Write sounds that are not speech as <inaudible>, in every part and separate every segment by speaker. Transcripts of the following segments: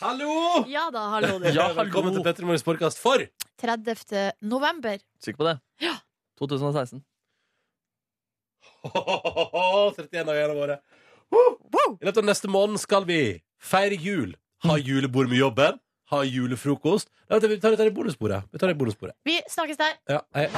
Speaker 1: Hallo!
Speaker 2: Ja da, hallo du.
Speaker 3: Ja, hallo.
Speaker 1: Velkommen til Petter Morgens podkast for <laughs>
Speaker 2: 30. november.
Speaker 3: Sikker på det?
Speaker 2: Ja.
Speaker 3: 2016.
Speaker 1: 31 av gjennom året. I løpet av neste måned skal vi feire jul. Ha julebord med jobben. Ha julefrokost. Nei, vet du, vi tar det i bonusbordet. Vi tar det i bonusbordet.
Speaker 2: Vi snakkes der.
Speaker 1: Ja, hei.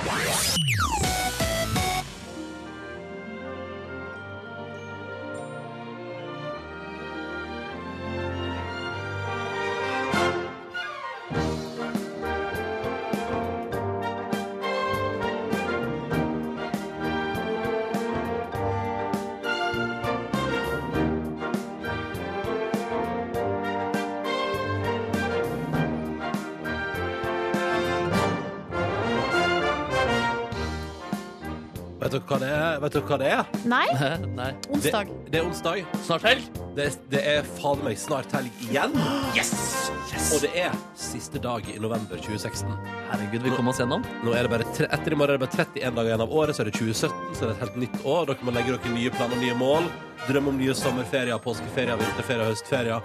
Speaker 1: Vet dere hva det er? Vet dere hva det er?
Speaker 2: Nei,
Speaker 3: <laughs> Nei.
Speaker 1: Det,
Speaker 2: onsdag.
Speaker 1: det er onsdag.
Speaker 3: Snart helg.
Speaker 1: Det, det er fader meg snart helg igjen. Og det er siste dag i november 2016.
Speaker 3: Herregud, vi kom oss gjennom.
Speaker 1: Nå er det bare tre, etter i morgen er det bare 31 dager igjen av året, så er det 2017, så er det et helt nytt år. Dere må legge dere nye planer, nye mål. Drømme om nye sommerferier, påskeferier, vinterferier, høstferier.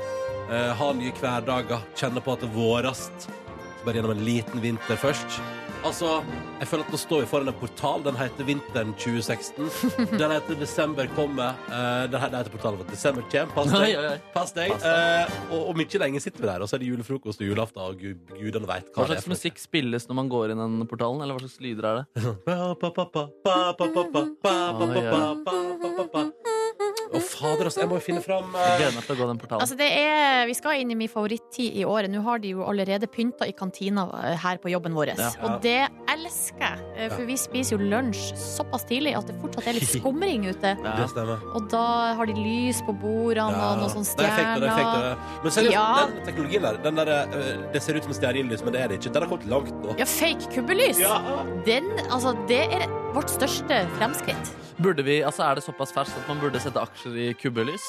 Speaker 1: Eh, ha nye hverdager. Kjenne på at det vårast. Så bare gjennom en liten vinter først. Altså, jeg føler at nå står vi foran en portal. Den heter Vinteren
Speaker 3: <laughs>
Speaker 1: 2016. Den heter Desember kommer. Eh, den, her, den heter portalen for Desember kommer. Pass deg.
Speaker 3: Oi, oi, oi.
Speaker 1: Pass deg.
Speaker 3: Pass
Speaker 1: Eh, og om ikke lenge sitter vi der, og så er det julefrokost og julaften, og gud, gudene veit hva,
Speaker 3: Hva
Speaker 1: det er.
Speaker 3: slags
Speaker 1: for noe.
Speaker 3: musikk spilles når man går inn den portalen? Eller hva slags lyder er
Speaker 2: Eh,
Speaker 3: det?
Speaker 1: Å, fader, altså. Jeg må jo finne fram eh,
Speaker 3: Gleder meg til å gå den portalen.
Speaker 2: Altså det er, vi skal inn i min favorittid i året. Nå har de jo allerede pynta i kantina eh, her på jobben vår.
Speaker 3: Ja.
Speaker 2: Og det elsker jeg, eh, for vi spiser jo lunsj såpass tidlig at det fortsatt
Speaker 1: <laughs>
Speaker 2: er litt skumring ute.
Speaker 1: Det stemmer.
Speaker 2: Og da har de lys på bordene og noen sånne
Speaker 1: Det er fake, det er fake, det
Speaker 2: stjerner.
Speaker 1: er. Men seriøst,
Speaker 2: sånn Ja.
Speaker 1: den teknologien der, den der eh, det ser ut som stearinlys, men det er det ikke. Den har kommet langt nå.
Speaker 2: Ja, fake kubbelys! Den, altså, det er vårt største fremskritt.
Speaker 3: Burde vi, altså Er det såpass ferskt at man burde sette aksjer i kubbelys?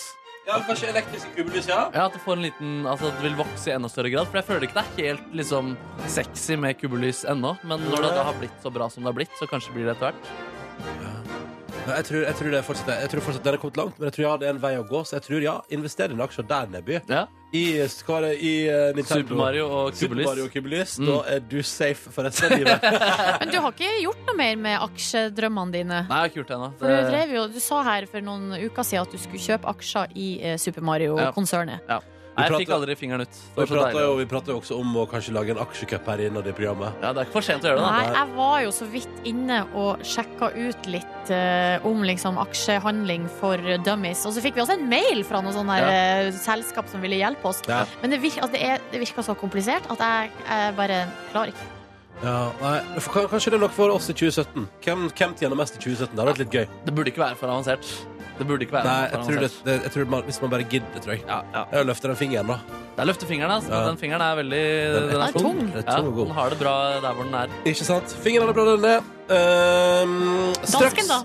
Speaker 1: Ja, kanskje elektriske kubbelys, ja.
Speaker 3: Ja, At det får en liten, altså at det vil vokse i enda større grad? For jeg føler ikke det er helt liksom sexy med kubbelys ennå. Men når det da har blitt så bra som det har blitt, så kanskje blir det etter hvert.
Speaker 1: Jeg tror, jeg tror det fortsatt er- Jeg tror fortsatt den har kommet langt, men jeg tror ja, det er en vei å gå. Så jeg tror ja, invester i en aksje der, Nebby.
Speaker 3: Ja.
Speaker 1: I, hva er det, i eh, Nintendo
Speaker 3: Super Mario og
Speaker 1: Super Mario
Speaker 3: kubbelys.
Speaker 1: og kubbelys.
Speaker 3: Mm.
Speaker 1: Da er du safe for resten av livet.
Speaker 2: Men du har ikke gjort noe mer med aksjedrømmene dine?
Speaker 3: Nei, jeg har ikke gjort det ennå.
Speaker 2: For du,
Speaker 3: Det-
Speaker 2: drev jo, du sa her for noen uker siden at du skulle kjøpe aksjer i eh, Super Mario-konsernet.
Speaker 3: Nei, jeg
Speaker 1: Vi
Speaker 3: fikk aldri fingeren ut. Det
Speaker 1: Vi
Speaker 3: var så
Speaker 1: prater,
Speaker 3: deilig.
Speaker 1: jo, vi prater jo også om å kanskje lage en aksjekupp her innad i programmet.
Speaker 3: Ja, det er ikke for sent å gjøre det. da
Speaker 2: Nei, jeg var jo så vidt inne og sjekka ut litt eh, om liksom, aksjehandling for dummies. Og så fikk vi også en mail fra noe sånn her, eh, selskap som ville hjelpe oss.
Speaker 1: Ja.
Speaker 2: Men det, vir altså, det, er, det virka så komplisert at jeg, jeg bare klarer ikke.
Speaker 1: Ja, nei, for, kan- kanskje det er noe for oss i 2017. Hvem, hvem tjener mest i 2017? Det hadde vært litt gøy.
Speaker 3: Det burde ikke være for avansert. Det burde ikke være
Speaker 1: Nei, jeg
Speaker 3: for
Speaker 1: tror det,
Speaker 3: avansert.
Speaker 1: det, jeg tror man, Hvis man bare gidder, tror jeg.
Speaker 3: Ja, ja.
Speaker 1: Jeg løfter den fingeren, da.
Speaker 3: Det er løftefingeren, altså.
Speaker 1: Ja.
Speaker 3: Den fingeren er veldig Den er,
Speaker 2: er tung.
Speaker 1: Den er
Speaker 3: Ja,
Speaker 1: tung og god.
Speaker 3: den har det bra der hvor den er.
Speaker 1: Ikke sant? Fingeren er bra, den er. Ehm,
Speaker 2: Dansken, da.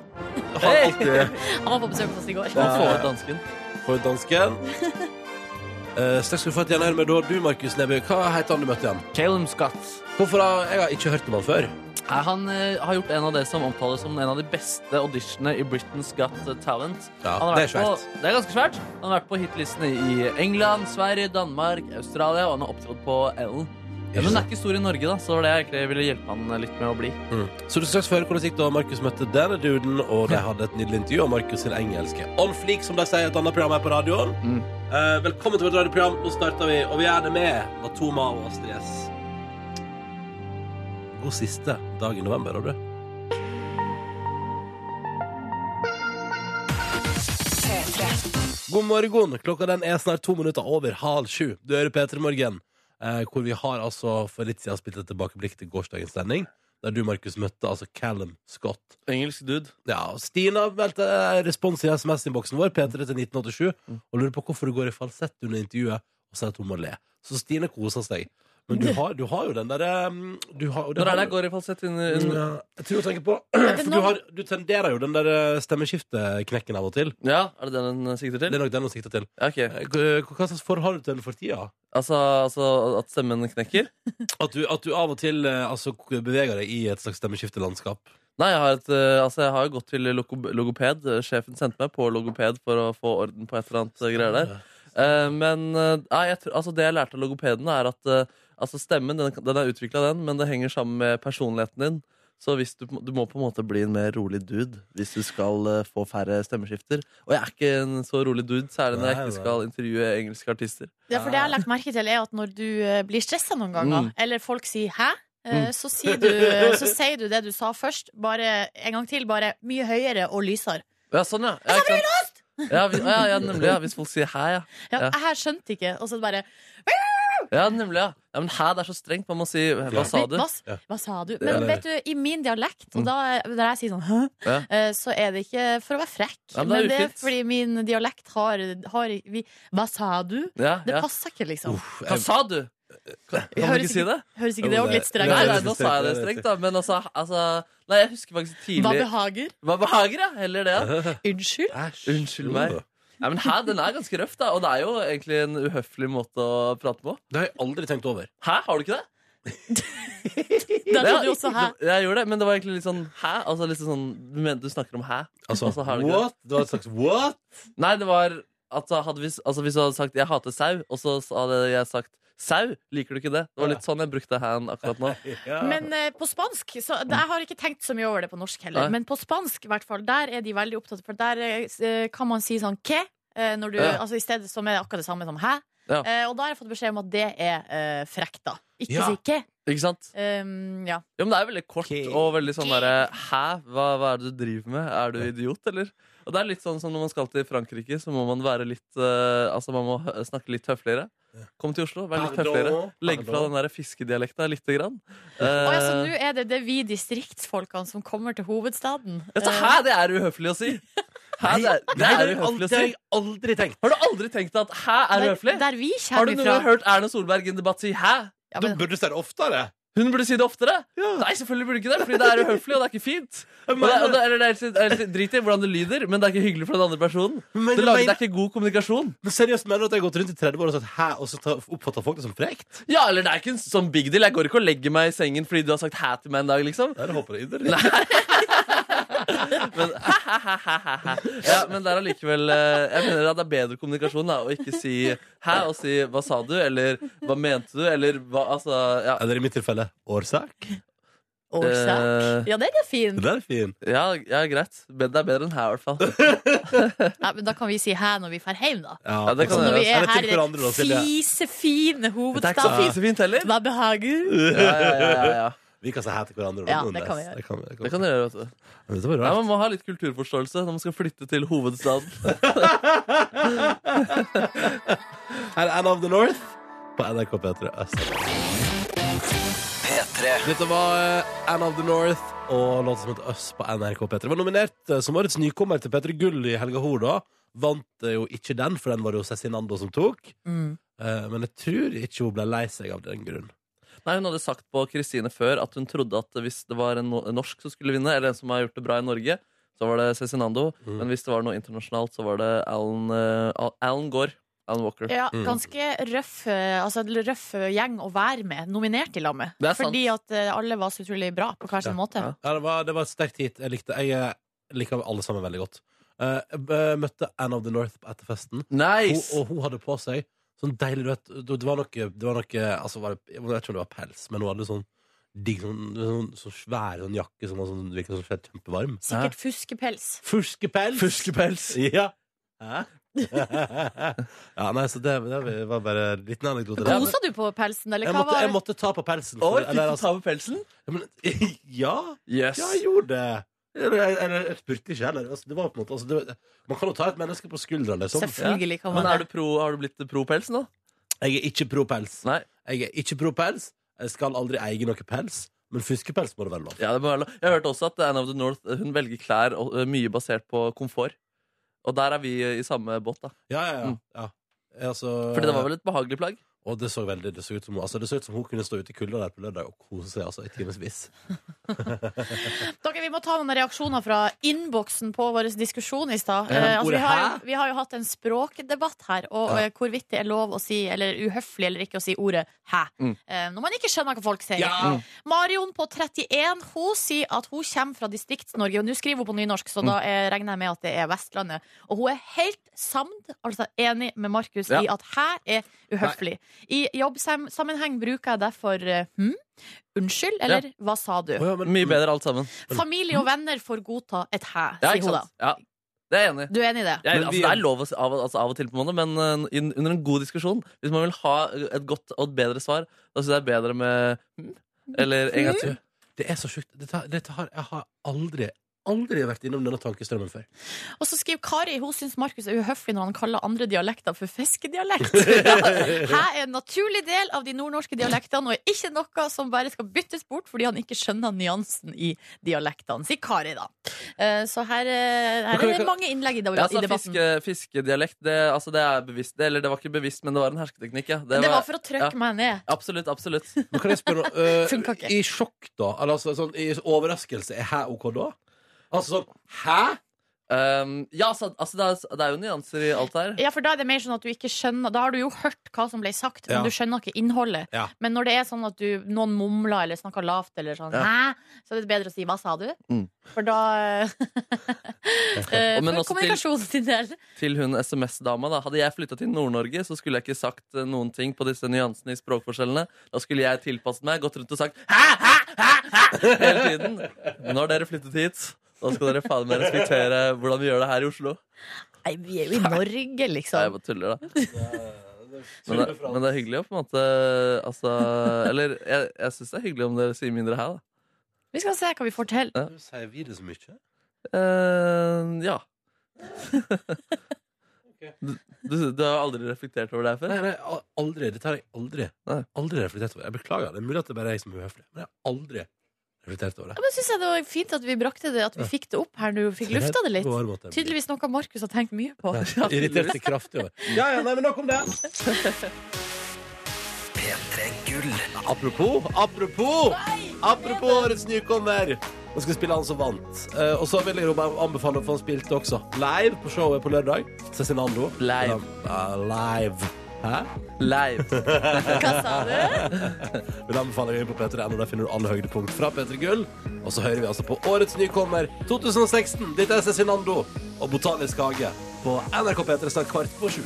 Speaker 1: Han alltid
Speaker 2: Han var på besøk hos oss i går.
Speaker 1: Ja.
Speaker 3: Man får ut dansken.
Speaker 1: for
Speaker 3: <laughs>
Speaker 1: dansken. Eh, straks skal du få et gjenhør med da du, Markus Neby. Hva heter han du møtte igjen?
Speaker 3: Calum Scott.
Speaker 1: Hvorfor har jeg har ikke hørt om han før?
Speaker 3: Nei, Han eh, har gjort en av det som omtales som en av de beste auditionene i Britain's Got Talent.
Speaker 1: Ja,
Speaker 3: Han har
Speaker 1: det er
Speaker 3: vært på-
Speaker 1: svært.
Speaker 3: det er ganske svært. Han har vært på hitlistene i England, Sverige, Danmark, Australia, og han har opptrådt på Ellen. Ja, men den er ikke stor i Norge, da, så det var det jeg egentlig ville hjelpe han eh, litt med å bli.
Speaker 1: Mm. Så du skal straks få høre hvordan det gikk da Markus møtte denne duden, og de hadde et nydelig intervju om Markus sin engelske. On fleek, som de sier i et annet program her på radioen.
Speaker 3: Mm.
Speaker 1: Eh, velkommen til vårt radioprogram. Nå starter vi, og vi er det med Matoma og Astrid S. God siste dag i november, har du? God morgen. Klokka den er snart to minutter over halv sju. Du hører P3 Morgen, eh, hvor vi har altså for litt siden spilt et tilbakeblikk til gårsdagens sending, der du, Markus, møtte altså Callum Scott.
Speaker 3: Engelsk dude.
Speaker 1: Ja, Stina meldte respons i SMS-innboksen vår, P3 til 1987, og lurer på hvorfor du går i falsett under intervjuet og sier at hun må le. Så Stine koser seg. Men du har, du har jo den derre um, du har-
Speaker 3: Når er det
Speaker 1: har-
Speaker 3: jeg går i falsett? inn-
Speaker 1: Mm,
Speaker 3: inn-
Speaker 1: ja, Jeg tror hun tenker på <clears throat> For du,
Speaker 2: nå-
Speaker 1: har, du tenderer jo den der eh, stemmeskifteknekken av og til.
Speaker 3: Ja, er det den den sikter
Speaker 1: Det
Speaker 3: til?
Speaker 1: er nok den hun sikter til.
Speaker 3: Ja, ok.
Speaker 1: Eh, Hva hva slags forhold har du til den for tida?
Speaker 3: Altså, altså at stemmen knekker?
Speaker 1: At du, at du av og til eh, altså, beveger deg i et slags stemmeskiftelandskap?
Speaker 3: Nei, jeg har, et, eh, altså, jeg har jo gått til loko- logoped. Sjefen sendte meg på logoped for å få orden på et eller annet eh, greier der. Eh, men eh, nei, jeg, tror- altså, det jeg lærte av logopeden, er at eh, altså, stemmen den, den er utvikla, den, men det henger sammen med personligheten din. Så hvis du, du må på en måte bli en mer rolig dude hvis du skal eh, få færre stemmeskifter. Og jeg er ikke en så rolig dude, særlig når jeg
Speaker 1: Nei,
Speaker 3: ikke
Speaker 1: nei.
Speaker 3: skal intervjue engelske artister.
Speaker 2: Ja, for det jeg har lagt merke til, er at når du eh, blir stressa noen ganger,
Speaker 3: Eh. Mm.
Speaker 2: eller folk sier 'hæ', eh, så sier, du, eh, så sier du det du sa først, bare en gang til, bare mye høyere og lysere.
Speaker 3: Ja, sånn, ja. Ja, ikke sant? ja, vi- ja, ja, nemlig. Ja. Hvis folk sier hæ, ja.
Speaker 2: Ja,
Speaker 3: Ja.
Speaker 2: Jeg her skjønte ikke, og så bare
Speaker 3: Ja, nemlig, ja. ja men hæ, det er så strengt. Man må si
Speaker 1: Ja.
Speaker 3: hva sa du?
Speaker 2: Hva, s-
Speaker 1: Ja.
Speaker 2: hva sa du?
Speaker 1: Ja,
Speaker 2: Men
Speaker 1: det-
Speaker 2: vet du, i min dialekt, og
Speaker 3: Mm.
Speaker 2: da når jeg sier sånn 'hæ',
Speaker 3: Ja.
Speaker 2: eh, så er det ikke for å være frekk,
Speaker 3: Ja, men det er
Speaker 2: men det er
Speaker 3: ufint.
Speaker 2: fordi min dialekt har, har vi, 'Hva sa du?'
Speaker 3: Ja,
Speaker 2: Det
Speaker 3: ja.
Speaker 2: passer ikke, liksom.
Speaker 1: Uff,
Speaker 3: Hva
Speaker 1: jeg-
Speaker 3: sa du? Kan
Speaker 2: Det
Speaker 3: kan du ikke si det?
Speaker 2: Høres
Speaker 1: Jo,
Speaker 2: ikke det òg
Speaker 1: det-
Speaker 2: litt
Speaker 1: det
Speaker 2: strengt
Speaker 3: Nei,
Speaker 1: er-
Speaker 2: ut?
Speaker 3: nei, nå sa jeg det strengt, da. Men altså, altså Nei, jeg husker faktisk
Speaker 2: Hva
Speaker 3: tidlig
Speaker 2: behager?
Speaker 3: Hva behager, ja? Heller det. Ja.
Speaker 2: Unnskyld?
Speaker 1: Æsj.
Speaker 3: Unnskyld meg. Nei, men hæ, den er ganske røff, da. Og det er jo egentlig en uhøflig måte å prate på.
Speaker 1: Det har jeg aldri tenkt over.
Speaker 3: Hæ, har du ikke det?
Speaker 2: Da
Speaker 3: Ja,
Speaker 2: trodde jo også 'hæ'.
Speaker 3: det- Jeg gjorde det, men det var egentlig litt sånn hæ? Altså litt sånn Du mener du snakker om hæ?
Speaker 1: Altså,
Speaker 3: <laughs> Altså, har du ikke
Speaker 1: what? Det var et slags what?
Speaker 3: Nei, det var at hadde vi, altså Hvis du hadde sagt 'jeg hater sau', og så hadde jeg sagt 'sau', liker du ikke det? Det var litt sånn jeg brukte han akkurat nå.
Speaker 1: Ja.
Speaker 2: Men eh, på spansk så, det, Jeg har ikke tenkt så mye over det på norsk heller.
Speaker 3: Nei.
Speaker 2: Men på spansk i hvert fall, der er de veldig opptatt For der eh, s- eh, kan man si sånn «qué», eh, når du,
Speaker 3: Ja.
Speaker 2: altså, I stedet som er det akkurat det samme som hæ.
Speaker 3: Ja.
Speaker 2: Eh, og da har jeg fått beskjed om at det er eh, frekt, da. Ikke
Speaker 1: Ja.
Speaker 2: si «qué».
Speaker 3: Ikke sant?
Speaker 2: Um, ja.
Speaker 3: Jo, men Det er veldig kort
Speaker 1: Ok.
Speaker 3: og veldig sånn derre Hæ? Hva, hva er det du driver med? Er du idiot, eller? Og det er litt sånn som når man skal til Frankrike, så må man være litt eh, Altså man må hø- snakke litt høfligere. Kom til Oslo, vær litt
Speaker 1: Pardon,
Speaker 3: høfligere. Legg fra
Speaker 1: pardon.
Speaker 3: den der fiskedialekta lite grann.
Speaker 2: Å, ja, så altså, nå
Speaker 3: Uh,
Speaker 2: er det, det er vi distriktsfolkene som kommer til hovedstaden.
Speaker 3: hæ, det er uhøfelig å si! Hæ, det er, det
Speaker 1: Nei,
Speaker 3: er
Speaker 1: det har jeg
Speaker 3: uhøflig å si.
Speaker 1: aldri, aldri tenkt.
Speaker 3: Har du aldri tenkt at hæ er
Speaker 2: der,
Speaker 3: uhøflig?
Speaker 2: der vi
Speaker 3: Har du
Speaker 2: kommer
Speaker 3: noen
Speaker 2: fra.
Speaker 3: gang hørt Erna Solberg i en debatt si 'hæ'?
Speaker 2: Ja,
Speaker 1: Du
Speaker 2: men,
Speaker 1: burde si det oftere.
Speaker 3: Hun burde si det oftere. Nei, selvfølgelig burde du ikke det, Fordi det er uhøflig, og det er ikke fint. Og det, og det, eller det er helt- det er helt Drit i hvordan det lyder, men det er ikke hyggelig for den andre personen.
Speaker 1: Men,
Speaker 3: Det, lager, det
Speaker 1: men,
Speaker 3: er ikke god kommunikasjon.
Speaker 1: men seriøst, mener du at jeg har gått rundt i 30 år og sagt hæ, og så ta- oppfatter folk det som frekt?
Speaker 3: Ja, eller det er ikke en sånn big deal. Jeg går ikke og legger meg i sengen fordi du har sagt hæ til meg en dag, liksom.
Speaker 1: Der håper jeg inderlig.
Speaker 3: Men, ja, men det er allikevel eh, Jeg mener at det er bedre kommunikasjon da, å ikke si hæ og si hva sa du, eller hva mente du, eller hva Altså, ja.
Speaker 1: Eller i mitt tilfelle årsak.
Speaker 2: årsak.
Speaker 3: Eh.
Speaker 2: Ja, den er fin.
Speaker 1: Det der er fin.
Speaker 3: Ja, ja greit. Men Det er bedre enn hæ, i
Speaker 1: <laughs>
Speaker 3: hvert fall.
Speaker 2: Nei, men da kan vi si hæ når vi drar hjem, da.
Speaker 3: Ja, det kan
Speaker 2: Når vi
Speaker 3: gjøres.
Speaker 2: er
Speaker 1: Eller
Speaker 2: her
Speaker 1: til
Speaker 2: i
Speaker 1: hverandre, da,
Speaker 2: den
Speaker 1: Silje.
Speaker 2: fisefine
Speaker 3: Det er ikke så
Speaker 2: hovedstaden.
Speaker 1: <laughs>
Speaker 3: fisefint heller.
Speaker 2: Hva behager?
Speaker 3: Ja, ja, ja, ja, ja.
Speaker 1: Vi kan si hæ til hverandre.
Speaker 2: Ja,
Speaker 1: Nordnes.
Speaker 2: det kan vi gjøre.
Speaker 1: Det kan, det kan.
Speaker 3: Det kan du gjøre, vet du.
Speaker 1: Men det var
Speaker 3: Nei,
Speaker 1: rart.
Speaker 3: man må ha litt kulturforståelse når man skal flytte til hovedstaden.
Speaker 1: Her er Anne of the North på NRK P3 Øst. Dette var eh, Anne of the North og låta som het Øss på NRK P3. Var nominert eh, som årets nykommer til P3 Gull i helga Horda. Vant eh, jo ikke den, for den var det jo Cezinando som tok.
Speaker 2: Mm.
Speaker 1: Eh, Men jeg tror ikke hun ble lei seg av den grunn.
Speaker 3: <laughs> Nei, Hun hadde sagt på Kristine før at hun trodde at hvis det var en no- en norsk som skulle vinne, eller en som har gjort det bra i Norge, så var det Cezinando.
Speaker 1: Mm.
Speaker 3: Men hvis det var noe internasjonalt, så var det Alan, eh, Al- Alan Gore. Alan Walker.
Speaker 2: Ja,
Speaker 1: Mm.
Speaker 2: ganske røff, eh, altså, en røff gjeng å være med, nominert i lag med.
Speaker 3: Det er sant.
Speaker 2: Fordi at eh, alle var så utrolig bra på hver sin måte.
Speaker 3: ja.
Speaker 1: Ja, det var, det var et sterkt hit. Jeg likte jeg eh, liker alle sammen veldig godt. Eh, Jeg eh, møtte Anne of the North på etterfesten. Hun,
Speaker 3: Nice!
Speaker 1: og hun hadde på seg sånn deilig rødt Det det var noe, det var noe altså, var det, Jeg vet ikke om det var pels, men hun hadde sånn digg sånn, sånn, sånn svær sånn jakke som var sånn, virket som sånn, kjempevarm.
Speaker 2: Sikkert fuskepels.
Speaker 1: Fuskepels!
Speaker 3: Fuskepels.
Speaker 1: Ja. Hæ? <laughs> ja, nei, så det, det var bare en liten anekdote. der.
Speaker 2: Kosa du på pelsen, eller
Speaker 1: Jeg
Speaker 2: hva
Speaker 1: måtte,
Speaker 2: var
Speaker 1: jeg måtte ta på pelsen. for-
Speaker 3: Oi, fikk
Speaker 1: eller,
Speaker 3: du
Speaker 1: altså,
Speaker 3: ta med pelsen?
Speaker 1: ja, men, <laughs> ja.
Speaker 3: Yes.
Speaker 1: Ja, jeg gjorde det. Eller, eller, jeg spurte ikke heller. Altså, det var på en måte, altså, det, man kan jo ta et menneske på skuldra, liksom.
Speaker 2: Selvfølgelig kan
Speaker 3: Men
Speaker 2: man
Speaker 3: er du
Speaker 2: det.
Speaker 3: pro, har du blitt pro pelsen, da?
Speaker 1: Jeg er ikke pro pels.
Speaker 3: Nei.
Speaker 1: Jeg er ikke pro pels. Jeg skal aldri eie noe pels, men fuskepels må det være lov.
Speaker 3: Ja, det må være lov. Jeg hørte også at Anne of the North eh, hun velger klær og, eh, mye basert på komfort. Og der er vi eh, i samme båt, da.
Speaker 1: Ja, ja, ja.
Speaker 3: Mm.
Speaker 1: ja. Altså,
Speaker 3: Fordi det var vel et behagelig plagg?
Speaker 1: Og det så veldig, det så ut som, altså, det så ut som hun kunne stå ute i kulda der på lørdag og kose seg altså, i timevis.
Speaker 2: Dere, Vi må ta noen reaksjoner fra innboksen på vår diskusjon i stad.
Speaker 1: Ja,
Speaker 2: Eh, altså, vi,
Speaker 1: ordet
Speaker 2: har
Speaker 1: hæ?
Speaker 2: jo- vi har jo hatt en språkdebatt her, og
Speaker 1: Ja.
Speaker 2: eh, hvorvidt det er lov å si, eller uhøflig eller ikke å si ordet hæ.
Speaker 3: Mm.
Speaker 2: Eh, når man ikke skjønner hva folk sier.
Speaker 1: Ja!
Speaker 2: Marion på 31 hun sier at hun kommer fra Distrikts-Norge. Og Nå skriver hun på nynorsk, så
Speaker 3: Mm.
Speaker 2: da eh, regner jeg med at det er Vestlandet. Og hun er helt samd, altså enig med Markus,
Speaker 3: Ja.
Speaker 2: i at hæ er uhøflig. I jobbsammenheng bruker jeg derfor eh, hm, unnskyld, eller hva sa du?
Speaker 1: Å ja, men-
Speaker 3: Mye bedre alt sammen.
Speaker 2: Familie og venner får godta et hæ,
Speaker 3: Ja,
Speaker 2: sier
Speaker 3: ikke
Speaker 2: hun da.
Speaker 3: sant? Ja, det er jeg enig i.
Speaker 2: Du er enig i det?
Speaker 3: Jeg,
Speaker 1: Men
Speaker 3: altså,
Speaker 1: vi-
Speaker 3: det er lov å, si- av, altså, av og til, på en måte, men eh, i- under en god diskusjon Hvis man vil ha et godt og et bedre svar, da syns jeg det er bedre med hm, eller en gang
Speaker 2: Hmm?
Speaker 3: til.
Speaker 1: Mm. Det er så sjukt. Dette, har- dette har, jeg har aldri, aldri vært innom denne tankestrømmen før.
Speaker 2: Og så skriver Kari hun syns Markus er uhøflig når han kaller andre dialekter for
Speaker 3: <laughs>
Speaker 2: fiskedialekt. Hæ er en naturlig del av de nordnorske dialektene og er ikke noe som bare skal byttes bort fordi han ikke skjønner nyansen i dialektene, sier Kari, da. Eh, Så her, eh, her er det mange innlegg i dag-
Speaker 3: Ja, altså,
Speaker 2: i debatten.
Speaker 3: fiske, fiskedialekt, det, altså, det er bevisst det, Eller det var ikke bevisst, men det var en hersketeknikk. Ja.
Speaker 2: Det var for å trykke
Speaker 3: ja.
Speaker 2: meg ned.
Speaker 3: Absolutt. absolutt
Speaker 2: <laughs>
Speaker 1: Men kan jeg spørre
Speaker 3: <laughs>
Speaker 1: noe? eh,
Speaker 2: Funka ikke.
Speaker 1: I sjokk, da? Eller altså, sånn, I overraskelse, er hæ OK da? Altså sånn Hæ?!
Speaker 3: Um, ja, altså, altså det, er, det er jo nyanser i alt her.
Speaker 2: Ja, for Da er det mer sånn at du ikke skjønner Da har du jo hørt hva som ble sagt, men
Speaker 1: Ja.
Speaker 2: du skjønner ikke innholdet.
Speaker 1: Ja.
Speaker 2: Men når det er sånn at du, noen mumler eller snakker lavt, eller sånn,
Speaker 3: Ja.
Speaker 2: Hæ? så er det bedre å si 'hva sa du?'
Speaker 3: Mm.
Speaker 2: For da <laughs> Eh,
Speaker 3: Og
Speaker 2: for
Speaker 3: men også til-
Speaker 2: kommunikasjonen sin del.
Speaker 3: Til hun SMS-dama, da. Hadde jeg flytta til Nord-Norge, så skulle jeg ikke sagt eh, noen ting på disse nyansene i språkforskjellene. Da skulle jeg tilpasset meg, gått rundt og sagt hæ, hæ, hæ, hæ hele tiden. Når dere flyttet hit, da skal dere faen meg respektere hvordan vi gjør det her i Oslo.
Speaker 2: Nei, vi er jo i Norge,
Speaker 3: Nei, jeg
Speaker 2: liksom.
Speaker 3: bare tuller, da. Men det, men det er hyggelig å på en måte Altså Eller jeg, jeg syns det er hyggelig om dere sier mindre her, da.
Speaker 2: Vi skal se hva vi får til.
Speaker 1: Sier vi det så mye?
Speaker 3: Eh, ja.
Speaker 1: Ok.
Speaker 3: Du, du, du har aldri reflektert over det her før?
Speaker 1: Nei, nei, al- aldri. Dette har jeg aldri
Speaker 3: Nei.
Speaker 1: Aldri reflektert over. Jeg beklager. Det er mulig at det bare er jeg som er uhøflig, men jeg har aldri reflektert over
Speaker 2: Ja,
Speaker 1: det.
Speaker 2: men synes jeg Det var fint at vi brakte det At vi fikk det opp her nå. Fikk lufta det litt.
Speaker 1: Går mot det.
Speaker 2: Tydeligvis noe Markus har tenkt mye <laughs> på.
Speaker 1: Ja, Irritert seg kraftig over. Ja, ja, nei, men nok om det. Apropos, apropos, apropos årets nykommer. Nå skal jeg spille han som vant. Eh, og så vil jeg jo bare anbefale å få han spilt også. Live på showet på lørdag. Cezinando.
Speaker 3: Live.
Speaker 1: Ja, live. Hæ?
Speaker 3: Live.
Speaker 2: Hva sa du?
Speaker 1: Vil anbefale deg inn på P3.no. Der finner du alle høydepunkt fra P3 Gull. Og så hører vi altså på årets nykommer 2016. Dette er Cezinando og Botanisk hage på NRK P3 snart kvart på sju.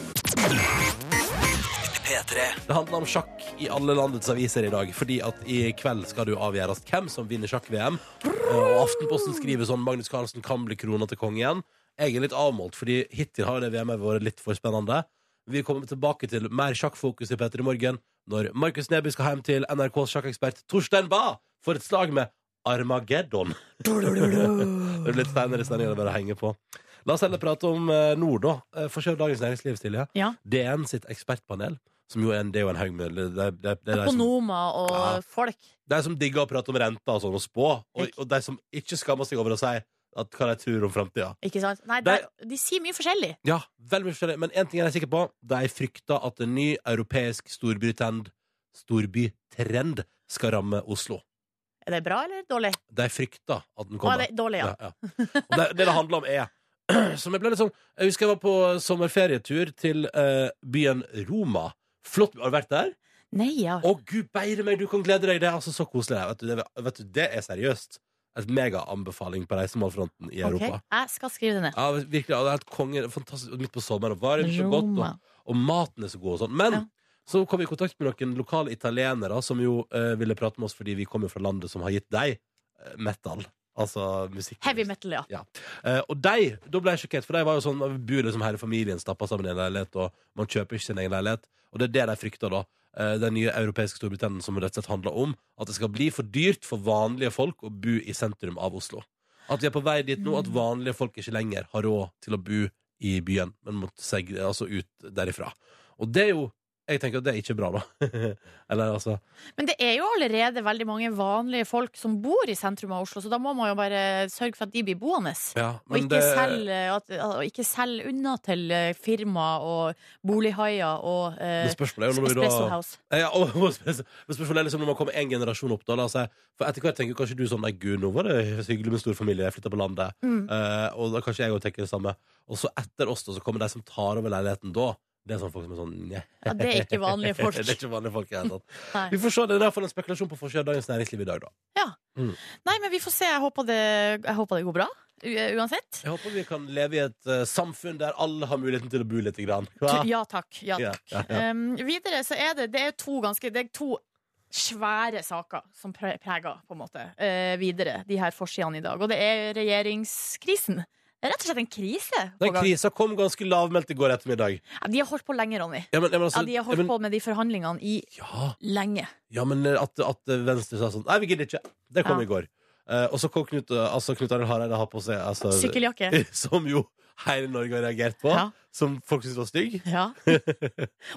Speaker 1: Det handler om sjakk i alle landets aviser i dag, fordi at i kveld skal det jo avgjøres hvem som vinner sjakk-VM. Eh, Og Aftenposten skriver sånn Magnus Carlsen kan bli krona til konge igjen. Jeg er litt avmålt, fordi hittil har det VM-et vært litt for spennende. Vi kommer tilbake til mer sjakkfokus i Petter i morgen når Markus Neby skal hjem til NRKs sjakkekspert Torstein Bae for et slag med Armageddon. <laughs> Det er litt senere i sendingen å bare henge på. La oss heller prate om eh, nord, da. Eh, Få kjøre Dagens Næringsliv, Silje.
Speaker 2: Ja.
Speaker 1: DN sitt ekspertpanel, som jo er en, det er jo en haug med det, det, det, det, er de som,
Speaker 2: Økonomer og
Speaker 1: Ja.
Speaker 2: folk.
Speaker 1: de som digger å prate om renter og sånn og spå, og, og de som ikke skammer seg over å si at hva de tror om framtida.
Speaker 2: Ikke sant? Nei, de,
Speaker 1: Der-
Speaker 2: de sier mye forskjellig.
Speaker 1: Ja, veldig mye forskjellig. Men én ting er jeg sikker på. De frykter at en ny europeisk storbytrend, storbytrend skal ramme Oslo.
Speaker 2: Er det bra eller dårlig?
Speaker 1: De frykter at den
Speaker 2: Å, er
Speaker 1: kommer.
Speaker 2: det dårlig, ja.
Speaker 1: Ja, ja. Og det, det det handler om er <clears throat> Som jeg ble litt sånn Jeg husker jeg var på sommerferietur til eh, byen Roma. Flott. Har du vært der?
Speaker 2: Nei, ja.
Speaker 1: Å, gud beire meg, du kan glede deg! Det er altså så koselig. der. Vet du, det, vet du, det er seriøst. Et megaanbefaling på reisemålfronten i
Speaker 2: Ok,
Speaker 1: Europa.
Speaker 2: Jeg skal skrive det ned.
Speaker 1: Ja, virkelig, ja, det er et konge, fantastisk, og midt på sommeren, og varmt og godt,
Speaker 2: Roma.
Speaker 1: og, og maten er så god og sånn. Men
Speaker 2: Ja.
Speaker 1: så kom vi i kontakt med noen lokale italienere som jo eh, ville prate med oss fordi vi kom jo fra landet som har gitt deg eh, metal. Altså musikk.
Speaker 2: Heavy metal, ja.
Speaker 1: Eh, og de, da ble jeg sjokkert, for de var jo sånn Vi bor liksom hele familien stappa sammen i en leilighet, og man kjøper ikke sin egen leilighet. Og det er det de frykter, da. Eh, Den nye europeiske Storbritannia som rett og slett handler om at det skal bli for dyrt for vanlige folk å bo i sentrum av Oslo. At vi er på vei dit nå at vanlige folk ikke lenger har råd til å bo i byen, men måtte seg, altså ut derifra. Og det er jo Jeg tenker at det er ikke bra, da. <laughs> Eller altså
Speaker 2: Men det er jo allerede veldig mange vanlige folk som bor i sentrum av Oslo, så da må man jo bare sørge for at de blir boende.
Speaker 1: ja,
Speaker 2: Og
Speaker 1: men
Speaker 2: ikke, selge, at, og ikke selge unna til eh, firmaer og bolighaier og eh,
Speaker 1: men spørsmålet er jo når vi
Speaker 2: Espresso
Speaker 1: da
Speaker 2: House.
Speaker 1: ja, og, Men spørsmålet er liksom når man kommer en generasjon opp, da. La oss si, for etter hvert tenker kanskje du sånn Nei, gud, nå var det hyggelig med stor familie, jeg flytta på landet.
Speaker 2: Mm.
Speaker 1: Eh, og da kanskje jeg òg tenker det samme. Og så etter oss, da, så kommer de som tar over leiligheten da. Det er sånn folk som er sånn Nja.
Speaker 2: Ja, det er ikke vanlige folk.
Speaker 1: <laughs> det er ikke vanlige folk i det hele tatt.
Speaker 2: <laughs> Nei.
Speaker 1: Vi får se. Det er derfor en spekulasjon på forsida av Dagens Næringsliv i dag, da.
Speaker 2: Nei, men vi får se. Jeg håper det, jeg håper det går bra. u- Uansett.
Speaker 1: Jeg håper vi kan leve i et eh, samfunn der alle har muligheten til å bo lite grann. Hva?
Speaker 2: Ja takk. Ja,
Speaker 1: Ja,
Speaker 2: takk.
Speaker 1: ja,
Speaker 2: Um, videre så er det, det er to ganske Det er to svære saker som pre- preger på en måte eh, videre de her forsidene i dag. Og det er regjeringskrisen. Det er rett og slett en krise. På
Speaker 1: Den
Speaker 2: gang.
Speaker 1: krisa kom ganske lavmælt i går ettermiddag.
Speaker 2: Ja, de har holdt på lenge, Ronny.
Speaker 1: Ja, men, ja, men,
Speaker 2: Ja,
Speaker 1: altså,
Speaker 2: de har
Speaker 1: ja,
Speaker 2: holdt
Speaker 1: men,
Speaker 2: på med de forhandlingene i
Speaker 1: ja,
Speaker 2: lenge.
Speaker 1: ja, men eh, at, at Venstre sa sånn Nei, vi gidder ikke. Det kom
Speaker 2: Ja.
Speaker 1: i går. Eh, og så kom Knut, eh, altså, Knut Arild Hareide har på seg altså,
Speaker 2: Sykkeljakke.
Speaker 1: <laughs> Som jo hele Norge har reagert på.
Speaker 2: Ja.
Speaker 1: Som folk syntes var stygg. <laughs>
Speaker 2: Ja.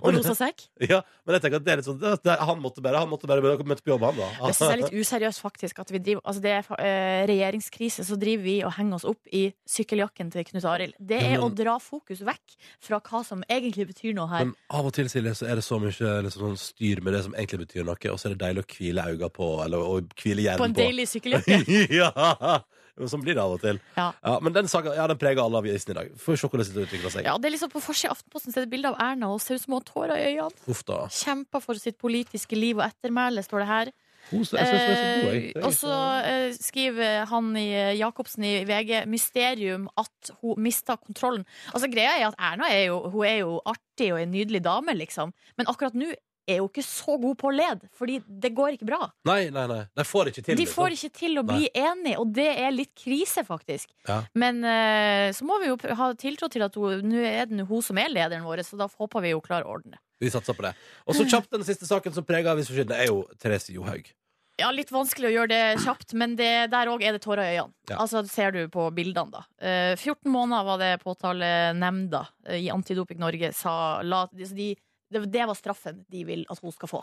Speaker 2: Og rosa sekk.
Speaker 1: Ja, men jeg tenker at det er litt sånn det, det, Han måtte bare, han måtte bare møte på jobb, han da.
Speaker 2: Det synes jeg er litt useriøst, faktisk. At vi driver, altså det er fa- eh, regjeringskrise, så driver vi og henger oss opp i sykkeljakken til Knut Arild. Det
Speaker 1: Ja,
Speaker 2: er å
Speaker 1: men-
Speaker 2: dra fokus vekk fra hva som egentlig betyr noe her.
Speaker 1: <laughs> Men av og til Silje, så er det så mye liksom, sånn styr med det som egentlig betyr noe, og så er det deilig å hvile øynene på, eller å hvile
Speaker 2: På
Speaker 1: hjernen
Speaker 2: en
Speaker 1: på.
Speaker 2: deilig
Speaker 1: <laughs>
Speaker 2: sykkeljakke.
Speaker 1: ja! Men Sånn blir det av og til.
Speaker 2: Ja.
Speaker 1: men den saga ja, den preger alle avisene i dag. Får vi se hvordan det utvikler seg.
Speaker 2: Ja, det er liksom På forsiden av Aftenposten så er det bilde av Erna og ser ut som hun har tårer i øynene.
Speaker 1: Uff da.
Speaker 2: Kjemper for sitt politiske liv og ettermæle, står det her.
Speaker 1: Hun, jeg synes hun er så god, jeg.
Speaker 2: Eh, og så eh, skriver han i eh, Jacobsen i VG mysterium at hun mista kontrollen. Altså Greia er at Erna er jo, hun er jo artig og en nydelig dame, liksom. Men akkurat nå er hun ikke så god på å lede, fordi det går ikke bra.
Speaker 1: Nei, nei, nei. De får det ikke til.
Speaker 2: De får ikke til å bli enige, og det er litt krise, faktisk.
Speaker 1: Ja.
Speaker 2: Men eh, så må vi jo ha tiltro til at hun, nå er det nå hun som er lederen vår, så da håper vi hun klarer å ordne det.
Speaker 1: Vi satser på det. Og så kjapt den siste saken som preger avisforsidene, er jo Therese Johaug.
Speaker 2: Ja, litt vanskelig å gjøre det kjapt, men det, der òg er det tårer i øynene.
Speaker 1: Ja.
Speaker 2: Altså, det ser du på bildene, da. Eh, 14 måneder var det påtalenemnda eh, i Antidoping Norge sa la, de, de, det, det var straffen de vil at hun skal få.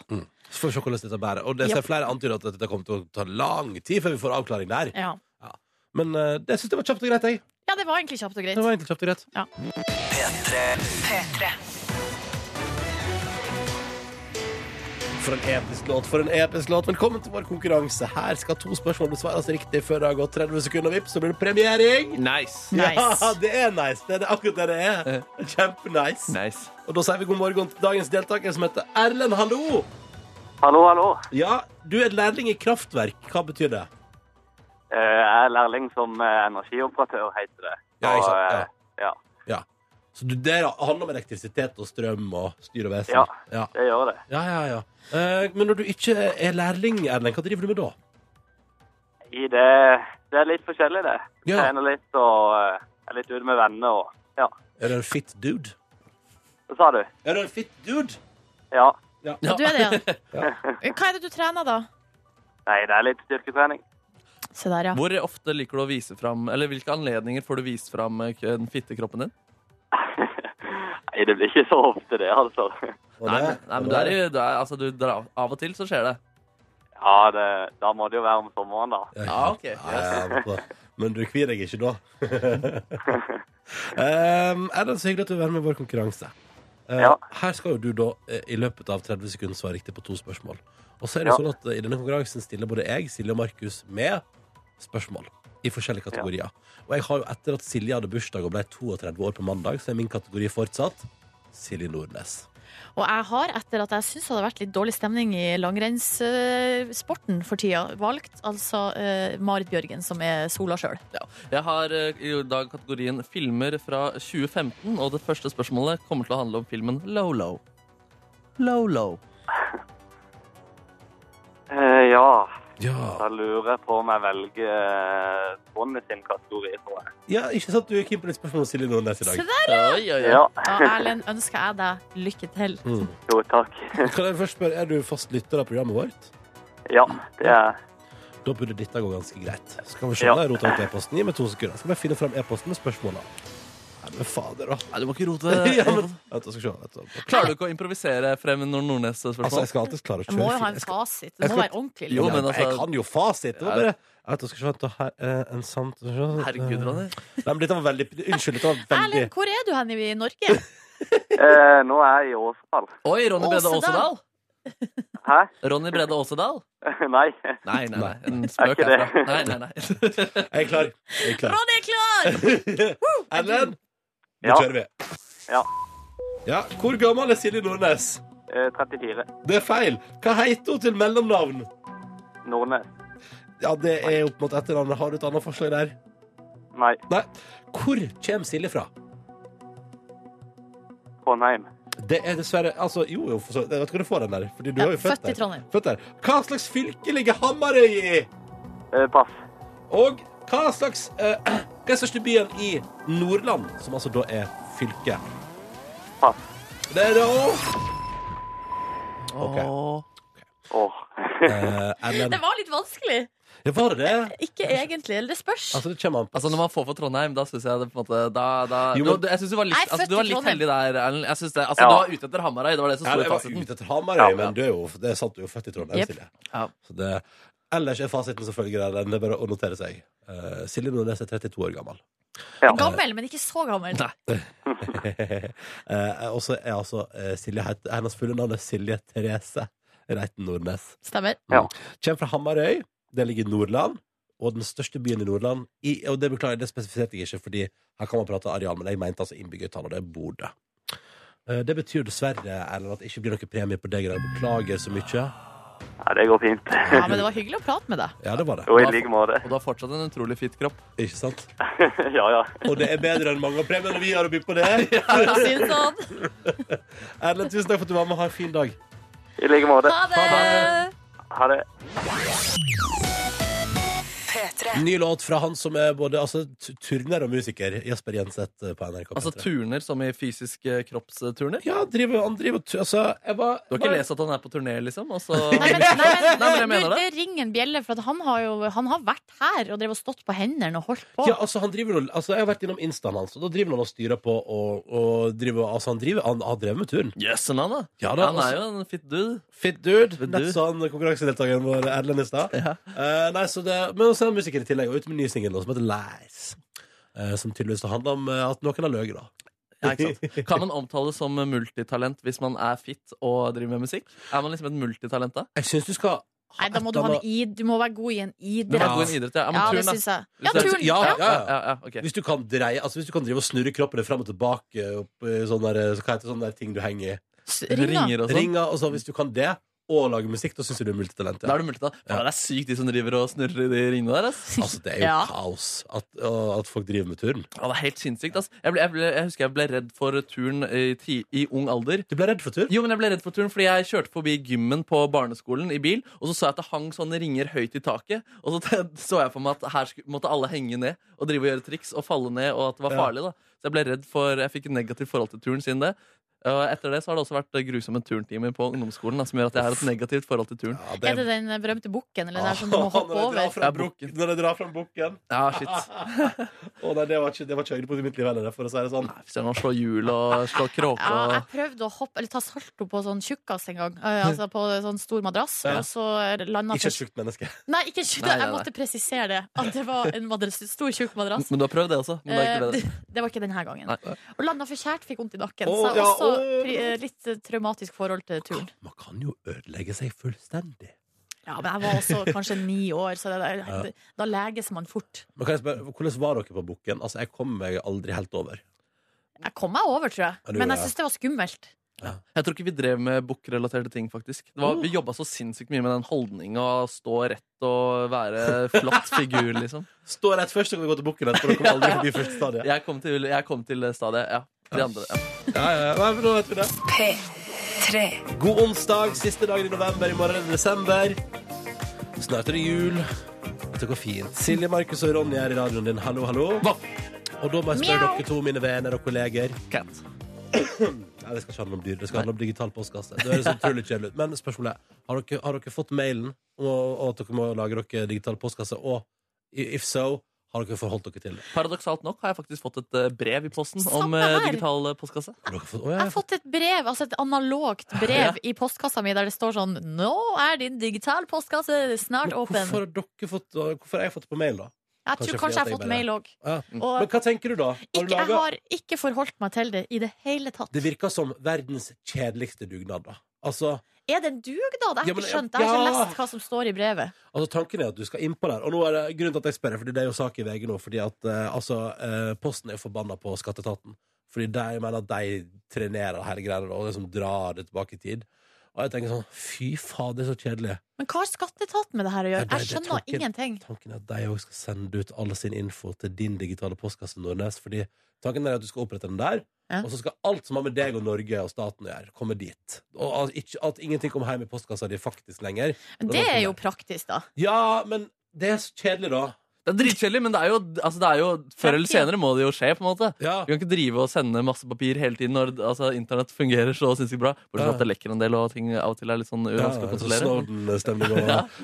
Speaker 1: Så får vi se hvordan dette bærer. Og det ser
Speaker 2: Ja.
Speaker 1: flere antyder at dette kommer til å ta lang tid før vi får avklaring der.
Speaker 2: Ja,
Speaker 1: Men eh, det syns jeg var kjapt og greit, jeg.
Speaker 2: ja det var egentlig kjapt og greit.
Speaker 1: Det var egentlig kjapt og greit.
Speaker 2: Ja.
Speaker 1: For en episk låt, for en episk låt. Velkommen til vår konkurranse. Her skal to spørsmål besvares riktig før det har gått 30 sekunder. Vipp, så blir det premiering.
Speaker 3: Eh, Nice.
Speaker 1: Ja,
Speaker 2: Nice.
Speaker 1: <laughs>
Speaker 2: Eh.
Speaker 1: det er nice. Det er det akkurat det det er. Kjempenice.
Speaker 3: nice.
Speaker 1: Og da sier vi god morgen til dagens deltaker, som heter Erlend. Hallo!
Speaker 4: Hallo, hallo.
Speaker 1: Ja, du er lærling i kraftverk. Hva betyr det?
Speaker 4: Eh, Jeg er lærling som eh, energioperatør, heter det.
Speaker 1: Ja, ikke sant,
Speaker 4: Og, eh, ja.
Speaker 1: Ja. Så du, det handler om elektrisitet og strøm og styr og vesen?
Speaker 4: Ja.
Speaker 1: ja.
Speaker 4: Det gjør det.
Speaker 1: Ja, ja, ja. Eh, men når du ikke er lærling, Erlend, hva driver du med da?
Speaker 4: I det, det er litt forskjellig, det.
Speaker 1: Ja.
Speaker 4: Trener litt og eh, er litt ute med venner og Ja.
Speaker 1: Er du en fit dude?
Speaker 4: Hva sa du?
Speaker 1: Er du en fit dude?
Speaker 4: Ja.
Speaker 1: Ja.
Speaker 2: Ja, du er
Speaker 1: <laughs>
Speaker 2: det, ja. Hva er det du trener, da?
Speaker 4: Nei, det er litt styrketrening.
Speaker 2: Se der, ja.
Speaker 3: Hvor ofte liker du å vise fram Eller hvilke anledninger får du vist fram eh, k- den fitte kroppen din?
Speaker 4: Nei, det blir ikke så ofte, det, altså. <laughs>
Speaker 1: Og
Speaker 3: Nei, men,
Speaker 1: det-
Speaker 3: nei,
Speaker 1: og
Speaker 3: men du
Speaker 1: det-
Speaker 3: er, i- du er, altså, du, drar- av og til så skjer det.
Speaker 4: Ja, det, da må det jo være om sommeren, da.
Speaker 3: Ja, ok.
Speaker 1: Ja, men på- men du kvir deg ikke da. um, Erlend, så hyggelig at du vil være med i vår konkurranse. Eh,
Speaker 4: Ja.
Speaker 1: Her skal jo du da eh, i løpet av 30 sekunder svare riktig på to spørsmål. Og så er det
Speaker 4: Ja.
Speaker 1: sånn at eh, i denne konkurransen stiller både jeg, Silje og Markus med spørsmål i forskjellige kategorier. Og jeg har jo etter at Silje hadde bursdag og ble 32 år på mandag, så er min kategori fortsatt Silje Nordnes.
Speaker 2: Og jeg har, etter at jeg syns det hadde vært litt dårlig stemning i langrennssporten for tida, valgt altså eh, Marit Bjørgen, som er sola sjøl.
Speaker 3: Jeg har eh, i dag kategorien filmer fra 2015, og det første spørsmålet kommer til å handle om filmen Lolo. Lolo.
Speaker 4: Eh, ja,
Speaker 1: Ja.
Speaker 4: da lurer jeg på om jeg velger eh, Ronny sin kategori, tror jeg.
Speaker 1: ja, ikke sant du er keen på litt spørsmål om Silje Nordnes i
Speaker 2: Se
Speaker 1: dag?
Speaker 2: der!
Speaker 3: Oi, oi, oi.
Speaker 4: Ja.
Speaker 2: Ja, Erlend, ønsker jeg deg lykke til.
Speaker 1: Mm.
Speaker 4: Jo, takk. <laughs>
Speaker 1: Kan jeg først spørre, Er du fast lytter av programmet vårt?
Speaker 4: Ja, det er
Speaker 1: Da burde dette gå ganske greit. Skal vi se,
Speaker 4: Ja.
Speaker 1: ja. rota ut e-posten. Gi meg to sekunder. Skal vi finne fram e-posten med spørsmåla. Nei, men fader, da.
Speaker 3: Nei, du må ikke <laughs> rote
Speaker 1: <laughs> Ja, men, vent, jeg skal se, vent, vent.
Speaker 3: Klarer du ikke å improvisere frem når Nordnes-spørsmål?
Speaker 1: Altså, jeg skal alltid klare å
Speaker 2: Jeg
Speaker 1: kjøre
Speaker 2: må jo ha
Speaker 1: film.
Speaker 2: en
Speaker 1: Jeg skal-
Speaker 2: fasit.
Speaker 1: jeg
Speaker 2: Det må
Speaker 1: skal-
Speaker 2: være ordentlig.
Speaker 3: Jo,
Speaker 1: Ja,
Speaker 3: men altså-
Speaker 1: Jeg kan jo fasit. Det var bare Jeg vet, jeg skal se, vent, da, her, eh, en sant
Speaker 3: Herregud, Ronny.
Speaker 1: Nei, men dette var veldig Unnskyld, dette var veldig
Speaker 2: Erlend, hvor er du hen i Norge?
Speaker 4: Eh, nå er jeg i Åsdal.
Speaker 3: Oi, Ronny Brede
Speaker 2: Åsedal.
Speaker 3: Åsedal.
Speaker 4: Hæ?
Speaker 3: Ronny Brede Åsedal?
Speaker 4: <laughs> Nei.
Speaker 3: Nei, nei, nei. En
Speaker 4: Er
Speaker 3: spøk
Speaker 4: ikke det?
Speaker 3: herfra. Nei, nei, nei.
Speaker 1: Jeg er klar. Jeg er klar.
Speaker 2: Ronny er klar!
Speaker 1: Erlend, nå
Speaker 4: Ja.
Speaker 1: kjører vi.
Speaker 4: Ja.
Speaker 1: Ja, Hvor gammel er Silje Nordnes?
Speaker 4: Eh, 34.
Speaker 1: Det er feil. Hva heter hun til mellomnavn?
Speaker 4: Nordnes.
Speaker 1: Ja, det er opp mot etternavnet. Har du et annet forslag der?
Speaker 4: Nei.
Speaker 1: Nei. Hvor kommer Silje fra?
Speaker 4: Trondheim.
Speaker 1: Det er dessverre Altså, jo, jo, for så Jeg vet ikke om du får den der. Fordi du
Speaker 2: Ja,
Speaker 1: er jo født
Speaker 2: født i
Speaker 1: der.
Speaker 2: Trondheim.
Speaker 1: Født der. Hva slags fylke ligger Hamarøy i?
Speaker 4: Eh, pass.
Speaker 1: Og hva slags eh, <clears throat> Hva er største byen i Nordland, som altså da er fylke?
Speaker 4: Pass.
Speaker 1: Det er det òg. <laughs> Ok.
Speaker 3: Åh.
Speaker 4: Åh. <laughs>
Speaker 1: Eh, Erlend.
Speaker 2: Det var litt vanskelig.
Speaker 1: Ja, var det det?
Speaker 2: Ikke egentlig. Eller det spørs.
Speaker 1: Altså, det kommer an på.
Speaker 3: Altså Når man får for Trondheim, da syns jeg det på en måte da, da,
Speaker 1: Jo, men-
Speaker 3: du, du- Jeg synes du var litt,
Speaker 2: Jeg er
Speaker 3: altså,
Speaker 2: født
Speaker 3: du var
Speaker 2: i
Speaker 3: litt
Speaker 2: Trondheim.
Speaker 3: heldig der, Erlend. Jeg synes det, altså
Speaker 4: Ja.
Speaker 3: Du var ute etter Hamarøy. Det var det som
Speaker 1: Ja,
Speaker 3: sto
Speaker 1: jeg
Speaker 3: i
Speaker 1: var
Speaker 3: fasiten.
Speaker 1: ute etter Hamarøy,
Speaker 4: Ja, ja.
Speaker 1: men du er jo, det er sant, du er jo født i Trondheim,
Speaker 2: Jep.
Speaker 1: Silje.
Speaker 3: Ja.
Speaker 1: Så det, ellers er fasiten selvfølgelig grei. Det er bare å notere seg. Eh, Silje Nordnes er 32 år gammel.
Speaker 4: Ja.
Speaker 2: Gammel, men ikke så gammel.
Speaker 3: Nei.
Speaker 1: <laughs> Eh, og så er altså eh, Silje het- Hennes fulle navn er Silje Therese Reiten Nordnes.
Speaker 2: Stemmer.
Speaker 4: Ja.
Speaker 1: Kjem fra Hamarøy. Det ligger i Nordland. Og den største byen i Nordland i, Og det beklager jeg, det spesifiserte jeg ikke, Fordi her kan man prate areal, men jeg mente altså innbyggertall, og det er Bodø. Eh, Det betyr dessverre Erlend, at det ikke blir noe premie på deg i dag. Beklager så mye.
Speaker 4: Ja, det går fint. <laughs>
Speaker 2: Ja, men det var hyggelig å prate med deg.
Speaker 1: Ja, det var det.
Speaker 4: Jo, i like måte. <laughs>
Speaker 3: Og du har fortsatt en utrolig fit kropp.
Speaker 1: Ikke sant?
Speaker 4: ja, ja.
Speaker 1: Og det er bedre enn mange av premiene vi har å by på det.
Speaker 2: For å si det sånn.
Speaker 1: Erlend, tusen takk for at du var med. Ha en fin dag.
Speaker 4: I like måte.
Speaker 2: Ha det!
Speaker 4: Ha det.
Speaker 1: Ny låt fra han som er både altså, t- turner og musiker, Jesper Jenseth eh, på NRK.
Speaker 3: Altså
Speaker 1: P3.
Speaker 3: turner som i fysiske kroppsturner.
Speaker 1: ja, driver, han driver og tu- Altså, jeg var
Speaker 3: Du har ikke lest at han er på turné, liksom? Og så
Speaker 2: Nei, men, nei, men,
Speaker 3: Nei, men jeg
Speaker 2: du,
Speaker 3: mener
Speaker 2: det ringer en bjelle, for at han har jo han har vært her og drev og stått på hendene og holdt på.
Speaker 1: Ja, altså, han driver, og- altså, jeg har vært innom instaen hans, og da driver han og styrer på og, og driver Altså, han driver Han har drevet med turn.
Speaker 3: Jøssen, han, da.
Speaker 1: Ja da, altså.
Speaker 3: han er jo en fit dude.
Speaker 1: Fit dude.
Speaker 3: Fit
Speaker 1: Nett
Speaker 3: dude.
Speaker 1: sånn konkurransedeltakeren vår Erlend i stad.
Speaker 3: Ja.
Speaker 1: Eh, nei, så det, men også er han musiker i tillegg, og ute med en ny singel nå som heter Lies. Eh, som tydeligvis handler om eh, at noen har løyet, da.
Speaker 3: Ja, ikke sant? Kan man omtale som multitalent hvis man er fit og driver med musikk? Er man liksom et multitalent da?
Speaker 1: Jeg syns du skal
Speaker 2: Nei, da må du, ha en id, du må være god i en
Speaker 3: Du må
Speaker 2: idrett.
Speaker 3: ja. gå i en idrett, ja.
Speaker 2: Ja,
Speaker 3: Ja,
Speaker 2: det
Speaker 3: men turn, da.
Speaker 2: syns jeg. Ja,
Speaker 3: Hvis det er-
Speaker 2: turn.
Speaker 1: Ja,
Speaker 2: Ja.
Speaker 1: ja,
Speaker 3: Ja,
Speaker 1: ja.
Speaker 3: ja, ja, ok.
Speaker 1: Hvis du kan dreie Altså hvis du kan drive og snurre kroppen din fram og tilbake opp i sånne der, eh, Hva heter sånne sånn der ting du henger i?
Speaker 2: S- Ringer.
Speaker 3: Ringer og sånn.
Speaker 1: Ringer og sånn. Hvis du kan det, og lage musikk, da syns jeg du er multitalent.
Speaker 3: Da
Speaker 1: Ja.
Speaker 3: er du multitalent. Faen, Det er sykt de som driver og snurrer i de ringene der.
Speaker 1: <laughs>
Speaker 3: ass.
Speaker 1: Altså, det er jo
Speaker 2: Ja.
Speaker 1: kaos at, og at folk driver med turn.
Speaker 3: Ja, det er helt sinnssykt. ass. Jeg, ble, jeg, ble, jeg husker jeg ble redd for turn i, ti, i ung alder.
Speaker 1: Du ble redd for turn?
Speaker 3: Jo, men jeg ble redd for turn fordi jeg kjørte forbi gymmen på barneskolen i bil, og så så jeg at det hang sånne ringer høyt i taket, og så <laughs> te- så jeg for meg at her sku- måtte alle henge ned og drive og gjøre triks og falle ned, og at det var
Speaker 1: Ja.
Speaker 3: farlig, da. Så jeg ble redd for Jeg fikk et negativt forhold til turn siden det. Og etter det så har det også vært eh, grusomme turntimer på ungdomsskolen, da, som gjør at jeg har et negativt forhold til turn.
Speaker 1: Ja,
Speaker 2: Er det den berømte bukken eller den der som
Speaker 1: Ah,
Speaker 2: du må hoppe
Speaker 1: <laughs> Når jeg drar
Speaker 2: over?
Speaker 1: fram
Speaker 3: Ja,
Speaker 1: bukken- når jeg drar fram bukken
Speaker 3: Ja, shit.
Speaker 1: Å nei, det var ikke, det var ikke høydepunktet i mitt liv heller, for å si det sånn.
Speaker 3: Nei, Hvis jeg nå slår hjul og slår kråke
Speaker 2: Ja, jeg
Speaker 3: og
Speaker 2: prøvde å hoppe, eller ta salto på sånn tjukkas en gang. eh, altså på sånn stor madrass,
Speaker 1: Ja.
Speaker 2: og så landa
Speaker 1: Ikke et sjukt menneske. <laughs>
Speaker 2: Nei, ikke tjukk.
Speaker 3: Nei, nei,
Speaker 2: Jeg
Speaker 3: nei.
Speaker 2: måtte presisere det. At det var en madrass, stor, tjukk madrass.
Speaker 3: Men du har prøvd det også? Men det er
Speaker 2: Eh,
Speaker 3: ikke det.
Speaker 2: det, <laughs> det var ikke denne gangen.
Speaker 3: Nei.
Speaker 2: Og landa for kjært, fikk vondt i nakken.
Speaker 1: Å,
Speaker 2: så jeg
Speaker 1: ja,
Speaker 2: har også
Speaker 1: å.
Speaker 2: pri- eh, litt eh, traumatisk forhold til turen.
Speaker 1: Man kan jo ødelegge seg fullstendig.
Speaker 2: Ja, men jeg var også kanskje ni år, så det, der- da leges man fort.
Speaker 1: Men kan jeg spørre, Hvordan var dere på bukken? Altså, Jeg kom meg aldri helt over.
Speaker 2: Jeg kom meg over, tror jeg.
Speaker 1: Ja, du
Speaker 2: Men jeg
Speaker 1: gjorde det.
Speaker 2: syns det var skummelt.
Speaker 3: Jeg tror ikke vi drev med bukk-relaterte ting, faktisk. Det var, vi jobba så sinnssykt mye med den holdninga å stå rett og være flott figur, liksom.
Speaker 1: Stå rett først, så kan vi gå til bukken etterpå. Dere kommer aldri forbi første stadiet.
Speaker 3: Jeg kom til, jeg kom til stadiet, ja. De andre, ja.
Speaker 1: Ja, ja, ja, men da vet vi det. God onsdag, siste dagen i november, i morgen er det desember. Snart er det jul. Det går fint. Silje, Markus og Ronny er i radioen din. Hallo, hallo. Og da må jeg spørre
Speaker 2: Mjau.
Speaker 1: dere to, mine venner og kolleger.
Speaker 3: Cat.
Speaker 1: Nei, det skal ikke handle om dyr, det skal handle om digital postkasse. Det høres sånn utrolig kjedelig ut. Men spørsmålet er, har dere, har dere fått mailen om å- om at dere må lage dere digital postkasse? Og i- if so, Har dere forholdt dere til det?
Speaker 3: Paradoksalt nok har jeg faktisk fått et eh, brev i posten
Speaker 2: Samme
Speaker 3: om eh,
Speaker 2: her.
Speaker 3: digital eh, postkasse.
Speaker 1: Har dere fått, å, ja,
Speaker 2: Jeg har fått et brev, altså et analogt brev i postkassa mi der det står sånn Nå er din digital postkasse snart
Speaker 1: Men
Speaker 2: åpen.
Speaker 1: Hvorfor har dere fått Hvorfor har jeg fått det på mail, da?
Speaker 2: Jeg tror
Speaker 1: Kanskje fordi
Speaker 2: kanskje jeg
Speaker 1: at
Speaker 2: har
Speaker 1: jeg
Speaker 2: fått
Speaker 1: bare-
Speaker 2: mail òg.
Speaker 1: Ja. Men
Speaker 2: Og
Speaker 1: hva tenker du, da? Har
Speaker 2: ikke,
Speaker 1: du laget?
Speaker 2: jeg har ikke forholdt meg til det i det hele tatt.
Speaker 1: Det virker som verdens kjedeligste dugnad, da. Altså,
Speaker 2: Er det en dugnad? Jeg
Speaker 1: Ja,
Speaker 2: har ikke
Speaker 1: men-
Speaker 2: skjønt. Jeg har ikke
Speaker 1: ja.
Speaker 2: lest hva som står i brevet.
Speaker 1: altså tanken er at du skal innpå der. Og nå er det grunnen til at jeg spør, Fordi det er jo sak i VG nå, fordi at eh, altså, eh, Posten er jo forbanna på skatteetaten. Fordi de jeg mener at de trenerer hele greiene og liksom drar det tilbake i tid. Og jeg tenker sånn Fy faen, det er så kjedelig.
Speaker 2: Men hva har skatteetaten med det her å
Speaker 1: Ja,
Speaker 2: gjøre?
Speaker 1: det-
Speaker 2: Jeg
Speaker 1: det
Speaker 2: skjønner
Speaker 1: tolker-
Speaker 2: ingenting.
Speaker 1: Tanken er at de òg skal sende ut all sin info til din digitale postkasse, Nordnes. Fordi tanken er at du skal opprette den der,
Speaker 2: Ja.
Speaker 1: og så skal alt som har med deg og Norge og staten å gjøre, komme dit. Og at, ikke, at ingenting kommer hjem i postkassa di faktisk lenger.
Speaker 2: Men det er jo praktisk, da.
Speaker 1: Ja, men det er så kjedelig, da.
Speaker 3: Det er dritkjedelig, men det er, jo, altså det er jo før eller senere må det jo skje. på en måte
Speaker 1: Ja.
Speaker 3: Du kan ikke drive og sende masse papir hele tiden når altså, internett fungerer så sinnssykt bra.
Speaker 1: Ja.
Speaker 3: Bortsett fra at det lekker en del, og ting av og til er litt sånn
Speaker 1: Ja,
Speaker 3: uvanskelig å
Speaker 1: altså
Speaker 3: kontrollere.
Speaker 1: Snowden-stemning og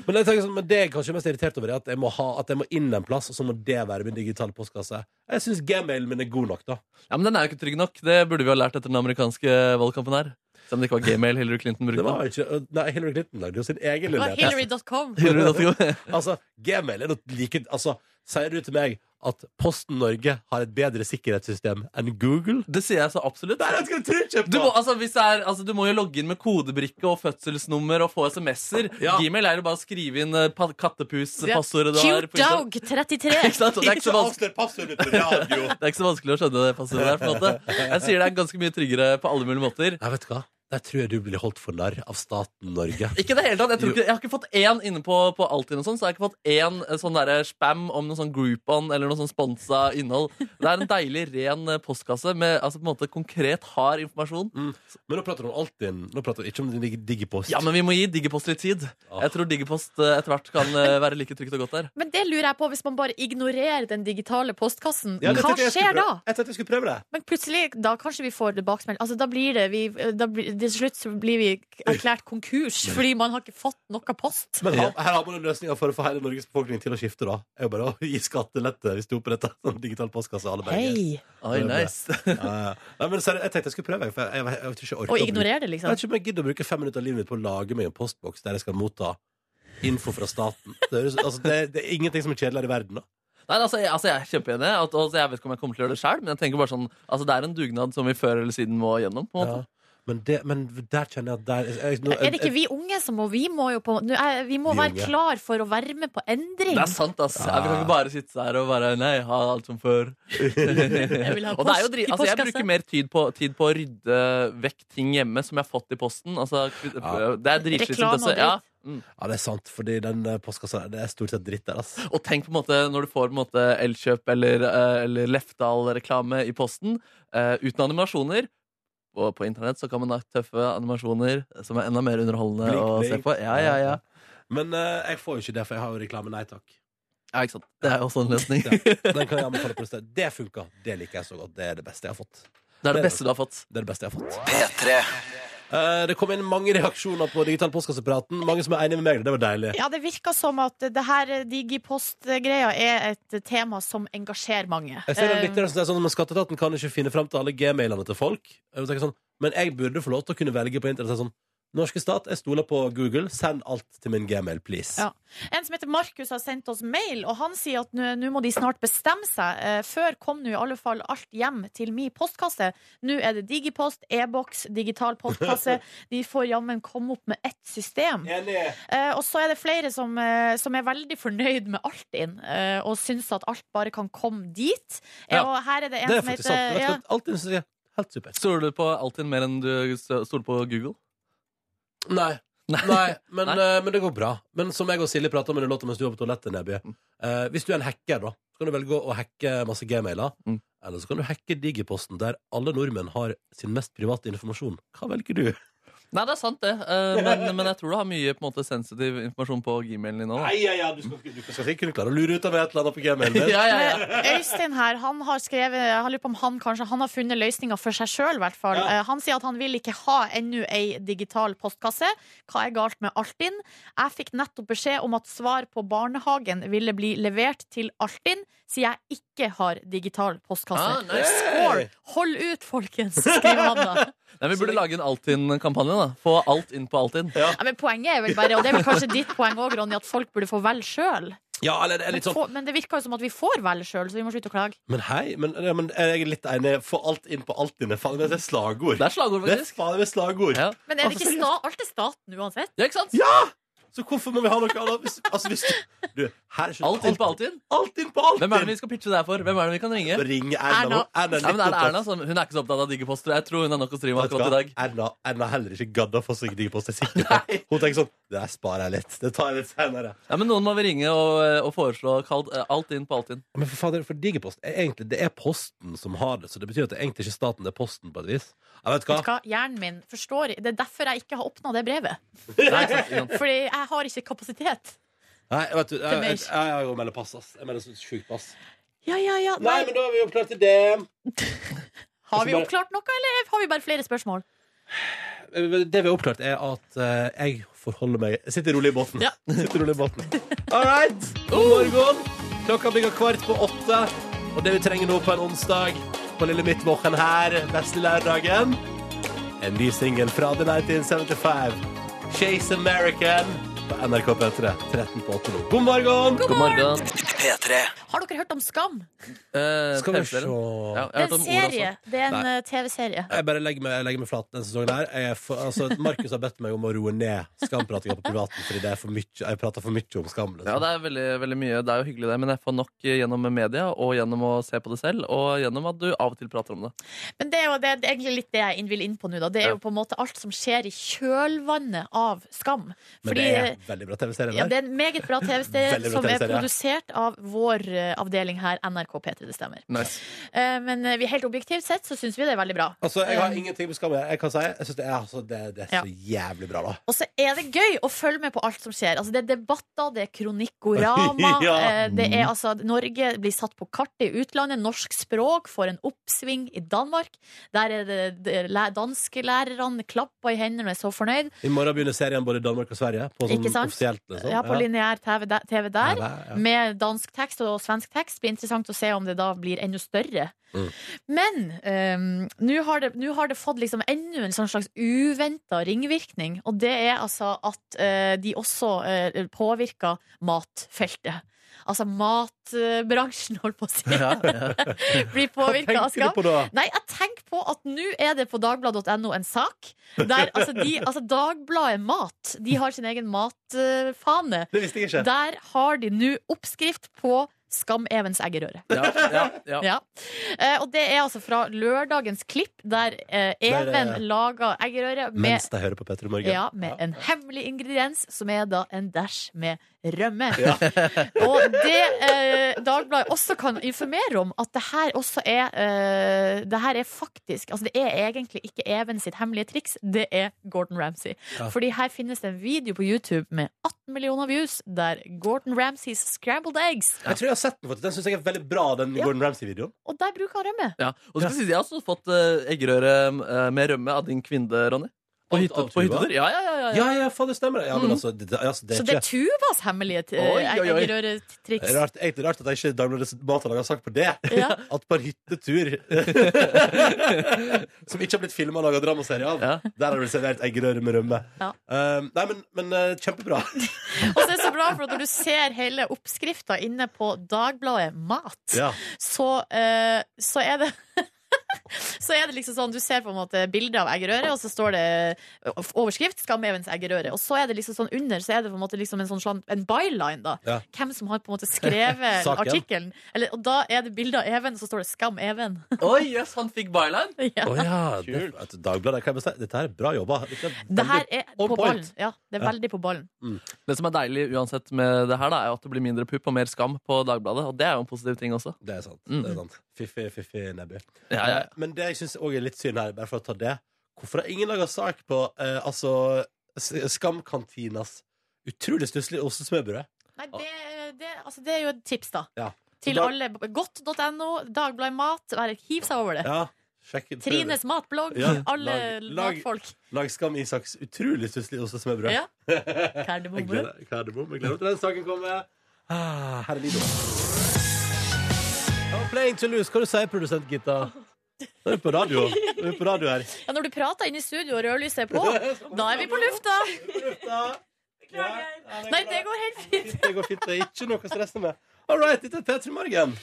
Speaker 1: Men jeg tenker sånn, men det jeg kanskje er mest irritert over, er at jeg må, ha, at jeg må inn en plass, og så må det være min digitale postkasse. Jeg syns gmailen min er god nok, da.
Speaker 3: Ja, Men den er jo ikke trygg nok. Det burde vi ha lært etter den amerikanske valgkampen her. Selv om det ikke var Gmail Hillary Clinton
Speaker 1: Det var
Speaker 3: <laughs> brukte.
Speaker 1: jo ikke, nei, Hillary Clinton lagde jo sin egen
Speaker 2: Det var
Speaker 1: lille
Speaker 2: Hillary.com.
Speaker 3: Hillary.com.
Speaker 1: Altså, Gmail er noe like Altså, sier du til meg at Posten Norge har et bedre sikkerhetssystem enn Google?
Speaker 3: Det sier jeg så absolutt.
Speaker 1: Nei, jeg skulle tro ikke
Speaker 3: Du må, altså, hvis det er, altså, du må jo logge inn med kodebrikke og fødselsnummer og få SMS-er.
Speaker 1: Ja.
Speaker 3: Gmail er jo bare å skrive inn eh, pa- kattepuspassordet du har.
Speaker 2: Cute
Speaker 3: på Instagram.
Speaker 2: dog 33.
Speaker 3: Ikke sant? Og Det er ikke så vanskelig.
Speaker 1: avslør passordet på <laughs> radio!
Speaker 3: Det er ikke så vanskelig å skjønne det passordet der. på en måte Jeg sier det er ganske mye tryggere på alle mulige måter.
Speaker 1: Nei, vet du hva? Der tror jeg du blir holdt for narr av staten Norge.
Speaker 3: Ikke i det hele tatt, Jeg, tror
Speaker 1: Jo.
Speaker 3: ikke, jeg har ikke fått én inne på, på Altinn, og sånn, så jeg har ikke fått én eh, sånn der spam om noe sånn Groupon eller noe sånn sponsa innhold. Det er en deilig, ren eh, postkasse med altså på en måte konkret, hard informasjon.
Speaker 1: Men nå prater du om Altinn. Nå prater du ikke om din dig- digipost.
Speaker 3: Ja, men vi må gi Digipost litt tid.
Speaker 1: Ah.
Speaker 3: Jeg tror Digipost eh, etter hvert kan eh, være like trygt og godt der.
Speaker 2: <laughs> Men det lurer jeg på, hvis man bare ignorerer den digitale postkassen,
Speaker 1: Ja, det
Speaker 2: hva
Speaker 1: tenkte jeg skulle
Speaker 2: skjer da?
Speaker 1: prøve. Jeg tenkte jeg skulle prøve det.
Speaker 2: Men plutselig, da kanskje vi får tilbakesmell. Altså, da blir det vi, da blir, Til slutt så blir vi erklært konkurs fordi man har ikke fått noe post.
Speaker 1: Men her, her har man en løsning for å få hele Norges befolkning til å skifte, da. Er jo bare å gi skattelette hvis du oppretter sånn digital postkasse i alle Bergen.
Speaker 2: Hei!
Speaker 3: Oi,
Speaker 1: Det er bra.
Speaker 3: nice.
Speaker 1: Ja, ja. Nei, men seriøst, jeg tenkte jeg skulle prøve, for jeg, jeg, jeg, tror ikke jeg orker
Speaker 2: Og
Speaker 1: å bruke-
Speaker 2: ignorer det,
Speaker 1: Jeg
Speaker 2: liksom.
Speaker 1: vet ikke om jeg gidder å bruke fem minutter av livet mitt på å lage meg en postboks der jeg skal motta info fra staten. Det, høres, altså, det, det er ingenting som er kjedeligere i verden, da.
Speaker 3: <laughs> Nei, altså, jeg, altså, jeg er kjempeenig. At, altså, jeg vet ikke om jeg kommer til å gjøre det selv men jeg tenker bare sånn, altså, det er en dugnad som vi før eller siden må gjennom. på en måte.
Speaker 1: Ja. Men, det, men der kjenner jeg at der jeg, nå-
Speaker 2: Er det ikke vi unge som må Vi må jo på nå er- Vi må
Speaker 1: Vi
Speaker 2: være
Speaker 1: unge.
Speaker 2: klar for å være med på endring.
Speaker 3: Det er sant, ass. Jeg kan ikke bare sitte her og bare Nei, ha alt som før.
Speaker 2: vil ha
Speaker 3: <laughs> og det er jo
Speaker 2: post
Speaker 3: dri
Speaker 2: i
Speaker 3: altså, jeg
Speaker 2: postkasse.
Speaker 3: bruker mer tid på, tid på å rydde vekk ting hjemme som jeg har fått i posten. Altså,
Speaker 1: Ja.
Speaker 3: Det er
Speaker 2: Reklame og
Speaker 3: dritslitsomt. Altså.
Speaker 2: dritt.
Speaker 3: Ja. Mm.
Speaker 1: Ja, det er sant, fordi den eh, postkassa der, det er stort sett dritt der, ass.
Speaker 3: Og tenk på en måte når du får på en måte Elkjøp eller, eh, eller Lefdal-reklame i posten eh, uten animasjoner. Og på internett så kan man ha tøffe animasjoner som er enda mer underholdende
Speaker 1: Blink,
Speaker 3: å se
Speaker 1: blink.
Speaker 3: på. Ja, ja, ja.
Speaker 1: Men eh, jeg får jo ikke det, for jeg har jo reklame. Nei takk.
Speaker 3: ja ikke sant? Det er jo også en løsning.
Speaker 1: Ja. Den kan jeg anbefale på det stedet. Det funka. Det liker jeg så godt. Det er det beste jeg har fått.
Speaker 3: Det er det beste du har fått.
Speaker 1: Det er det beste jeg har fått. Eh, det kom inn mange reaksjoner på digital postkassepiraten. Mange som er enige med meg. Det var deilig.
Speaker 2: Ja, det virker som at det her eh, digipost-greia er et tema som engasjerer mange.
Speaker 1: Jeg ser
Speaker 2: Eh,
Speaker 1: en lytter som sier sånn men Skatteetaten kan ikke finne fram til alle gmailene til folk. Jeg tenker sånn, men jeg burde få lov til å kunne velge på internett. Sånn, Norske stat, jeg stoler på Google. Send alt til min gmail, please.
Speaker 2: Ja. En som heter Markus har sendt oss mail, og han sier at nå nå må de snart bestemme seg. Eh, Før kom nå i alle fall alt hjem til mi postkasse. Nå er det digipost, e-boks, digital
Speaker 1: <laughs>
Speaker 2: postkasse. De får jammen komme opp med ett system.
Speaker 1: Enig.
Speaker 2: Eh, Og så er det flere som, eh, som er veldig fornøyd med Altinn, eh, og syns at alt bare kan komme dit. Eh,
Speaker 3: Ja.
Speaker 2: Og her er det en
Speaker 1: Det er
Speaker 2: som
Speaker 1: faktisk sant. Vet du
Speaker 2: heter ja.
Speaker 1: hva, Alt det du sier, helt supert.
Speaker 3: Stoler du på Altinn mer enn du stoler på Google?
Speaker 1: Nei.
Speaker 3: Nei.
Speaker 1: Nei, men,
Speaker 3: Nei.
Speaker 1: eh, men det går bra. Men som jeg og Silje prata om i den låta mens du var på toalettet, Neby
Speaker 2: Mm.
Speaker 1: eh, Hvis du er en hacker, da, så kan du velge å hacke masse gmailer.
Speaker 3: Mm.
Speaker 1: Eller så kan du hacke digiposten, der alle nordmenn har sin mest private informasjon. Hva velger du?
Speaker 3: Nei, det er sant, det. Eh, Men, men jeg tror du har mye på en måte, sensitiv informasjon på gmailen din nå.
Speaker 1: Nei, ja, ja, du skal, du skal sikkert kunne klare å lure ut av et eller annet på gmailen din.
Speaker 3: <laughs> Ja, ja, ja.
Speaker 2: Men Øystein her, han har skrevet Jeg lurer på om han kanskje Han har funnet løsninga for seg sjøl, i hvert fall.
Speaker 1: Ja.
Speaker 2: Eh, Han sier at han vil ikke ha ennå ei digital postkasse. Hva er galt med Altinn? Jeg fikk nettopp beskjed om at svar på barnehagen ville bli levert til Altinn, siden jeg ikke har digital postkasse.
Speaker 3: Ah, nice.
Speaker 2: Score! Hold ut, folkens, skriver han da.
Speaker 3: Nei, vi burde lage en Altinn-kampanje. da Få alt inn på Altinn.
Speaker 2: Ja, men poenget er vel bare, og det er vel kanskje ditt poeng òg, Ronny, at folk burde få velge sjøl.
Speaker 1: Ja, eller det er
Speaker 2: Men,
Speaker 1: litt sånn
Speaker 2: få- men det virker jo som at vi får velge sjøl, så vi må slutte å klage.
Speaker 1: Men hei, men, ja, men jeg er litt enig. Få alt inn på alt dine. Faen, det er slagord.
Speaker 3: Det er slagord,
Speaker 1: Det er
Speaker 3: faktisk.
Speaker 1: faen meg slagord. Altså,
Speaker 3: Ja.
Speaker 2: Men er det ikke sta alt er staten uansett?
Speaker 3: ja, ikke sant?
Speaker 1: Så hvorfor må vi ha noe annet? Hvis, altså, hvis du, du her, er
Speaker 3: Alt inn på Altinn.
Speaker 1: Alt inn på alt
Speaker 3: Hvem er det
Speaker 1: inn.
Speaker 3: vi skal pitche det her for? Hvem er det vi kan ringe?
Speaker 1: Ring Erna. nå. Erna
Speaker 3: Nei, men
Speaker 1: litt
Speaker 3: er det
Speaker 1: opptatt.
Speaker 3: Erna som, Hun er ikke så opptatt av digiposter. Jeg tror hun har nok å stri med
Speaker 1: Vet du hva?
Speaker 3: akkurat i dag.
Speaker 1: Erna, Erna heller ikke gadd å få seg digipost. jeg er
Speaker 3: <laughs>
Speaker 1: sikker på. Hun tenker sånn Det der sparer jeg litt. Det tar jeg litt senere.
Speaker 3: Ja, men Noen må vi ringe og, og foreslå kalt, eh, alt inn på alt inn.
Speaker 1: Men for fader, for digipost er egentlig Det er Posten som har det, så det betyr at det er egentlig ikke staten, det er Posten på et vis. Jeg vet hva.
Speaker 2: Vet du hva? Hjernen min forstår Det er derfor jeg ikke har åpna det brevet.
Speaker 3: Nei, ikke sant, ikke sant.
Speaker 2: Fordi jeg har ikke kapasitet.
Speaker 1: Nei, vet du, jeg,
Speaker 2: meg.
Speaker 1: jeg, jeg, jeg, melder pass, ass. Jeg melder så sjukt pass.
Speaker 2: Ja, ja, ja.
Speaker 1: Nei,
Speaker 2: Nei.
Speaker 1: men da er vi oppklart til det.
Speaker 2: Har vi oppklart noe, eller har vi bare flere spørsmål?
Speaker 1: Det vi har oppklart, er at eh, jeg forholder meg Jeg sitter rolig i båten.
Speaker 2: Ja.
Speaker 1: <laughs> Sitter rolig i båten. All right. God morgen. Klokka blir kvart på åtte. Og det vi trenger nå på en onsdag på lille Midtvågen her, beste lørdagen En ny singel fra The 1975. Chase American på NRK P3. 13 på 8 nå. God morgen.
Speaker 3: God morgen.
Speaker 2: Har dere hørt om Skam?
Speaker 3: Eh,
Speaker 1: Skal vi se
Speaker 3: TV-serien. Ja, jeg
Speaker 2: Det er
Speaker 3: har hørt
Speaker 2: en
Speaker 3: om ordet også.
Speaker 2: serie. Det er en
Speaker 1: Nei.
Speaker 2: eh, TV-serie.
Speaker 1: Jeg bare legger meg, jeg legger meg flat denne sesongen her. Jeg er for, altså, Markus har bedt meg om å roe ned skampratinga på privaten fordi det er for mye, jeg prater for mye om skam.
Speaker 3: Ja,
Speaker 1: Liksom.
Speaker 3: det er veldig, veldig mye. Det er jo hyggelig, det, men jeg får nok eh, gjennom media og gjennom å se på det selv, og gjennom at du av og til prater om det.
Speaker 2: Men det er jo det, det er egentlig litt det jeg vil inn på nå. Da. Det er jo på en måte alt som skjer i kjølvannet av Skam. eh,
Speaker 1: Men det er veldig bra TV-serie.
Speaker 2: Ja,
Speaker 1: der.
Speaker 2: det er en meget bra
Speaker 1: Veldig
Speaker 2: TV-serie
Speaker 1: bra
Speaker 2: som er
Speaker 1: TV-serie.
Speaker 2: produsert av vår eh, avdeling her, NRK P3, det stemmer. Eh, Men eh, vi helt objektivt sett så syns vi det er veldig bra.
Speaker 1: Altså, Jeg
Speaker 2: Eh,
Speaker 1: har ingenting med skam å gjøre. Jeg kan si jeg synes det, er, altså, det, det er så jævlig bra, da.
Speaker 2: Og så er det gøy å følge med på alt som skjer. Altså, det er debatter, det er kronikkorama.
Speaker 1: <laughs> Ja. Mm.
Speaker 2: eh, Det er altså at Norge blir satt på kartet i utlandet. Norsk språk får en oppsving i Danmark. Der er det, det læ- danskelærerne klapper i hendene og er så fornøyd.
Speaker 1: I morgen begynner serien både i Danmark og Sverige. På sånn
Speaker 2: Ikke sant?
Speaker 1: offisielt liksom.
Speaker 2: Ja, på lineær TV der. TV der.
Speaker 1: Ja, ja.
Speaker 2: med dansk tekst og svensk tekst. Blir interessant å se om det da blir enda større.
Speaker 1: Mm.
Speaker 2: Men ehm, nå har, det- nå har det fått liksom enda en sånn slags uventa ringvirkning. Og det er altså at eh, de også eh, påvirker matfeltet. Altså matbransjen, holdt på
Speaker 1: <laughs>
Speaker 2: å si, <laughs> blir påvirka av skam.
Speaker 1: på da?
Speaker 2: Nei, jeg tenker på at nå er det på dagblad.no en sak der altså, de, altså Dagbladet Mat De har sin egen matfane.
Speaker 1: Det visste jeg ikke.
Speaker 2: Der har de nå oppskrift på Skam-Evens eggerøre.
Speaker 3: Ja, ja, ja.
Speaker 2: Ja. Eh, og det er altså fra lørdagens klipp, der eh, Even
Speaker 1: Der, eh,
Speaker 2: lager eggerøre med,
Speaker 1: Mens de hører på Petter i morgen.
Speaker 2: ja, med en hemmelig ingrediens, som er da en dash med rømme. <laughs> og det eh, Dagbladet også kan informere om, at det her også er eh, Det her er faktisk Altså, det er egentlig ikke Even sitt hemmelige triks, det er Gordon Ramsay.
Speaker 1: Ja.
Speaker 2: Fordi her finnes det en video på YouTube med 18 millioner views, der Gordon Ramsays scrambled eggs
Speaker 1: Jeg tror jeg har sett den. faktisk. Den syns jeg er veldig bra, den
Speaker 2: Ja.
Speaker 1: Gordon Ramsay-videoen.
Speaker 2: Og der bruker han rømme.
Speaker 3: Ja. Og skal jeg si, jeg har også fått eh, eggerøre eh, med rømme av din kvinne, Ronny. På,
Speaker 1: Av-
Speaker 3: hytte,
Speaker 1: av
Speaker 3: på
Speaker 1: tuba?
Speaker 3: hyttetur. Ja, ja, ja, ja, ja.
Speaker 1: Ja, ja, faen, det stemmer. Ja, men
Speaker 3: Mhm.
Speaker 1: altså, det, det- altså, det
Speaker 2: Så
Speaker 1: er
Speaker 2: det
Speaker 1: ikke
Speaker 2: er Tuvas hemmelige eh,
Speaker 3: Oi, oi, oi.
Speaker 1: Det
Speaker 2: eggerøretriks.
Speaker 1: er Rart, egentlig rart at jeg ikke Dagbladets Matlag har sagt på det.
Speaker 2: Ja.
Speaker 1: At på en hyttetur <laughs> Som ikke har blitt filma og laga dramaserie av.
Speaker 3: Ja.
Speaker 1: Der har det blitt servert eggerøre med rømme.
Speaker 2: Ja.
Speaker 1: Um, nei, men, men eh, kjempebra.
Speaker 2: Og så er det så bra, for at når du ser hele oppskrifta inne på Dagbladet Mat,
Speaker 1: <laughs> Ja.
Speaker 2: så, eh, så er det <laughs> Så er det liksom sånn, Du ser på en måte bildet av eggerøre, og så står det eh, overskrift 'Skamevens eggerøre'. Og så er det liksom sånn under så er det på en måte liksom en sånn slan- en byline. da
Speaker 1: Ja.
Speaker 2: Hvem som har på en måte skrevet
Speaker 1: <laughs> Saken.
Speaker 2: artikkelen. Eller, og da er det bilde av Even, og så står det 'Skam Even'. <laughs>
Speaker 3: Oi, jøss, han fikk byline!
Speaker 2: ja.
Speaker 1: Å ja, det, at Dagbladet kan jeg bare si, Dette her er bra jobba. Dette er
Speaker 2: Det her
Speaker 1: veldig-
Speaker 2: er
Speaker 1: on
Speaker 2: på
Speaker 1: point.
Speaker 2: ballen. Ja, det er
Speaker 1: Ja.
Speaker 2: veldig på ballen.
Speaker 3: Det som er deilig uansett med det her, da, er jo at det blir mindre pupp og mer skam på Dagbladet. Og det er jo en positiv ting også.
Speaker 1: det er sant.
Speaker 3: Mm.
Speaker 1: Det er sant. Fiffig, fiffig nebby.
Speaker 3: Ja, ja, ja.
Speaker 1: Men det jeg syns òg er litt synd her, bare for å ta det Hvorfor har ingen laga sak på eh, altså, S- Skamkantinas utrolig stusslige ostesmørbrød?
Speaker 2: Nei, det, det, altså, det er jo et tips, da.
Speaker 1: Ah. Ja.
Speaker 2: Til
Speaker 1: Da-
Speaker 2: alle. Godt.no, Dagbladet Mat. Bare hiv seg over det.
Speaker 1: Ja, sjekk ut. prøv det.
Speaker 2: Trines matblogg.
Speaker 1: Ja,
Speaker 2: Alle
Speaker 1: lag- lag-
Speaker 2: matfolk.
Speaker 1: Lag Skam Isaks utrolig stusslige ostesmørbrød.
Speaker 2: Ja.
Speaker 1: <laughs> Jeg
Speaker 2: Kardemomme.
Speaker 1: gleder, Kardemomme, jeg gleder meg til den saken kommer. Ah, her er Lido. I'm playing to lose. Hva du sier produsent Gitta? Du er på radio. Du er på radio
Speaker 2: <laughs>
Speaker 1: her.
Speaker 2: Ja, når du prater inne i studio og rødlyset er
Speaker 1: <laughs>
Speaker 2: på, da er vi på lufta! Nei, det går helt fint.
Speaker 1: fint. Det går fint. Det er ikke noe å stresse med. All right, dette er P3 Morgen.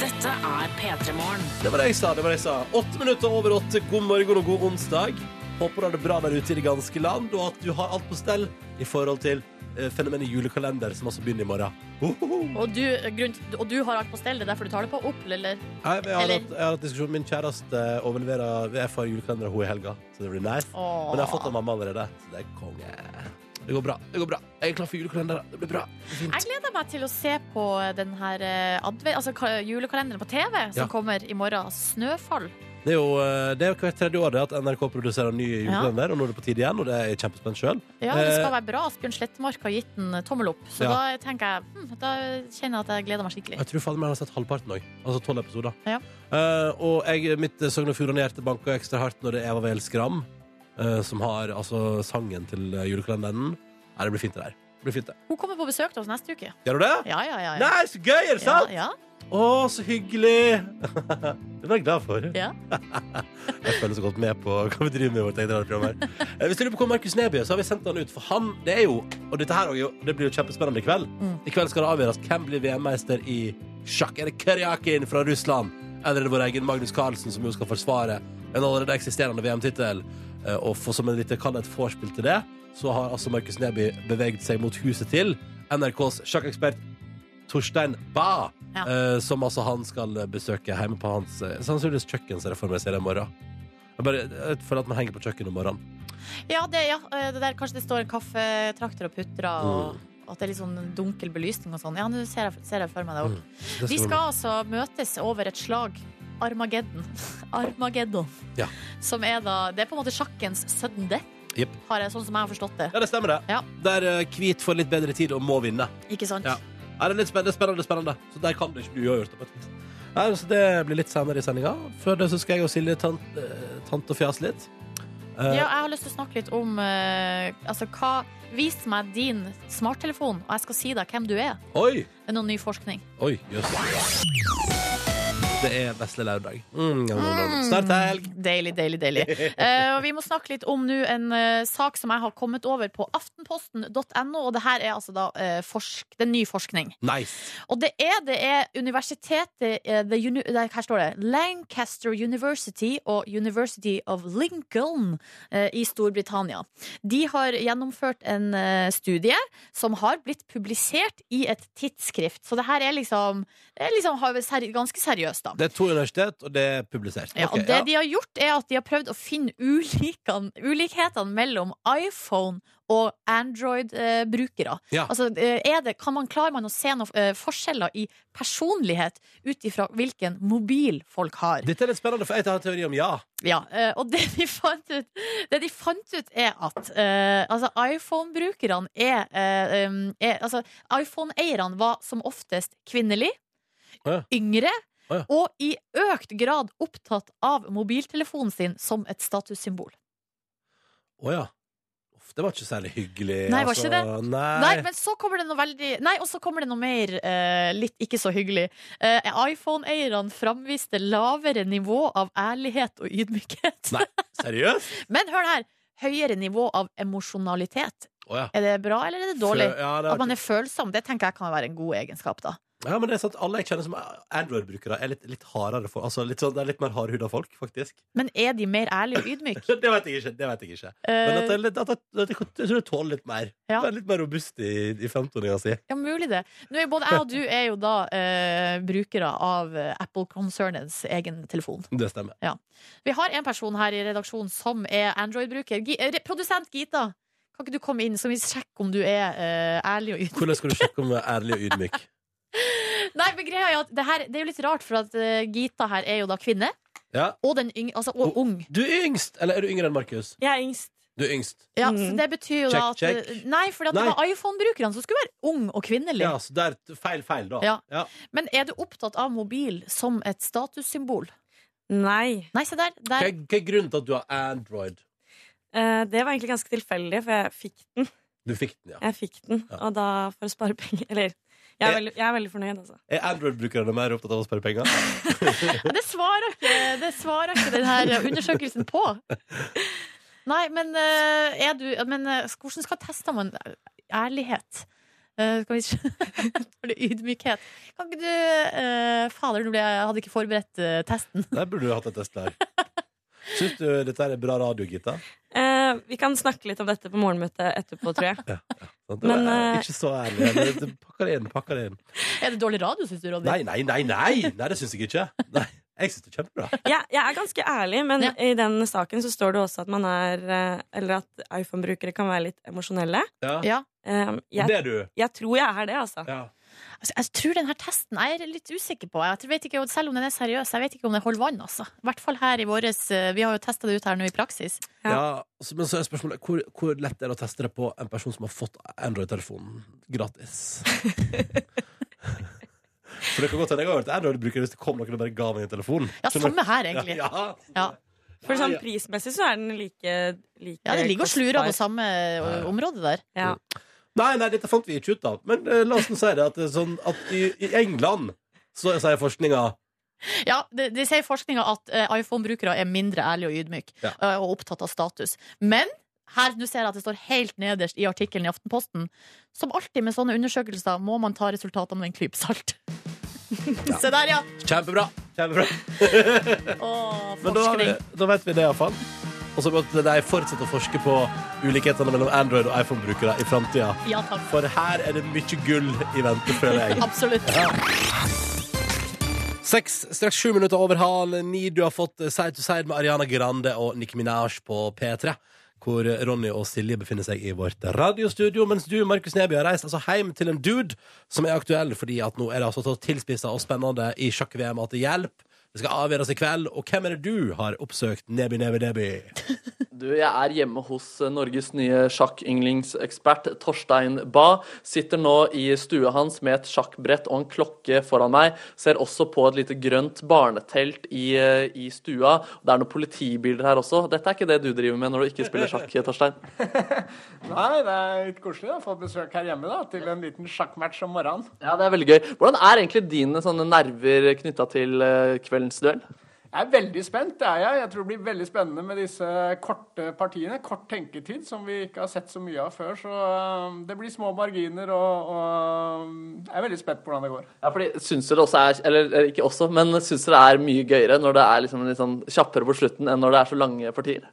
Speaker 5: Dette er P3 Morgen.
Speaker 1: Det var det jeg sa. det var det jeg sa. Åtte minutter over åtte. God morgen og god onsdag. Håper du har det bra der ute i det ganske land, og at du har alt på stell i forhold til eh, fenomenet julekalender, som altså begynner i morgen. Hohoho.
Speaker 2: Og du, grunn, og du har alt på stell, det er derfor du tar det på opp,
Speaker 1: Nei,
Speaker 2: eller?
Speaker 1: men jeg har,
Speaker 2: Eller-
Speaker 1: hatt, jeg har hatt diskusjon Min kjæreste overleverer VF har julekalender av henne i helga, så det blir nice.
Speaker 2: Åh.
Speaker 1: Men jeg har fått av mamma allerede, så det er konge. Det går bra. det går bra Jeg er klar for julekalender. Det blir bra. Det blir
Speaker 2: Jeg
Speaker 1: fint.
Speaker 2: gleder meg til å se på den her eh, adve- altså, ka- julekalenderen på TV som
Speaker 1: Ja.
Speaker 2: kommer i morgen. Snøfall.
Speaker 1: Det er jo eh, det er jo hvert tredje år det at NRK produserer ny julekalender, og nå er det på tide igjen, og det er jeg kjempespent sjøl.
Speaker 2: Ja, det skal
Speaker 1: Eh.
Speaker 2: være bra. Asbjørn Slettmark har gitt den eh, tommel opp. Så
Speaker 1: Ja.
Speaker 2: da tenker jeg hm, Da kjenner jeg at jeg gleder meg skikkelig.
Speaker 1: Jeg tror faen meg jeg har sett halvparten òg. Altså tolv episoder.
Speaker 2: Ja.
Speaker 1: Eh, og jeg, mitt eh, Sogn og Fjordane-hjerte banka ekstra hardt når det er Eva Weel Skram, eh, som har altså sangen til eh, julekalenderen. Nei, det blir fint, det der. Det blir fint, det.
Speaker 2: Hun kommer på besøk til oss neste uke.
Speaker 1: Gjør du det?
Speaker 2: Ja, ja, ja. ja.
Speaker 1: Nei, så gøy, er det
Speaker 2: ja,
Speaker 1: sant?
Speaker 2: ja.
Speaker 1: Å, så hyggelig! <laughs> det var jeg glad for.
Speaker 2: Ja.
Speaker 1: jeg føler så godt med på hva vi driver med i vårt eget radioprogram her. Eh, Hvis du lurer på hvor Markus Neby er, så har vi sendt han ut. For han, det er jo Og dette her er jo, det blir jo kjempespennende i kveld.
Speaker 2: Mm.
Speaker 1: I kveld skal det avgjøres hvem blir VM-meister i sjakk. Er det Kyrjakin fra Russland? Eller er det vår egen Magnus Carlsen, som jo skal forsvare en allerede eksisterende VM-tittel? Eh, Og for, som en lite kall et vorspiel til det, så har altså Markus Neby beveget seg mot huset til NRKs sjakkekspert Torstein Bae,
Speaker 2: Ja.
Speaker 1: eh, som altså han skal besøke hjemme på hans eh, sannsynligvis kjøkken, ser jeg for meg ser jeg i morgen. Jeg bare jeg føler at man henger på kjøkkenet om morgenen.
Speaker 2: ja, det, ja. eh, det der, kanskje det står en kaffetrakter og putrer, og
Speaker 1: Mm.
Speaker 2: at det er litt sånn dunkel belysning og sånn. Ja, nå ser, jeg- ser jeg for meg det òg.
Speaker 1: Det
Speaker 2: Vi skal altså møtes over et slag. Armageddon. <laughs> Armageddon.
Speaker 1: Ja.
Speaker 2: Som er da Det er på en måte sjakkens sudden death,
Speaker 1: Jepp.
Speaker 2: har jeg, sånn som jeg har forstått det.
Speaker 1: Ja, det stemmer det.
Speaker 2: Ja.
Speaker 1: Der eh, hvit får litt bedre tid og må vinne.
Speaker 2: Ikke sant?
Speaker 1: Ja. Er det er litt spennende, spennende, spennende. Så der kan det ikke bli uavgjort. på et vis. Nei, så det blir litt senere i sendinga. Før det så skal jeg og Silje tant, eh, tante og fjase litt.
Speaker 2: Ja,
Speaker 1: Eh,
Speaker 2: jeg har lyst til å snakke litt om eh, Altså, hva Vis meg din smarttelefon, og jeg skal si deg hvem du er.
Speaker 1: Oi!
Speaker 2: Det er noe ny forskning.
Speaker 1: Oi, jøss. Det er vesle lørdag. Mm, ja, ja, ja. Snart helg.
Speaker 2: Mm, Deilig, deilig,
Speaker 1: <laughs>
Speaker 2: deilig. Eh, og vi må snakke litt om nå en eh, sak som jeg har kommet over på aftenposten.no, og det her er altså da eh, forsk, det er ny forskning.
Speaker 1: Nice.
Speaker 2: Og det er, det er universitetet eh, the uni, nei, Her står det Lancaster University og University of Lincoln eh, i Storbritannia. De har gjennomført en eh, studie som har blitt publisert i et tidsskrift. Så det her er liksom, det er liksom har- seri- ganske seriøst, da.
Speaker 1: Det er to universitet, og det er publisert.
Speaker 2: Ja,
Speaker 1: Ok,
Speaker 2: og det de har gjort, er at de har prøvd å finne ulikene, ulikhetene mellom iPhone og Android-brukere.
Speaker 1: Ja.
Speaker 2: Altså, eh, er det, kan man, klarer man å se noen eh, forskjeller i personlighet ut ifra hvilken mobil folk har?
Speaker 1: Dette er litt spennende, for jeg har en teori om ja.
Speaker 2: Ja, eh, og det de fant ut, det de fant ut er at eh, altså iPhone-brukerne er, eh, um, er Altså, iPhone-eierne var som oftest kvinnelige,
Speaker 1: Å ja.
Speaker 2: yngre
Speaker 1: Å ja.
Speaker 2: og i økt grad opptatt av mobiltelefonen sin som et statussymbol.
Speaker 1: Å ja. Uff, det var ikke særlig hyggelig.
Speaker 2: Nei, var ikke
Speaker 1: det? Nei.
Speaker 2: Nei, men så kommer det noe veldig Nei, og så kommer det noe mer eh, litt ikke så hyggelig. Eh, iPhone-eierne framviste lavere nivå av ærlighet og ydmykhet.
Speaker 1: Nei. Seriøst?
Speaker 2: Men hør her! Høyere nivå av emosjonalitet.
Speaker 1: Å ja.
Speaker 2: Er det bra, eller er det dårlig?
Speaker 1: Fø- Ja, det
Speaker 2: At
Speaker 1: var...
Speaker 2: man er følsom, det tenker jeg kan være en god egenskap, da.
Speaker 1: ja, men det er sant. Alle jeg kjenner som er Android-brukere, er litt, litt hardere folk. Altså, litt, sånn, det er litt mer hardhuda folk, faktisk. <laughs>
Speaker 2: Men er de mer ærlige og ydmyke?
Speaker 1: Det vet jeg ikke. det vet Jeg ikke <laughs> Men at det, er litt, at det, at det, jeg tror det tåler litt mer.
Speaker 2: Ja.
Speaker 1: Det er litt mer robust i, i fremtoninga si.
Speaker 2: Eh, Ja, mulig det. Nå er både jeg og du er jo da eh, brukere av eh, Apple-konsernets egen telefon.
Speaker 1: Det stemmer.
Speaker 2: Vi har en person her i redaksjonen som er Android-bruker. Gi- eh, Produsent Gita, kan ikke du komme inn, så vi sjekker om du er eh, ærlig og ydmyk? <laughs>
Speaker 1: Hvordan skal du sjekke om du er ærlig og ydmyk?
Speaker 2: Nei, men greia er jo at det, her, det er jo litt rart, for at eh, Gita her er jo da kvinne.
Speaker 1: Ja.
Speaker 2: Og, den yng, altså, og ung.
Speaker 1: Du er yngst, eller er du yngre enn Markus?
Speaker 6: Jeg er yngst.
Speaker 1: Du er yngst.
Speaker 2: Ja,
Speaker 6: Mm.
Speaker 2: så det betyr jo da at eh,
Speaker 1: Check, check.
Speaker 2: Nei, for det
Speaker 1: Nei.
Speaker 2: var iPhone-brukerne som skulle være ung og kvinnelig.
Speaker 1: Ja, så det er et feil, feil, da.
Speaker 2: Ja.
Speaker 1: Ja.
Speaker 2: Men er du opptatt av mobil som et statussymbol?
Speaker 6: Nei.
Speaker 2: Nei, se der.
Speaker 1: Hva,
Speaker 2: der.
Speaker 1: er- hva er grunnen til at du har Android?
Speaker 6: Eh, det var egentlig ganske tilfeldig, for jeg fikk den.
Speaker 1: Du fikk den, ja.
Speaker 6: Jeg fikk den,
Speaker 1: Ja.
Speaker 6: Og da for å spare penger. Eller jeg er
Speaker 1: Eh.
Speaker 6: veldig, jeg er veldig fornøyd, altså.
Speaker 1: Er Android-brukerne mer opptatt av å spare penger?
Speaker 2: Ja, Det svarer ikke, det svarer ikke den her undersøkelsen på. Nei, men eh, er du Men eh, hvordan skal teste man ærlighet? Eh, skal vi <laughs> se For det er ydmykhet. Kan ikke du eh, Fader, nå ble jeg, jeg hadde ikke forberedt eh, testen.
Speaker 1: Der burde du hatt en test der. Syns du dette her er bra radio, Gitta?
Speaker 6: Eh, vi kan snakke litt om dette på morgenmøtet etterpå,
Speaker 1: <laughs>
Speaker 6: tror jeg.
Speaker 1: Sant?
Speaker 6: Men,
Speaker 1: Det er
Speaker 6: eh,
Speaker 1: ikke så ærlig. men det- Pakk det inn, pakk det inn.
Speaker 2: Er det dårlig radio, syns du, Ronny?
Speaker 1: Nei, nei, nei, nei! nei det syns jeg ikke. Nei, jeg syns det er kjempebra.
Speaker 6: jeg, jeg er ganske ærlig, men
Speaker 2: Ja.
Speaker 6: i den saken så står det også at man er eh, Eller at iPhone-brukere kan være litt emosjonelle.
Speaker 1: Ja.
Speaker 2: Ja.
Speaker 6: Um,
Speaker 1: Og det
Speaker 6: jeg,
Speaker 1: er du.
Speaker 6: jeg tror jeg er det, altså.
Speaker 1: Ja.
Speaker 2: Altså, jeg tror den her testen jeg er litt usikker på. Jeg vet ikke, selv om den er seriøs, jeg vet ikke om den holder vann. Altså. I hvert fall her i våres eh, Vi har jo testa det ut her nå i praksis.
Speaker 6: Ja.
Speaker 1: Ja, så- men så er spørsmålet hvor, hvor lett er det å teste det på en person som har fått Android-telefonen gratis? For det kan godt hende jeg har vært Android-bruker hvis det kom noen og bare ga meg en telefon.
Speaker 2: Ja,
Speaker 1: Skjønner du?
Speaker 2: samme her, egentlig. Ja,
Speaker 1: Ja, ja.
Speaker 2: Ja.
Speaker 6: For sånn
Speaker 1: Ja, ja.
Speaker 6: prismessig så er den like, like
Speaker 2: det ligger og slurer
Speaker 6: kostbar.
Speaker 2: på samme eh, område der.
Speaker 6: Ja.
Speaker 1: Nei, nei, dette fant vi ikke ut av. Men eh, la oss nå si det at, det er sånn at i, i England så sier forskninga
Speaker 2: Ja, det, det sier forskninga at eh, iPhone-brukere er mindre ærlige og ydmyke
Speaker 1: Ja.
Speaker 2: eh, og opptatt av status. Men her, nå ser jeg at det står helt nederst i artikkelen i Aftenposten. Som alltid med sånne undersøkelser må man ta resultatene med en klype salt. <laughs> Se der, ja!
Speaker 1: Kjempebra! Kjempebra.
Speaker 2: Å,
Speaker 1: Men da, har vi,
Speaker 2: forskning.
Speaker 1: da vet vi det iallfall. Og så måtte de fortsette å forske på ulikhetene mellom Android- og iPhone-brukere i framtida.
Speaker 2: Ja takk.
Speaker 1: For her er det mye gull i vente, føler jeg.
Speaker 2: Absolutt.
Speaker 1: Seks, straks sju minutter over halv ni. Du har fått Side to Side med Ariana Grande og Nicki Minaj på P3. Hvor Ronny og Silje befinner seg i vårt radiostudio, mens du, Markus Neby, har reist altså hjem til en dude som er aktuell, fordi at nå er det altså så tilspissa og spennende i sjakk-VM at det hjelper. Det skal avgjøres i kveld. Og hvem er det du har oppsøkt, Neby Neby Neby?
Speaker 3: Du, jeg er hjemme hos eh, Norges nye sjakk-yndlingsekspert Torstein Ba. Sitter nå i stua hans med et sjakkbrett og en klokke foran meg. Ser også på et lite grønt barnetelt i, eh, i stua. Det er noen politibiler her også. Dette er ikke det du driver med når du ikke spiller sjakk, eh, Torstein.
Speaker 7: Nei, det er litt koselig å få besøk her hjemme da, til en liten sjakkmatch om morgenen.
Speaker 3: Ja, det er veldig gøy. Hvordan er egentlig dine sånne nerver knytta til eh, kveldens duell?
Speaker 7: Jeg er veldig spent, det er jeg. Jeg tror det blir veldig spennende med disse korte partiene. Kort tenketid, som vi ikke har sett så mye av før. Så øhm, det blir små marginer, og, og øhm, jeg er veldig spent på hvordan det går.
Speaker 3: Ja, fordi syns dere også er Eller eh, ikke også, men syns dere er mye gøyere når det er liksom litt sånn kjappere på slutten enn når det er så lange partier?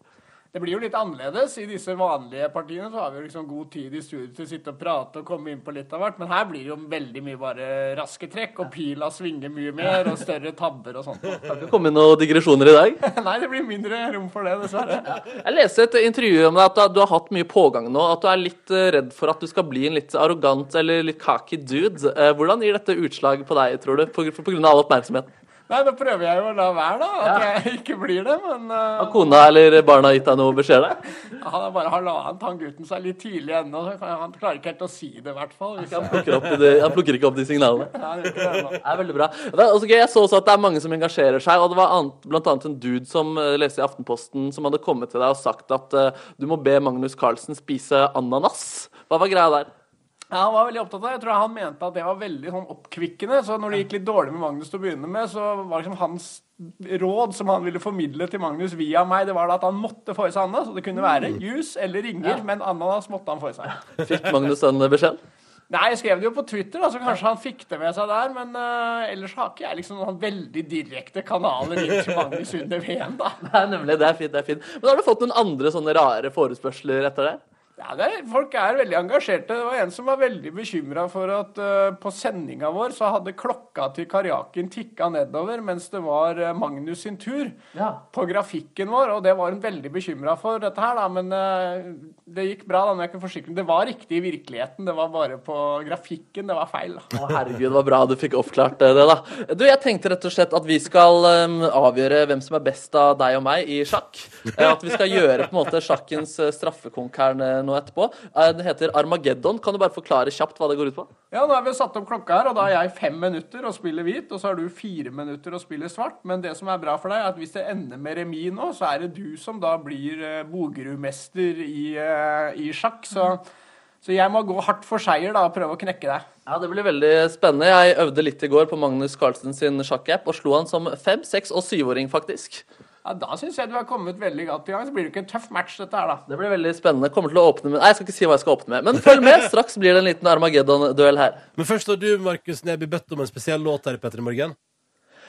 Speaker 7: Det blir jo litt annerledes. I disse vanlige partiene så har vi jo liksom god tid i studio til å sitte og prate og komme inn på litt av hvert, men her blir det jo veldig mye bare raske trekk, og pila svinger mye mer, og større tabber og sånt. <laughs>
Speaker 3: Det kom inn noen digresjoner i dag.
Speaker 7: Nei, det blir mindre rom for det, dessverre.
Speaker 3: Jeg leste et intervju om deg at du har- du har hatt mye pågang nå. At du er litt eh, redd for at du skal bli en litt arrogant eller litt cocky dude. Eh, Hvordan gir dette utslag på deg, tror du? På, gr- på grunn av all oppmerksomheten?
Speaker 7: Nei, da prøver jeg jo å la være, da. At jeg ikke blir det. Men eh,
Speaker 3: Har kona eller barna gitt deg noe beskjed der?
Speaker 7: han er bare halvannet, han gutten, så er litt tidlig ennå. så kan- Han klarer ikke helt å si det, i hvert fall. Hvis
Speaker 3: Han
Speaker 7: jeg...
Speaker 3: plukker, opp de, han plukker ikke opp de signalene.
Speaker 7: Nei, det er ikke det, da.
Speaker 3: Det er veldig bra. Det er også gøy, jeg så også at det er mange som engasjerer seg, og det var annet, blant annet en dude som eh, leste i Aftenposten som hadde kommet til deg og sagt at eh, du må be Magnus Carlsen spise ananas. Hva var greia der?
Speaker 7: Ja, han var veldig opptatt av det. Jeg tror han mente at det var veldig sånn oppkvikkende. Så når det gikk litt dårlig med Magnus til å begynne med, så var liksom hans råd som han ville formidle til Magnus via meg, det var da at han måtte få i seg ananas. Og det kunne
Speaker 3: Mm.
Speaker 7: være juice eller ringer, men ananas måtte han få i seg.
Speaker 3: Fikk Magnus den beskjeden?
Speaker 7: Nei, jeg skrev det jo på Twitter, da, så kanskje han fikk det med seg der. Men eh, ellers har ikke jeg liksom noen veldig direkte kanaler inn til Magnus under VM, da.
Speaker 3: <laughs> Nei, nemlig. Det er fint. det er fint. Men har du fått noen andre sånne rare forespørsler etter det?
Speaker 7: Ja, det er, folk er veldig engasjerte. Det var en som var veldig bekymra for at eh, på sendinga vår så hadde klokka til Karjakin tikka nedover mens det var eh, Magnus sin tur
Speaker 3: Ja.
Speaker 7: på grafikken vår, og det var hun veldig bekymra for, dette her, da. Men eh, det gikk bra, da, men jeg kan forsikre Det var riktig i virkeligheten, det var bare på grafikken det var feil. da.
Speaker 3: Å, herregud, hva bra du fikk oppklart eh, det, da. Du, jeg tenkte rett og slett at vi skal eh, avgjøre hvem som er best av deg og meg i sjakk. Eh, at vi skal gjøre på en måte sjakkens eh, straffekonk her eh, nå etterpå. Eh, den heter Armageddon. Kan du bare forklare kjapt hva det går ut på?
Speaker 7: Ja, nå har vi satt opp klokka her, og da har jeg fem minutter og spiller hvit, og så har du fire minutter og spiller svart, men det som er bra for deg, er at hvis det ender med remis nå, så er det du som da blir eh, Bogerud-mester i, eh, i sjakk, så, så jeg må gå hardt for seier da og prøve å knekke deg.
Speaker 3: Ja, Det blir veldig spennende. Jeg øvde litt i går på Magnus Carlsen sin sjakkapp og slo han som fem-, seks- og syvåring, faktisk.
Speaker 7: Ja, Da syns jeg du har kommet veldig godt i gang. Så blir det ikke en tøff match, dette her, da.
Speaker 3: Det blir veldig spennende. Kommer til å åpne med Nei, jeg skal ikke si hva jeg skal åpne med, men følg med. <laughs> Straks blir det en liten Armageddon-duell her.
Speaker 1: Men først har du, Markus Neby, bedt om en spesiell låt her i Petter i morgen.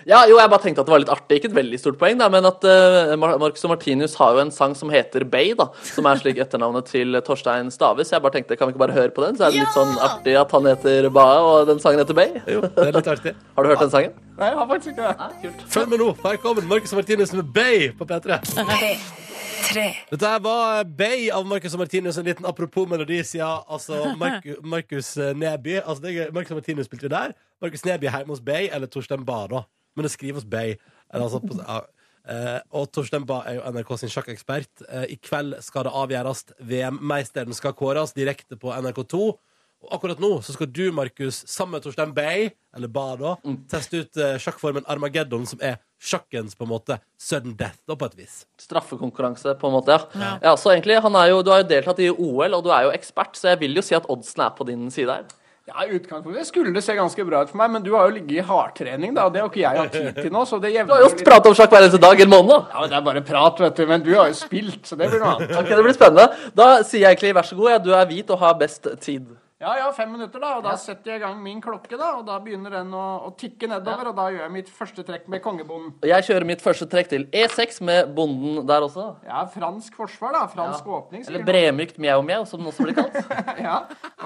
Speaker 3: Ja, jo, jeg bare tenkte at det var litt artig. Ikke et veldig stort poeng, da, men at eh, Mar Marcus og Martinus har jo en sang som heter Bay, da, som er slik etternavnet til eh, Torstein Stave, så jeg bare tenkte, kan vi ikke bare høre på den? Så er det litt sånn artig at han heter Bae, og den sangen heter Bay.
Speaker 1: Det er litt artig.
Speaker 3: Har du hørt den sangen?
Speaker 7: Nei, jeg har faktisk ikke det.
Speaker 1: Følg med nå. Her kommer Marcus og Martinus med Bay på P3. Dette her var eh, Bay av Marcus og Martinus. En liten apropos melodi siden altså Marku- Marcus Neby. Altså, det er, gøy. Marcus og Martinus spilte jo der. Marcus Neby er hjemme hos Bay, eller Torstein Bae, da. Men det skrives Bay. Eller, altså, på, ja. Eh, og Torstein Bae er jo NRK sin sjakkekspert. Eh, I kveld skal det avgjøres. VM-meisteren skal kåres direkte på NRK2. Og akkurat nå så skal du, Markus, sammen med Torstein Bay, eller Bae, da, teste ut eh, sjakkformen Armageddon, som er sjakkens på en måte sudden death, da, på et vis.
Speaker 3: Straffekonkurranse, på en måte, ja. ja. så egentlig, han er jo, du har jo deltatt i OL, og du er jo ekspert, så jeg vil jo si at oddsen er på din side her.
Speaker 7: Ja, i utgangspunktet skulle det se ganske bra ut for meg, men du har jo ligget i hardtrening, da. og Det har ikke jeg hatt tid til nå, så det
Speaker 3: Du
Speaker 7: jevner
Speaker 3: har jo
Speaker 7: litt-
Speaker 3: pratet om sjakk hver eneste dag i en måned, da.
Speaker 7: Ja, men Det er bare prat, vet du. Men du har jo spilt, så det blir noe annet.
Speaker 3: Ok, det blir spennende. Da sier jeg egentlig vær så god, ja, du er hvit og har best tid.
Speaker 7: Ja, jeg har fem minutter, da, og da setter jeg i gang min klokke, da. Og da begynner den å, å tikke nedover, og da gjør jeg mitt første trekk med kongebonden.
Speaker 3: Og Jeg kjører mitt første trekk til E6 med bonden der også.
Speaker 7: Ja, fransk forsvar, da. Fransk åpning,
Speaker 3: Eller
Speaker 7: sikkert.
Speaker 3: bremykt mjau-mjau, som den også blir kalt. <laughs>
Speaker 7: Ja,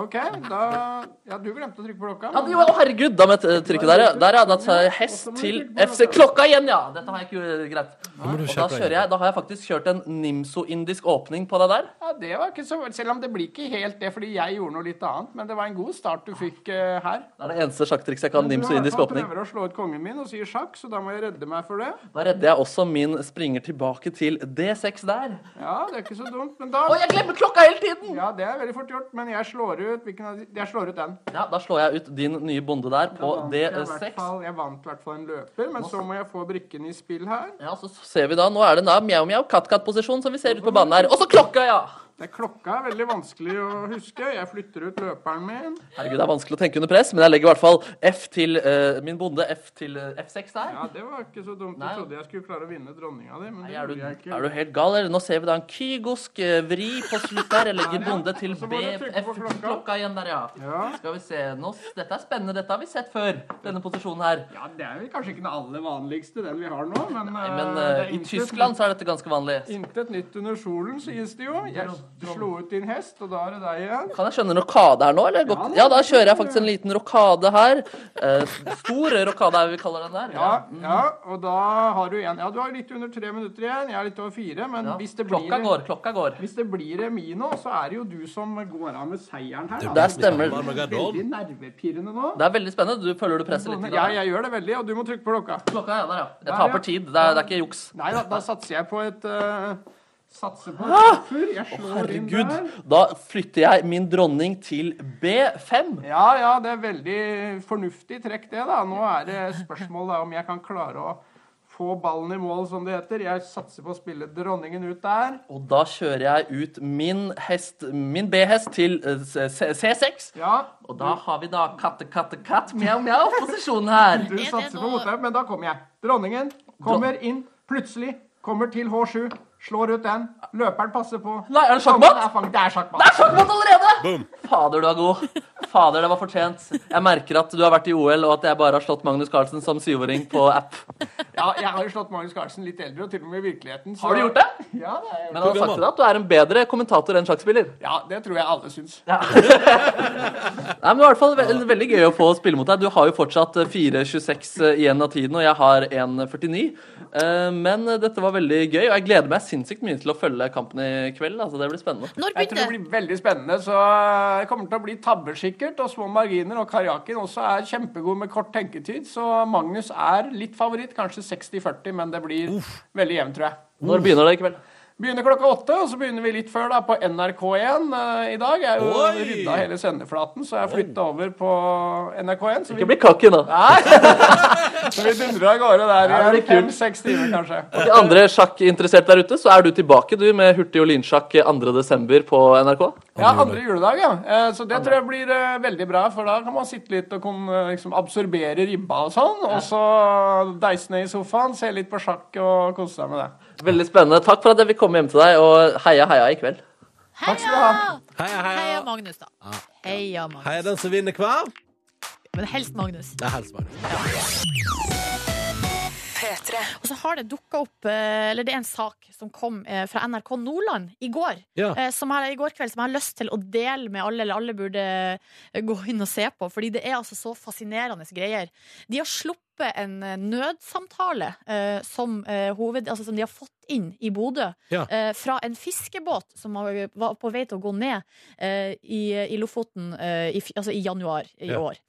Speaker 7: OK. Da Ja, du glemte å trykke på klokka.
Speaker 3: Ja,
Speaker 7: men-
Speaker 3: det, å, herregud, da må jeg t- trykke der, ja. Der, ja. Da tar jeg hest til FC Klokka igjen, ja! Dette har jeg ikke eh, greit.
Speaker 1: må du
Speaker 3: Og da
Speaker 1: sjekke
Speaker 3: kjører jeg, da har jeg faktisk kjørt en nimso-indisk åpning på det der.
Speaker 7: Ja, det var ikke så Selv om det blir ikke helt det fordi jeg gjorde noe litt annet, men det var en god start du fikk eh, her.
Speaker 3: Det er det eneste sjakktrikset jeg kan, nimso-indisk
Speaker 7: Han
Speaker 3: åpning.
Speaker 7: prøver å slå ut kongen min og sier sjakk, så da må jeg redde meg for det.
Speaker 3: Da redder jeg også min springer tilbake til D6 der.
Speaker 7: Ja, det er ikke så dumt, men da
Speaker 3: Å, jeg glemmer klokka hele tiden!
Speaker 7: Ja, det er veldig fort gjort, men jeg slår ut hvilken av de Jeg slår ut den.
Speaker 3: Ja, da slår jeg ut din nye bonde der på
Speaker 7: Jeg vant i hvert
Speaker 3: D6.
Speaker 7: fall- Jeg vant i hvert fall en løper, men så må jeg få brikken i spill her.
Speaker 3: Ja, så ser vi da, Nå er det da mjau-mjau, katt-katt-posisjon som vi ser ute på banen her. Og så klokka, ja!
Speaker 7: Det er klokka er veldig vanskelig å huske. Jeg flytter ut løperen min.
Speaker 3: Herregud, Det er vanskelig å tenke under press, men jeg legger i hvert fall F til eh, min bonde, F til eh, F6 der.
Speaker 7: Ja, det var ikke så dumt. Jeg trodde jeg skulle klare å vinne dronninga di, men det
Speaker 3: Er du,
Speaker 7: gjorde jeg ikke.
Speaker 3: er du helt gal, eller? Nå ser vi da en kygosk eh, vri på slutt der. Jeg legger bonde til
Speaker 7: Så
Speaker 3: B,
Speaker 7: må du trykke
Speaker 3: F
Speaker 7: på klokka.
Speaker 3: klokka igjen der, ja.
Speaker 7: Ja.
Speaker 3: Skal vi se. Nå, s- dette er spennende. Dette har vi sett før, denne posisjonen her.
Speaker 7: Ja, Det er vel kanskje ikke den aller vanligste, den vi har nå, men,
Speaker 3: Nei, Men
Speaker 7: eh, det
Speaker 3: eh,
Speaker 7: er
Speaker 3: i
Speaker 7: intet
Speaker 3: Tyskland så er dette ganske vanlig.
Speaker 7: nytt- Intet nytt under solen, sies det jo. Jeg slo ut din hest, og da er det deg igjen.
Speaker 3: Kan jeg skjønne en rokade her nå, eller? Går- Ja, da kjører jeg faktisk en liten rokade her. Eh, stor rokade er det vi kaller den der.
Speaker 7: Ja, ja, og da har du igjen Ja, du har litt under tre minutter igjen. Jeg er litt over fire, men
Speaker 3: Ja,
Speaker 7: hvis det blir
Speaker 3: Klokka går, klokka går.
Speaker 7: Hvis det blir remis nå, så er det jo du som går av med seieren her.
Speaker 3: Der
Speaker 7: Da.
Speaker 3: stemmer det.
Speaker 1: Armageddon.
Speaker 7: Veldig nervepirrende nå.
Speaker 3: Det er veldig spennende. Du føler du presser litt?
Speaker 7: Ja, jeg gjør det veldig, og du må trykke på klokka.
Speaker 3: Klokka er der, ja. Jeg
Speaker 7: Der,
Speaker 3: taper
Speaker 7: ja.
Speaker 3: tid. Det er, det er ikke juks.
Speaker 7: Nei da, da satser jeg på et eh, Satser på et fur. Jeg slår inn
Speaker 3: Herregud.
Speaker 7: der.
Speaker 3: Da flytter jeg min dronning til B5.
Speaker 7: Ja, ja, det er veldig fornuftig trekk, det, da. Nå er det spørsmål da, om jeg kan klare å få ballen i mål, som det heter. Jeg satser på å spille dronningen ut der.
Speaker 3: Og da kjører jeg ut min hest, min B-hest til eh, C- C- C6.
Speaker 7: Ja,
Speaker 3: Og da har vi da katte, katte, katt, mjau, mjau, posisjonen her.
Speaker 7: du
Speaker 2: det
Speaker 7: satser på
Speaker 2: noe-
Speaker 7: mottak, men da kommer jeg. Dronningen kommer inn plutselig. Kommer til H7. Slår ut den. Løperen passer på.
Speaker 3: Nei, er det
Speaker 7: Kongen
Speaker 3: sjakkmatt?
Speaker 7: er fanget. Det er sjakkmatt.
Speaker 3: Det er sjakkmatt allerede!
Speaker 1: Boom.
Speaker 3: Fader, du er god. Fader, det var fortjent. Jeg merker at du har vært i OL, og at jeg bare har slått Magnus Carlsen som syvåring på app.
Speaker 7: Ja, jeg har jo slått Magnus Carlsen litt eldre, og til og med i virkeligheten. så-
Speaker 8: Har du gjort det?
Speaker 7: Ja, det, har jeg
Speaker 8: Men han
Speaker 7: gjort.
Speaker 8: har sagt til deg at du er en bedre kommentator enn sjakkspiller.
Speaker 7: ja, det tror jeg alle syns.
Speaker 8: Nei, men det var i hvert fall ve Veldig gøy å få spille mot deg. Du har jo fortsatt eh, 4.26 igjen av tiden, og jeg har 1.49. Eh, Men eh, dette var veldig gøy, og jeg gleder meg sinnssykt mye til å følge kampen i kveld. Altså, det blir spennende.
Speaker 2: Når
Speaker 7: Jeg tror det
Speaker 2: begynte
Speaker 7: blir veldig spennende, så det kommer til å bli tabber sikkert, og små marginer. Og Karjakin også er kjempegod med kort tenketid, så Magnus er litt favoritt. Kanskje 60-40, men det blir veldig jevnt, tror jeg.
Speaker 8: Når begynner det i kveld?
Speaker 7: Begynner klokka åtte, og så begynner vi litt før da på NRK1 eh, i dag. Jeg er jo
Speaker 1: Oi!
Speaker 7: rydda hele sendeflaten, så jeg flytta over på NRK1. Så
Speaker 8: Ikke
Speaker 7: vi,
Speaker 8: bli cocky nå.
Speaker 7: <laughs> så vi dundrer av gårde
Speaker 8: Ja,
Speaker 7: der i
Speaker 8: det blir kult.
Speaker 7: fem-seks timer, kanskje.
Speaker 8: Til andre sjakkinteresserte der ute, så er du tilbake du med hurtig- og lynsjakk 2.12. på NRK.
Speaker 7: Ja, andre juledag, ja. Eh, Så det tror jeg blir eh, veldig bra, for da kan man sitte litt og kom, eh, liksom absorbere ribba og sånn, og så deise ned i sofaen, se litt på sjakk og kose seg med det.
Speaker 8: Veldig spennende. Takk for at jeg fikk komme hjem til deg, og heia, heia i kveld.
Speaker 7: Takk skal du ha.
Speaker 1: Heia,
Speaker 2: Heia
Speaker 1: heia.
Speaker 2: Magnus, da. Heia Magnus.
Speaker 1: Heia den som vinner hver.
Speaker 2: Men helst Magnus.
Speaker 1: Det er helsevernet.
Speaker 2: Og så har det dukka opp eh, Eller det er en sak som kom eh, fra NRK Nordland i går.
Speaker 1: Ja.
Speaker 2: eh, Som jeg, i går kveld som jeg har lyst til å dele med alle, eller alle burde eh, gå inn og se på. Fordi det er altså så fascinerende greier. De har sluppet en eh, nødsamtale eh, som, eh, hoved, altså, som de har fått inn i Bodø.
Speaker 1: Ja.
Speaker 2: eh, fra en fiskebåt som har- var på vei til å gå ned eh, i, i Lofoten eh, i, f- altså i januar i
Speaker 1: Ja.
Speaker 2: år.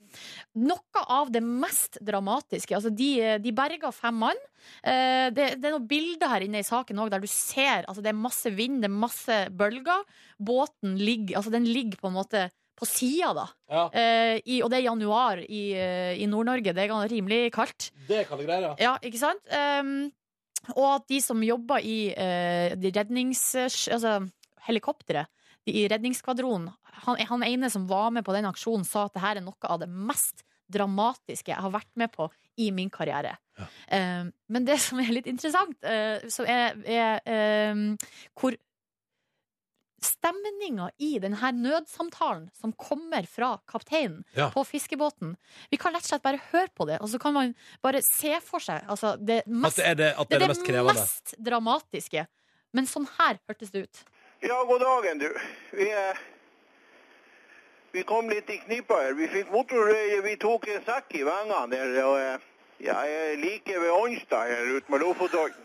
Speaker 2: Noe av det mest dramatiske. Altså de, eh, de berga fem mann. Eh, det, det er noen bilder her inne i saken også, der du ser altså det er masse vind, det er masse bølger. Båten ligger, altså den ligger på en måte på sida, da.
Speaker 1: Ja.
Speaker 2: Eh, i, og det er januar i, eh, i Nord-Norge. Det er gan- rimelig kaldt.
Speaker 1: Det kan du greie, ja.
Speaker 2: Ja, ikke sant? Ehm, og at de som jobber i eh, de rednings... Altså helikopteret de i redningsskvadronen han, han ene som var med på den aksjonen, sa at det her er noe av det mest dramatiske jeg har vært med på i min karriere. Ehm, men det som er litt interessant, eh, som er, er ehm, hvor stemninga i denne nødsamtalen som kommer fra kapteinen
Speaker 1: Ja.
Speaker 2: på fiskebåten Vi kan rett og slett bare høre på det, og så kan man bare se for seg altså, det
Speaker 1: At
Speaker 2: mest
Speaker 1: det er det, at det, er det mest krevende.
Speaker 2: mest dramatiske. Men sånn her hørtes det ut.
Speaker 9: Ja, god dagen du. Vi, eh, vi kom litt i knipa her. Vi fikk motorrøye, vi tok en sekk i vengene der. Og, eh, ja, jeg er like ved Ånstad her ute med Lofotodden.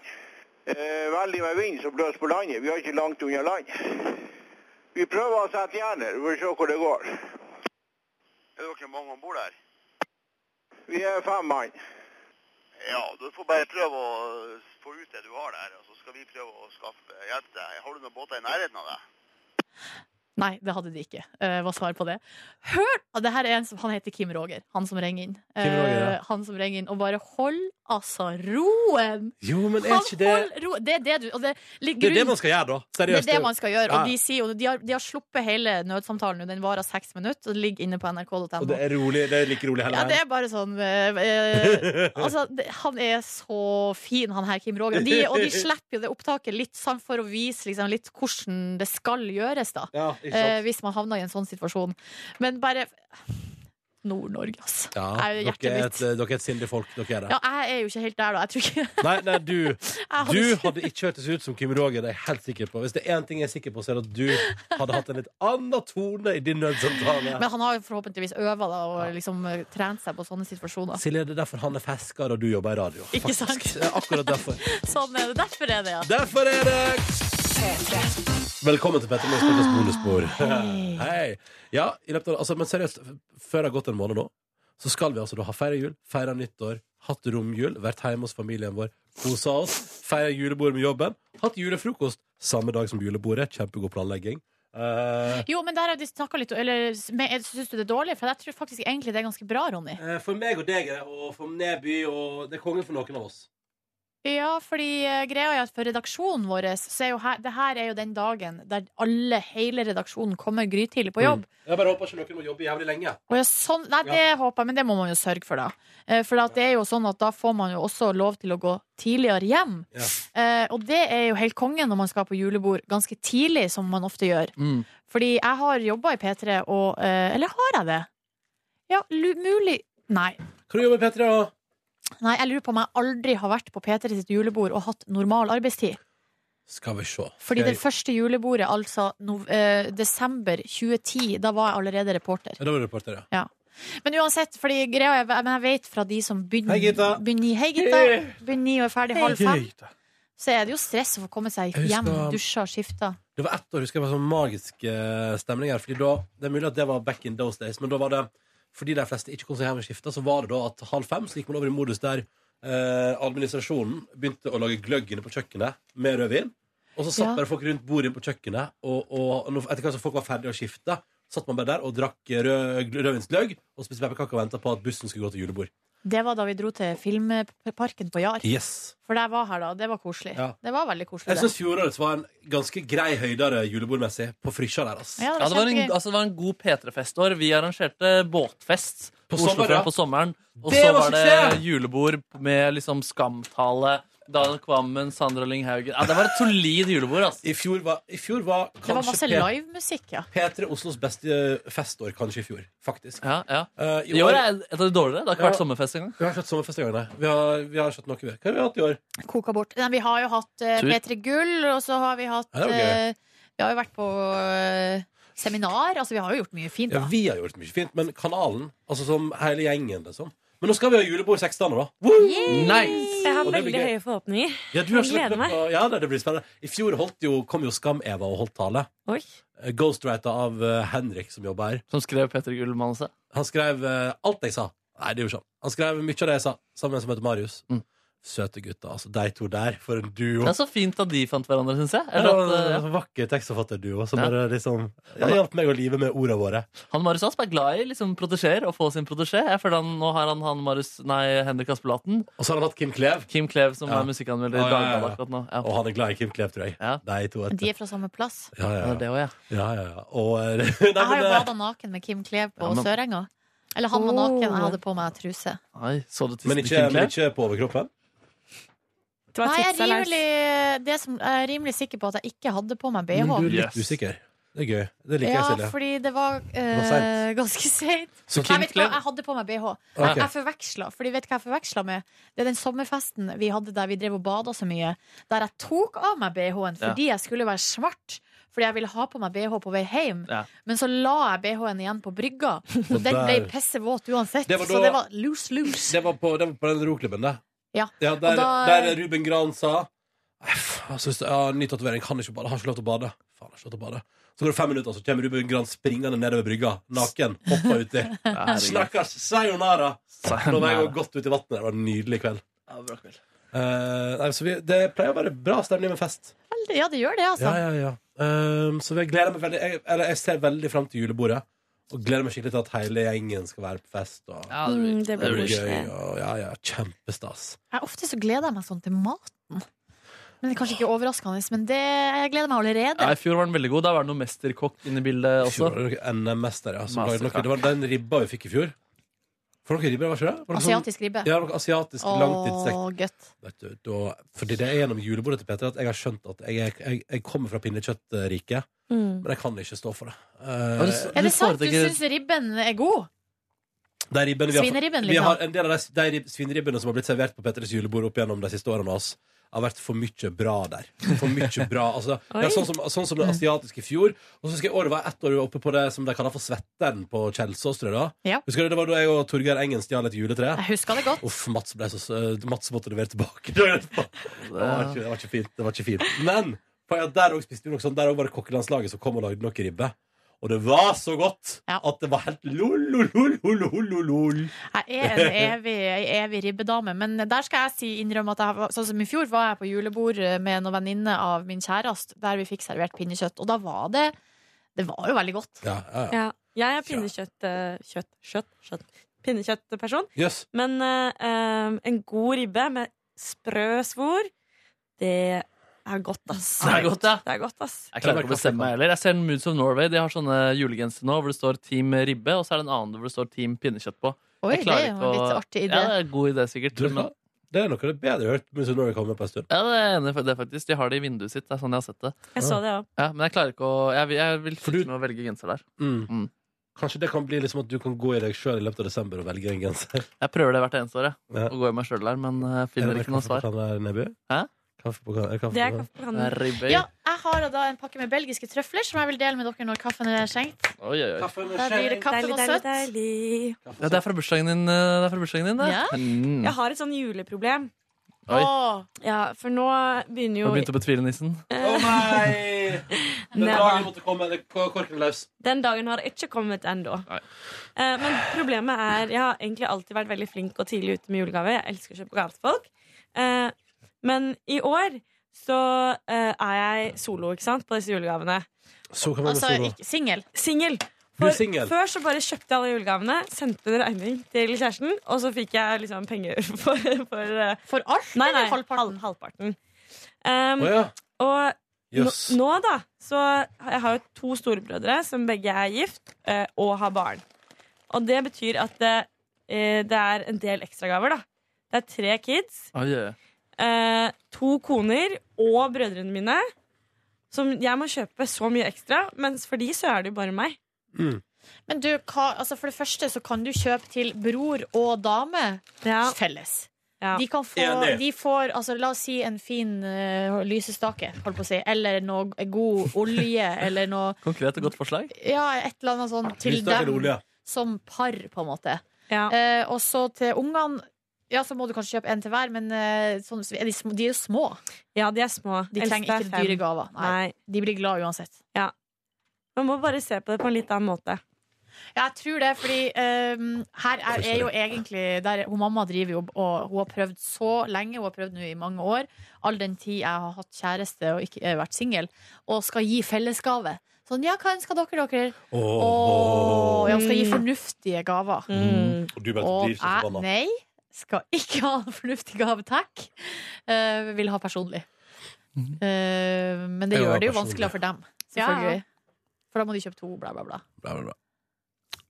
Speaker 9: Eh, veldig med vind som blåser på landet. Vi er ikke langt unna land. Vi prøver å sette jern her, vi får se hvor det går. Er dere mange om bord her? Vi er fem mann. Ja, du får bare prøve å få ut det du har der, og så skal vi prøve å skaffe hjelp til deg. Har du noen båter i nærheten av deg?
Speaker 2: Nei, det hadde de ikke. Uh, var svaret på det. Hør! Og det her er en som, han heter Kim Roger, han som ringer inn.
Speaker 1: Kim Roger, ja.
Speaker 2: Eh, han som ringer inn. Og bare hold altså roen!
Speaker 1: Jo, men er
Speaker 2: Han
Speaker 1: ikke det
Speaker 2: hold ro- det er det du og det, litt
Speaker 1: Det er det
Speaker 2: grunn-
Speaker 1: man skal gjøre, da.
Speaker 2: det er
Speaker 1: Seriøst.
Speaker 2: det man skal gjøre.
Speaker 1: Ja.
Speaker 2: Og de, sier jo, de, har, de har sluppet hele nødsamtalen. og Den varer seks minutter og det ligger inne på
Speaker 1: Og det
Speaker 2: nrk.no.
Speaker 1: er rolig. Det er like rolig hele
Speaker 2: Ja, det
Speaker 1: veien.
Speaker 2: er bare sånn eh, eh, Altså, det, han er så fin, han her Kim Roger. Og de, og de slipper jo det opptaket litt sånn for å vise liksom, litt hvordan det skal gjøres, da.
Speaker 1: Ja, ikke
Speaker 2: Eh,
Speaker 1: sant?
Speaker 2: hvis man havner i en sånn situasjon. Men bare Nord-Norge, altså.
Speaker 1: Ja,
Speaker 2: er eh, jo hjertet
Speaker 1: dere er et,
Speaker 2: mitt.
Speaker 1: dere er et sindig folk. Dere er det.
Speaker 2: Ja, jeg er jo ikke helt der, da. Jeg tror ikke <laughs>
Speaker 1: Nei, nei, du,
Speaker 2: jeg hadde,
Speaker 1: du hadde ikke hørtes ut som Kim Roger, det er jeg helt sikker på. Hvis det er én ting jeg er sikker på, så er det at du hadde hatt en litt annen tone i din nødsamtale.
Speaker 2: Men han har jo forhåpentligvis øva da, og liksom eh, trent seg på sånne situasjoner.
Speaker 1: Silje, det er derfor han er fisker og du jobber i radio.
Speaker 2: Ikke sant?
Speaker 1: Faktisk. Det er Akkurat derfor.
Speaker 2: <laughs> Sånn er det. Derfor er det, ja.
Speaker 1: Derfor er det Velkommen til Petter Morgens podcast bonusbord.
Speaker 2: Hei.
Speaker 1: Hei. Ja, i løpet av, altså, men seriøst, før det har gått en måned nå, så skal vi altså da ha feira jul, feira nyttår, hatt romjul, vært hjemme hos familien vår, kosa oss, feira julebord med jobben, hatt julefrokost samme dag som julebordet. Kjempegod planlegging. Eh,
Speaker 2: Jo, men der har de snakka litt Eller syns du det er dårlig? For jeg tror faktisk egentlig det er ganske bra, Ronny.
Speaker 1: eh, for meg og deg og for Neby og Det er kongen for noen av oss.
Speaker 2: Ja, fordi eh, greia er at for redaksjonen vår så er jo her, det her er jo den dagen der alle, hele redaksjonen kommer grytidlig på jobb.
Speaker 1: Jeg bare håper ikke noen må jobbe jævlig lenge.
Speaker 2: Å ja, sånn, nei, det håper jeg, men det må man jo sørge for, da. Eh, For at det er jo sånn at da får man jo også lov til å gå tidligere hjem.
Speaker 1: Ja.
Speaker 2: Eh, og det er jo helt konge når man skal på julebord ganske tidlig, som man ofte gjør.
Speaker 3: Mm.
Speaker 2: Fordi jeg har jobba i P3, og eh, Eller har jeg det? Ja, lu- mulig Nei.
Speaker 1: Kan du jobbe i P3, da?
Speaker 2: Nei, jeg lurer på om jeg aldri har vært på Peter sitt julebord og hatt normal arbeidstid.
Speaker 1: Skal vi se.
Speaker 2: Fordi
Speaker 1: Skal
Speaker 2: det første julebordet, altså nov eh, desember 2010, da var jeg allerede reporter.
Speaker 1: jeg... Da var du reporter, ja.
Speaker 2: Men uansett, fordi greia er, men jeg vet fra de som begynner
Speaker 1: Hei, Gitta.
Speaker 2: begynner ni- Hei, Gitta. Begynner ni og er ferdig halv fem, så er det jo stress å få komme seg
Speaker 1: Jeg
Speaker 2: hjem,
Speaker 1: husker-
Speaker 2: dusja, skifta.
Speaker 1: Det var ett år husker jeg var sånn magisk eh, stemning her. Fordi da, Det er mulig at det var back in those days, men da var det fordi de fleste ikke kom seg hjem og skifta, så var det da at halv fem så gikk man over i modus der eh, administrasjonen begynte å lage gløgg inne på kjøkkenet med rødvin. Og så satt
Speaker 2: Ja.
Speaker 1: bare folk rundt bordet inne på kjøkkenet, og, og når- etter hvert som folk var ferdige å skifte, satt man bare der og drakk rød, rødvinsgløgg og spiste pepperkaker og venta på at bussen skulle gå til julebord.
Speaker 2: Det var da vi dro til Filmparken på Jar.
Speaker 1: Yes
Speaker 2: For der var her, da. Det var koselig.
Speaker 1: Ja.
Speaker 2: Det var veldig koselig.
Speaker 1: Jeg
Speaker 2: det.
Speaker 1: syns fjorårets var en ganske grei høydere julebordmessig på Frysja der, altså.
Speaker 2: Ja, det
Speaker 3: Ja, det var en,
Speaker 2: kjempegøy.
Speaker 3: altså, det var en god P3-festår. Vi arrangerte båtfest
Speaker 1: På
Speaker 3: på,
Speaker 1: sommeren, ja.
Speaker 3: på sommeren. Og
Speaker 1: Det
Speaker 3: så
Speaker 1: var
Speaker 3: var det
Speaker 1: suksess!
Speaker 3: julebord med liksom skamtale. Daniel Kvammen, Sandra Lynghaugen ja, Det var et solid julebord. Altså.
Speaker 1: I fjor var, i fjor var
Speaker 2: Det var masse
Speaker 1: kanskje P-
Speaker 2: livemusikk, ja.
Speaker 1: P3 Oslos beste eh, festår, kanskje i fjor, faktisk.
Speaker 3: Ja, ja.
Speaker 1: Eh,
Speaker 3: I år er et av de dårligere. Det har ikke
Speaker 1: Ja.
Speaker 3: vært sommerfest engang.
Speaker 1: Vi har ikke hatt sommerfest engang, nei. Vi har, vi har ikke hatt noe, vi. Hva har vi hatt i år?
Speaker 2: Koka bort. Nei, vi har jo hatt eh,
Speaker 3: Tur.
Speaker 2: P3 Gull, og så har vi hatt
Speaker 1: Ja, det var gøy.
Speaker 2: eh, Vi har jo vært på eh, seminar. Altså, vi har jo gjort mye fint,
Speaker 1: Ja,
Speaker 2: da.
Speaker 1: vi har gjort mye fint, men kanalen, altså som hele gjengen, liksom. Men nå skal vi ha julebord 16. da.
Speaker 3: Nice!
Speaker 6: Jeg har
Speaker 1: Og det blir gøy.
Speaker 6: veldig høye forhåpninger.
Speaker 1: Ja, du har
Speaker 6: Jeg gleder
Speaker 1: sluttet på Ja, det, det blir spennende. I fjor holdt jo, kom jo Skam-Eva og holdt tale.
Speaker 6: Oi.
Speaker 1: Eh, Ghostwriter av eh, Henrik, som jobber her.
Speaker 3: Som skrev Peter Gull-manuset.
Speaker 1: Han skrev eh, alt jeg sa. Nei, det er jo sånn. Han skrev mye av det jeg sa, sammen med en som heter Marius.
Speaker 3: Mm.
Speaker 1: Søte gutter. Altså, de to der, for en duo.
Speaker 3: Det er så fint at de fant hverandre, syns jeg.
Speaker 1: Ja, det
Speaker 3: Eller
Speaker 1: var
Speaker 3: at, eh,
Speaker 1: en sånn Vakker tekstforfatterduo som
Speaker 3: Ja.
Speaker 1: bare liksom ja, hjalp meg å live med ordene våre.
Speaker 3: Han Marius Asp er glad i liksom protesjeer og få sin protesjé. Jeg føler han, Nå har han, han Marius, nei, Henrik Aspelaten.
Speaker 1: Og så har han hatt Kim Klev,
Speaker 3: Kim Klev, som
Speaker 1: Ja.
Speaker 3: er musikkanmelder i
Speaker 1: Ja, ja, ja, ja.
Speaker 3: Dagbladet akkurat nå.
Speaker 1: og
Speaker 3: Ja.
Speaker 1: han er glad i Kim Klev, tror jeg.
Speaker 3: Ja.
Speaker 1: De to. vet du.
Speaker 2: De er fra samme plass.
Speaker 1: Ja, ja,
Speaker 3: Det er
Speaker 1: ja.
Speaker 3: det også, ja.
Speaker 1: ja, ja, ja. Og, eh, <laughs> nei,
Speaker 2: Jeg har
Speaker 1: men,
Speaker 2: jo
Speaker 1: eh,
Speaker 2: bada naken med Kim Klev på
Speaker 3: Ja, men-
Speaker 2: Sørenga. Eller han var naken, jeg
Speaker 6: Oh.
Speaker 2: hadde på meg truse.
Speaker 3: Oi, så du
Speaker 1: men,
Speaker 3: tissen til
Speaker 1: ikke,
Speaker 3: Kim
Speaker 1: men
Speaker 3: Klev?
Speaker 1: ikke på overkroppen?
Speaker 6: Det var
Speaker 2: Nei, jeg
Speaker 6: tipset
Speaker 2: er
Speaker 6: Lars.
Speaker 2: rimelig, det som, jeg er rimelig sikker på at jeg ikke hadde på meg
Speaker 1: Men
Speaker 2: BH.
Speaker 1: du er litt
Speaker 3: Yes.
Speaker 1: usikker. Det er gøy. Det liker
Speaker 2: Ja,
Speaker 1: jeg, Silje.
Speaker 2: fordi det var, eh, <laughs>
Speaker 1: sent.
Speaker 2: ganske seint.
Speaker 3: Så
Speaker 2: Nei,
Speaker 3: Kim
Speaker 2: vet du hva, Ah.
Speaker 3: Klev
Speaker 2: jeg hadde på meg BH.
Speaker 1: Ok.
Speaker 2: Jeg forveksla, fordi vet du hva jeg forveksla med? Det er den sommerfesten vi hadde der vi drev og bada så mye, der jeg tok av meg BH-en
Speaker 3: Ja.
Speaker 2: fordi jeg skulle være svart. Fordi jeg ville ha på meg BH på vei hjem,
Speaker 3: Ja.
Speaker 2: men så la jeg BH-en igjen
Speaker 1: <laughs>
Speaker 2: på brygga.
Speaker 1: Og
Speaker 2: Og den
Speaker 1: der-
Speaker 2: ble pissevåt uansett,
Speaker 1: Det var da-
Speaker 2: så det var loose, loose.
Speaker 1: Det var på, det var på den roklubben, det.
Speaker 2: Ja.
Speaker 1: der,
Speaker 2: Og da-
Speaker 1: der Ruben Gran sa «Nei, faen, jeg synes, ja, Ny tatovering. Kan ikke bade. Har ikke lov til å bade. Faen, har ikke lov til å bade. Så går det fem minutter, så kommer Ruben Gran springende nedover brygga, naken, hoppa uti.
Speaker 2: <laughs>
Speaker 1: Snakkars! Sayonara! Da var jeg
Speaker 3: Sayonara.
Speaker 1: jo godt ut i vannet. Det var en nydelig kveld.
Speaker 3: Ja, bra kveld.
Speaker 1: Eh, nei, så vi, det pleier å være bra stemning med fest.
Speaker 2: Veldig- Ja, det gjør det, altså.
Speaker 1: Ja, ja, ja. Eh, så jeg gleder meg veldig jeg, Eller jeg ser veldig fram til julebordet. Og gleder meg skikkelig til at hele gjengen skal være på fest. Og,
Speaker 3: Ja, det
Speaker 6: Mm,
Speaker 3: blir-
Speaker 6: det
Speaker 1: det blir
Speaker 6: blir
Speaker 1: gøy.
Speaker 6: koselig.
Speaker 1: Og, ja, ja, kjempestas.
Speaker 2: Jeg, ofte så gleder jeg meg sånn til maten. Men det er kanskje ikke overraskende, men det, jeg gleder meg allerede.
Speaker 3: Ja, I fjor var den veldig god. Da var det noe mesterkokk inne i
Speaker 1: I
Speaker 3: bildet
Speaker 1: fjor var
Speaker 3: også.
Speaker 1: det noe NM-mester, ja. Som lagde
Speaker 3: Mastercraft.
Speaker 1: noe, det var den ribba vi fikk i fjor. For noen ribber, var ikke det? Var det noe sånn-
Speaker 2: Asiatisk ribbe.
Speaker 1: Ja, noe asiatisk
Speaker 2: Åh,
Speaker 1: langtidsstekt.
Speaker 2: godt.
Speaker 1: Vet du, da, fordi det er gjennom julebordet til Peter at jeg har skjønt at jeg, er- jeg, jeg kommer fra pinnekjøttriket, men
Speaker 6: Mm.
Speaker 1: jeg kan ikke stå for det. Eh,
Speaker 3: Har du s-
Speaker 2: Er
Speaker 3: du
Speaker 2: det sant? Du
Speaker 3: foretrekker-
Speaker 2: syns ribben er god?
Speaker 1: de ribbene vi har,
Speaker 2: Svineribben,
Speaker 1: Vi har
Speaker 2: liksom?
Speaker 1: en del av de, de rib- svineribbene som har blitt servert på Petters julebord opp gjennom de siste årene av oss, har vært for mye bra der. For mye bra. Altså, det
Speaker 6: Oi.
Speaker 1: er sånn som, sånn som det asiatiske i fjor. Og så husker jeg året var ett år oppe på det som de kaller for Svetteren på Kjelsås, tror jeg da.
Speaker 2: Ja.
Speaker 1: Husker du det var da jeg og Torgeir Engen stjal et juletre?
Speaker 2: Jeg husker det godt.
Speaker 1: Uff, Mats, ble så, sø- Mats måtte levere tilbake. <laughs> Det var, ikke, det, var ikke fint, det var ikke fint. Men poenget er at der også spiste vi noe sånt. Der også var det kokkelandslaget som kom og lagde noe ribbe. Og det var så godt
Speaker 2: Ja.
Speaker 1: at det var helt lol, lol, lol, lol, lol, lol, lol.
Speaker 2: Jeg er en evig, ei evig ribbedame. Men der skal jeg si innrømme at jeg, var- sånn som i fjor var jeg på julebord eh, med noen venninne av min kjæreste, der vi fikk servert pinnekjøtt. Og da var det Det var jo veldig godt.
Speaker 1: Ja, ja, ja.
Speaker 6: Ja. Jeg er pinnekjøtt eh, Kjøtt, kjøtt, kjøtt Pinnekjøttperson.
Speaker 1: Jøss.
Speaker 6: Men eh, eh, en god ribbe med sprø svor, det er godt, ass.
Speaker 3: Det er godt, ja.
Speaker 6: Det er godt, ass.
Speaker 3: Jeg klarer ikke å bestemme meg heller. Jeg ser Moods of Norway. De har sånne julegensere nå hvor det står Team Ribbe, og så er det en annen hvor det står Team Pinnekjøtt på.
Speaker 2: Oi, det
Speaker 3: Jeg klarer
Speaker 2: er jo en
Speaker 3: ikke
Speaker 2: litt
Speaker 3: å-
Speaker 2: artig
Speaker 3: Ja, det
Speaker 2: idé.
Speaker 3: er en god idé, sikkert.
Speaker 1: Du,
Speaker 3: Men
Speaker 1: Det er noe av det bedre jeg har hørt Mens når vi kommer på en stund
Speaker 3: ja, det er enig for det, faktisk. De har det i vinduet sitt. Det er sånn jeg har sett det.
Speaker 6: Jeg så det òg.
Speaker 3: Ja, men jeg klarer ikke å Jeg, vil- jeg vil
Speaker 1: For du-
Speaker 3: slutte med å velge genser der.
Speaker 1: Mm. Kanskje det kan bli liksom at du kan gå i deg sjøl i løpet av desember og velge en genser?
Speaker 3: Jeg prøver det hvert eneste år, jeg.
Speaker 1: Ja.
Speaker 3: Å gå i meg sjøl der, men eh, finner ikke noe svar.
Speaker 1: Kan være Nebø?
Speaker 3: Hæ?
Speaker 1: Kaffe på kan- er det kaffe
Speaker 6: Det er
Speaker 1: på kan-
Speaker 6: kaffebrannen.
Speaker 3: Ribbe.
Speaker 2: Ja, jeg har da en pakke med belgiske trøfler som jeg vil dele med dere når kaffen er skjenkt.
Speaker 3: Oi, oi, oi.
Speaker 2: Da blir det kaffe
Speaker 6: Deilig,
Speaker 2: og
Speaker 6: deilig,
Speaker 2: søtt.
Speaker 6: deilig.
Speaker 3: Ja, det er fra bursdagen din, eh, det. Er fra bursdagen din, det.
Speaker 2: Ja.
Speaker 3: Mm.
Speaker 6: Jeg har et sånn juleproblem.
Speaker 3: Oi.
Speaker 2: Åh,
Speaker 6: Ja, for nå
Speaker 3: Nå
Speaker 6: begynner jo
Speaker 3: begynte å betvile nissen.
Speaker 1: Å
Speaker 2: <laughs>
Speaker 1: nei! Den dagen
Speaker 6: Never.
Speaker 1: måtte komme, eller k- korken løs.
Speaker 6: Den dagen har ikke kommet ennå.
Speaker 3: Nei.
Speaker 6: Eh, men problemet er Jeg har egentlig alltid vært veldig flink og tidlig ute med julegaver. Jeg elsker å kjøpe gaver til folk. Eh, men i år så eh, er jeg solo, ikke sant, på disse julegavene.
Speaker 1: Så kan man
Speaker 2: altså,
Speaker 1: solo.
Speaker 2: ikke- singel.
Speaker 6: Singel.
Speaker 1: Du er
Speaker 6: For-
Speaker 1: singel.
Speaker 6: Før så bare kjøpte jeg alle julegavene, sendte en regning til kjæresten, og så fikk jeg liksom penger <laughs> for, for eh,
Speaker 2: For alt,
Speaker 6: Nei, nei,
Speaker 2: eller halvparten?
Speaker 6: halv- halvparten. Um,
Speaker 1: Å ja.
Speaker 6: Og
Speaker 1: Jøss.
Speaker 6: Nå, nå da, så jeg har jo to storebrødre som begge er gift eh, og har barn. Og det betyr at det, eh, det er en del ekstragaver, da. Det er tre kids,
Speaker 3: Oi, oi, oi.
Speaker 6: eh, to koner og brødrene mine. Som jeg må kjøpe så mye ekstra, mens for de så er det jo bare meg.
Speaker 2: Men du, hva, altså for det første så kan du kjøpe til bror og dame
Speaker 6: Ja,
Speaker 2: felles.
Speaker 6: ja.
Speaker 2: De kan få,
Speaker 1: Enig.
Speaker 2: de får altså, La oss si en fin eh, lysestake, holdt på å si. Eller noe god
Speaker 6: <laughs>
Speaker 2: olje, eller noe
Speaker 3: Konkret og godt forslag.
Speaker 2: Ja, et eller annet sånn til
Speaker 1: Lysstaken
Speaker 2: dem
Speaker 1: olje.
Speaker 2: som par, på en måte.
Speaker 6: ja.
Speaker 2: Eh, og så til ungene ja, så må du kanskje kjøpe en til hver, men eh, sånn, er de, små, de er jo små.
Speaker 6: ja de er små.
Speaker 2: De
Speaker 6: Eldste
Speaker 2: trenger
Speaker 6: er
Speaker 2: ikke
Speaker 6: fem.
Speaker 2: dyre gaver. Nei.
Speaker 6: Nei.
Speaker 2: De blir glad uansett.
Speaker 6: Man må bare se på det på en litt annen måte.
Speaker 2: Ja, jeg tror det, fordi ehm, her er,
Speaker 1: Oi,
Speaker 2: er jo
Speaker 1: sorry.
Speaker 2: egentlig der, hun Mamma driver jo og hun har prøvd så lenge, hun har prøvd nå i mange år, all den tid jeg har hatt kjæreste og ikke eh, vært singel, og skal gi fellesgave. Sånn, ja, hva ønsker dere dere?
Speaker 1: Åh.
Speaker 2: Åh, ja, hun skal gi fornuftige gaver.
Speaker 6: Mm.
Speaker 1: Og du bare
Speaker 2: Og
Speaker 1: blir så
Speaker 2: jeg,
Speaker 1: forbanna.
Speaker 2: nei, skal ikke ha en fornuftig gave, takk. Eh, vil ha personlig. Eh, men
Speaker 1: Mm.
Speaker 2: det
Speaker 1: Jeg vil ha
Speaker 2: gjør det jo
Speaker 1: personlig.
Speaker 2: vanskeligere for dem, selvfølgelig. For da må de kjøpe to, bla, bla, bla.
Speaker 1: Bla, bla, bla.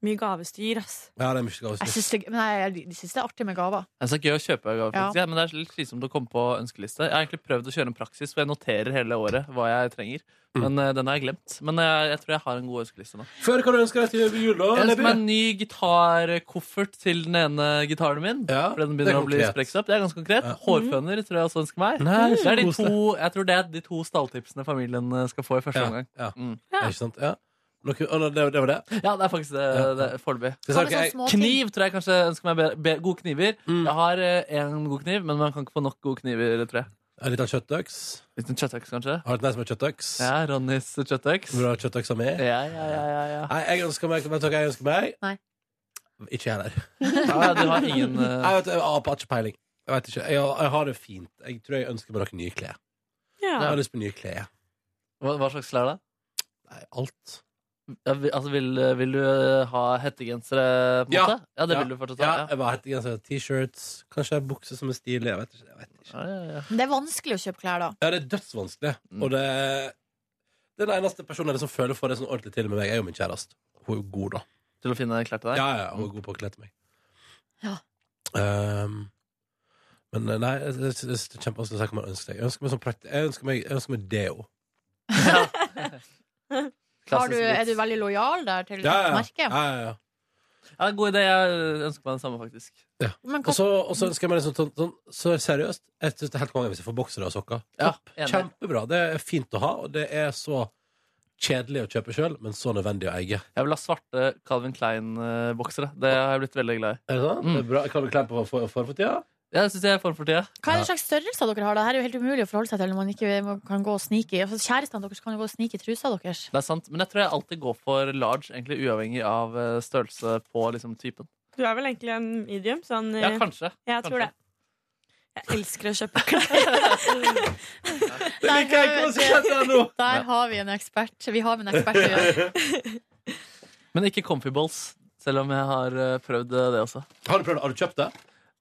Speaker 6: Mye gavestyr, ass.
Speaker 1: Ja, det er mye
Speaker 2: Jeg
Speaker 1: gavestyr.
Speaker 2: syns det, men jeg, jeg synes det er artig med gaver.
Speaker 3: Det er så gøy å kjøpe gaver,
Speaker 2: Ja.
Speaker 3: faktisk. Ja, men det er litt slitsomt å komme på ønskeliste. Jeg har egentlig prøvd å kjøre en praksis hvor jeg noterer hele året hva jeg trenger.
Speaker 1: Mm.
Speaker 3: Men eh, den har jeg glemt. Men eh, jeg, jeg tror jeg har en god ønskeliste nå.
Speaker 1: Før kan du ønske deg til jul, da?
Speaker 3: Jeg ønsker meg
Speaker 1: Nebø?
Speaker 3: en ny gitarkoffert til den ene gitaren min.
Speaker 1: Ja,
Speaker 3: For den
Speaker 1: det er
Speaker 3: begynner å bli
Speaker 1: konkret.
Speaker 3: sprekket opp. Det er ganske konkret.
Speaker 1: Ja.
Speaker 3: Hårføner tror jeg også ønsker meg.
Speaker 1: Nei,
Speaker 3: Det
Speaker 1: så
Speaker 3: er de
Speaker 1: kos deg.
Speaker 3: to, jeg tror det er de to stalltipsene familien eh, skal få i første
Speaker 1: Ja,
Speaker 3: omgang.
Speaker 1: ja.
Speaker 3: Mm.
Speaker 1: Ja, Ikke sant? Ja. Noe, å, nei, det, det var det.
Speaker 3: ja, det er faktisk det, det er foreløpig.
Speaker 1: Skal
Speaker 2: Hva
Speaker 1: jeg si
Speaker 2: med sånne
Speaker 1: dere,
Speaker 2: små ting?
Speaker 3: Kniv tror jeg kanskje ønsker meg bedre. Be gode kniver.
Speaker 1: Mm.
Speaker 3: Jeg har én god kniv, men man kan ikke få nok gode kniver, tror jeg.
Speaker 1: jeg- En liten kjøttøks.
Speaker 3: Litt en kjøttøks, kanskje?
Speaker 1: Har du et nei som er kjøttøks?
Speaker 3: Ja, Ronnys kjøttøks.
Speaker 1: Vil du ha kjøttøksa mi?
Speaker 3: Ja, ja, ja, ja, ja.
Speaker 1: Nei, jeg ønsker meg Vet du hva jeg ønsker meg?
Speaker 2: Nei.
Speaker 1: Ikke jeg heller.
Speaker 3: ja du har ingen eh,
Speaker 1: Jeg vet, jeg har ikke peiling. Jeg vet ikke. Jeg, jeg har det fint. Jeg tror jeg ønsker meg noen nye klær. Jeg
Speaker 6: Ja.
Speaker 1: har lyst på nye klær.
Speaker 3: hva, hva slags klær, da?
Speaker 1: Nei, alt.
Speaker 3: Ja, vi- altså, vil, vil du eh, ha hettegensere, eh, på en
Speaker 1: Ja.
Speaker 3: måte? Ja, det vil du fortsatt ha.
Speaker 1: Ja,
Speaker 3: Ja.
Speaker 1: jeg bare heter genser, T-shirts, kanskje ei bukse som er stilig. Jeg vet ikke. Jeg vet ikke.
Speaker 3: Ja, ja, ja.
Speaker 2: Det er vanskelig å kjøpe klær da.
Speaker 1: Ja, det er dødsvanskelig.
Speaker 3: Mm.
Speaker 1: Og det det er den eneste personen jeg liksom føler for det sånn ordentlig til med meg, er jo min kjæreste. Hun er jo god, da.
Speaker 3: Til å finne klær til deg?
Speaker 1: Ja, ja, hun er god på å kle til meg.
Speaker 2: Ja.
Speaker 1: Ehm, men eh, nei, det det- det er kjempevanskelig å si hva man ønsker seg. Jeg ønsker meg, sånn prakt- jeg ønsker meg, jeg ønsker meg deo.
Speaker 2: Har du,
Speaker 3: Klassisk vits.
Speaker 2: er du veldig lojal der til
Speaker 1: Ja, ja, ja. ja,
Speaker 2: merket?
Speaker 1: ja, ja.
Speaker 3: Ja, god idé. Jeg eh, ønsker meg den samme, faktisk.
Speaker 2: Men
Speaker 1: Og
Speaker 2: hva,
Speaker 1: så og så ønsker jeg meg liksom sånn, sånn Så seriøst, jeg synes det er helt konge hvis jeg får boksere og sokker.
Speaker 3: Ja, enig.
Speaker 1: Kjempebra. Det er fint å ha, og det er så kjedelig å kjøpe sjøl, men så nødvendig å eie.
Speaker 3: Jeg vil ha svarte Calvin Klein-boksere. Det har jeg blitt veldig glad i.
Speaker 1: Er det sant?
Speaker 3: Mm.
Speaker 1: Det er bra. Kan vi klemme på for, for, for tida?
Speaker 3: Jeg synes jeg er form for tida.
Speaker 2: hva er det slags størrelser dere har da? Her er jo helt umulig å forholde seg til når man ikke må- kan gå og snike i. Altså, Kjærestene deres kan jo gå og snike i trusa deres.
Speaker 3: Det er sant, men jeg tror jeg alltid går for large, egentlig uavhengig av eh, størrelse på liksom, typen.
Speaker 6: Du er vel egentlig en medium? Sånn,
Speaker 3: Ja,
Speaker 6: eh,
Speaker 3: kanskje. <laughs>
Speaker 6: jeg tror
Speaker 3: kanskje.
Speaker 6: det. Jeg elsker å kjøpe
Speaker 1: <laughs>
Speaker 6: klær.
Speaker 1: Det liker jeg ikke! altså. Hva som skjedde der nå?
Speaker 2: Der har vi en ekspert. Vi har med en ekspert å gjøre.
Speaker 3: Men ikke comfy balls, selv om jeg har eh, prøvd eh, det også.
Speaker 1: Har du prøvd Har du kjøpt det?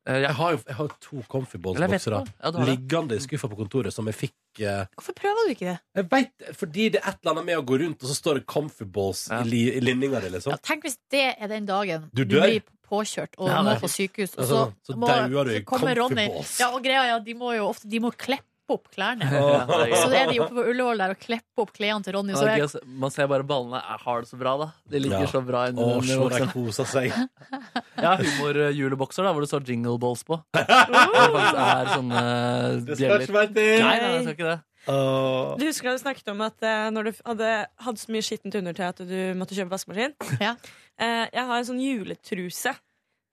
Speaker 3: Eh, jeg
Speaker 1: Jeg har jo jeg har to Comfy
Speaker 3: Eller jeg vet
Speaker 1: Balls-boksere
Speaker 3: ikke. Ja, du har det.
Speaker 1: liggende i skuffa på kontoret som jeg fikk eh,
Speaker 2: Hvorfor prøver du ikke det?
Speaker 1: Jeg vet, Fordi det er et eller annet med å gå rundt, og så står det Comfy Balls
Speaker 3: Ja.
Speaker 1: i, li, i linninga di, liksom.
Speaker 2: Ja, tenk hvis det er den dagen
Speaker 1: Du dør.
Speaker 2: blir påkjørt og
Speaker 3: Ja,
Speaker 2: må
Speaker 3: det-
Speaker 2: på sykehus, og
Speaker 1: Ja,
Speaker 2: så,
Speaker 1: sånn, så dauer du i
Speaker 2: kommer Ronny.
Speaker 1: comfyballs.
Speaker 2: Ja, og greia er at de må jo ofte de må klippe klippe opp klærne.
Speaker 3: <laughs> Åh.
Speaker 2: Så er de oppe på Ullevål der og klipper opp klærne til Ronny. Så
Speaker 3: Ja,
Speaker 2: jeg,
Speaker 3: gøy, Man ser bare ballene er har det så bra, da. De ligger
Speaker 1: Ja.
Speaker 3: så bra
Speaker 1: Å,
Speaker 3: under
Speaker 1: se de
Speaker 3: vokseren.
Speaker 1: koser seg.
Speaker 3: <laughs> Jeg har humorjulebokser da, hvor det står jingle balls <laughs> på. Det faktisk er sånne eh, bjeller.
Speaker 1: mer til.
Speaker 3: Nei, nei, jeg skal ikke det.
Speaker 1: Åh.
Speaker 6: Du husker da du snakket om at eh, når du f- hadde hatt så mye skittent undertøy at du måtte kjøpe vaskemaskin?
Speaker 2: Ja.
Speaker 6: Eh, jeg har en sånn juletruse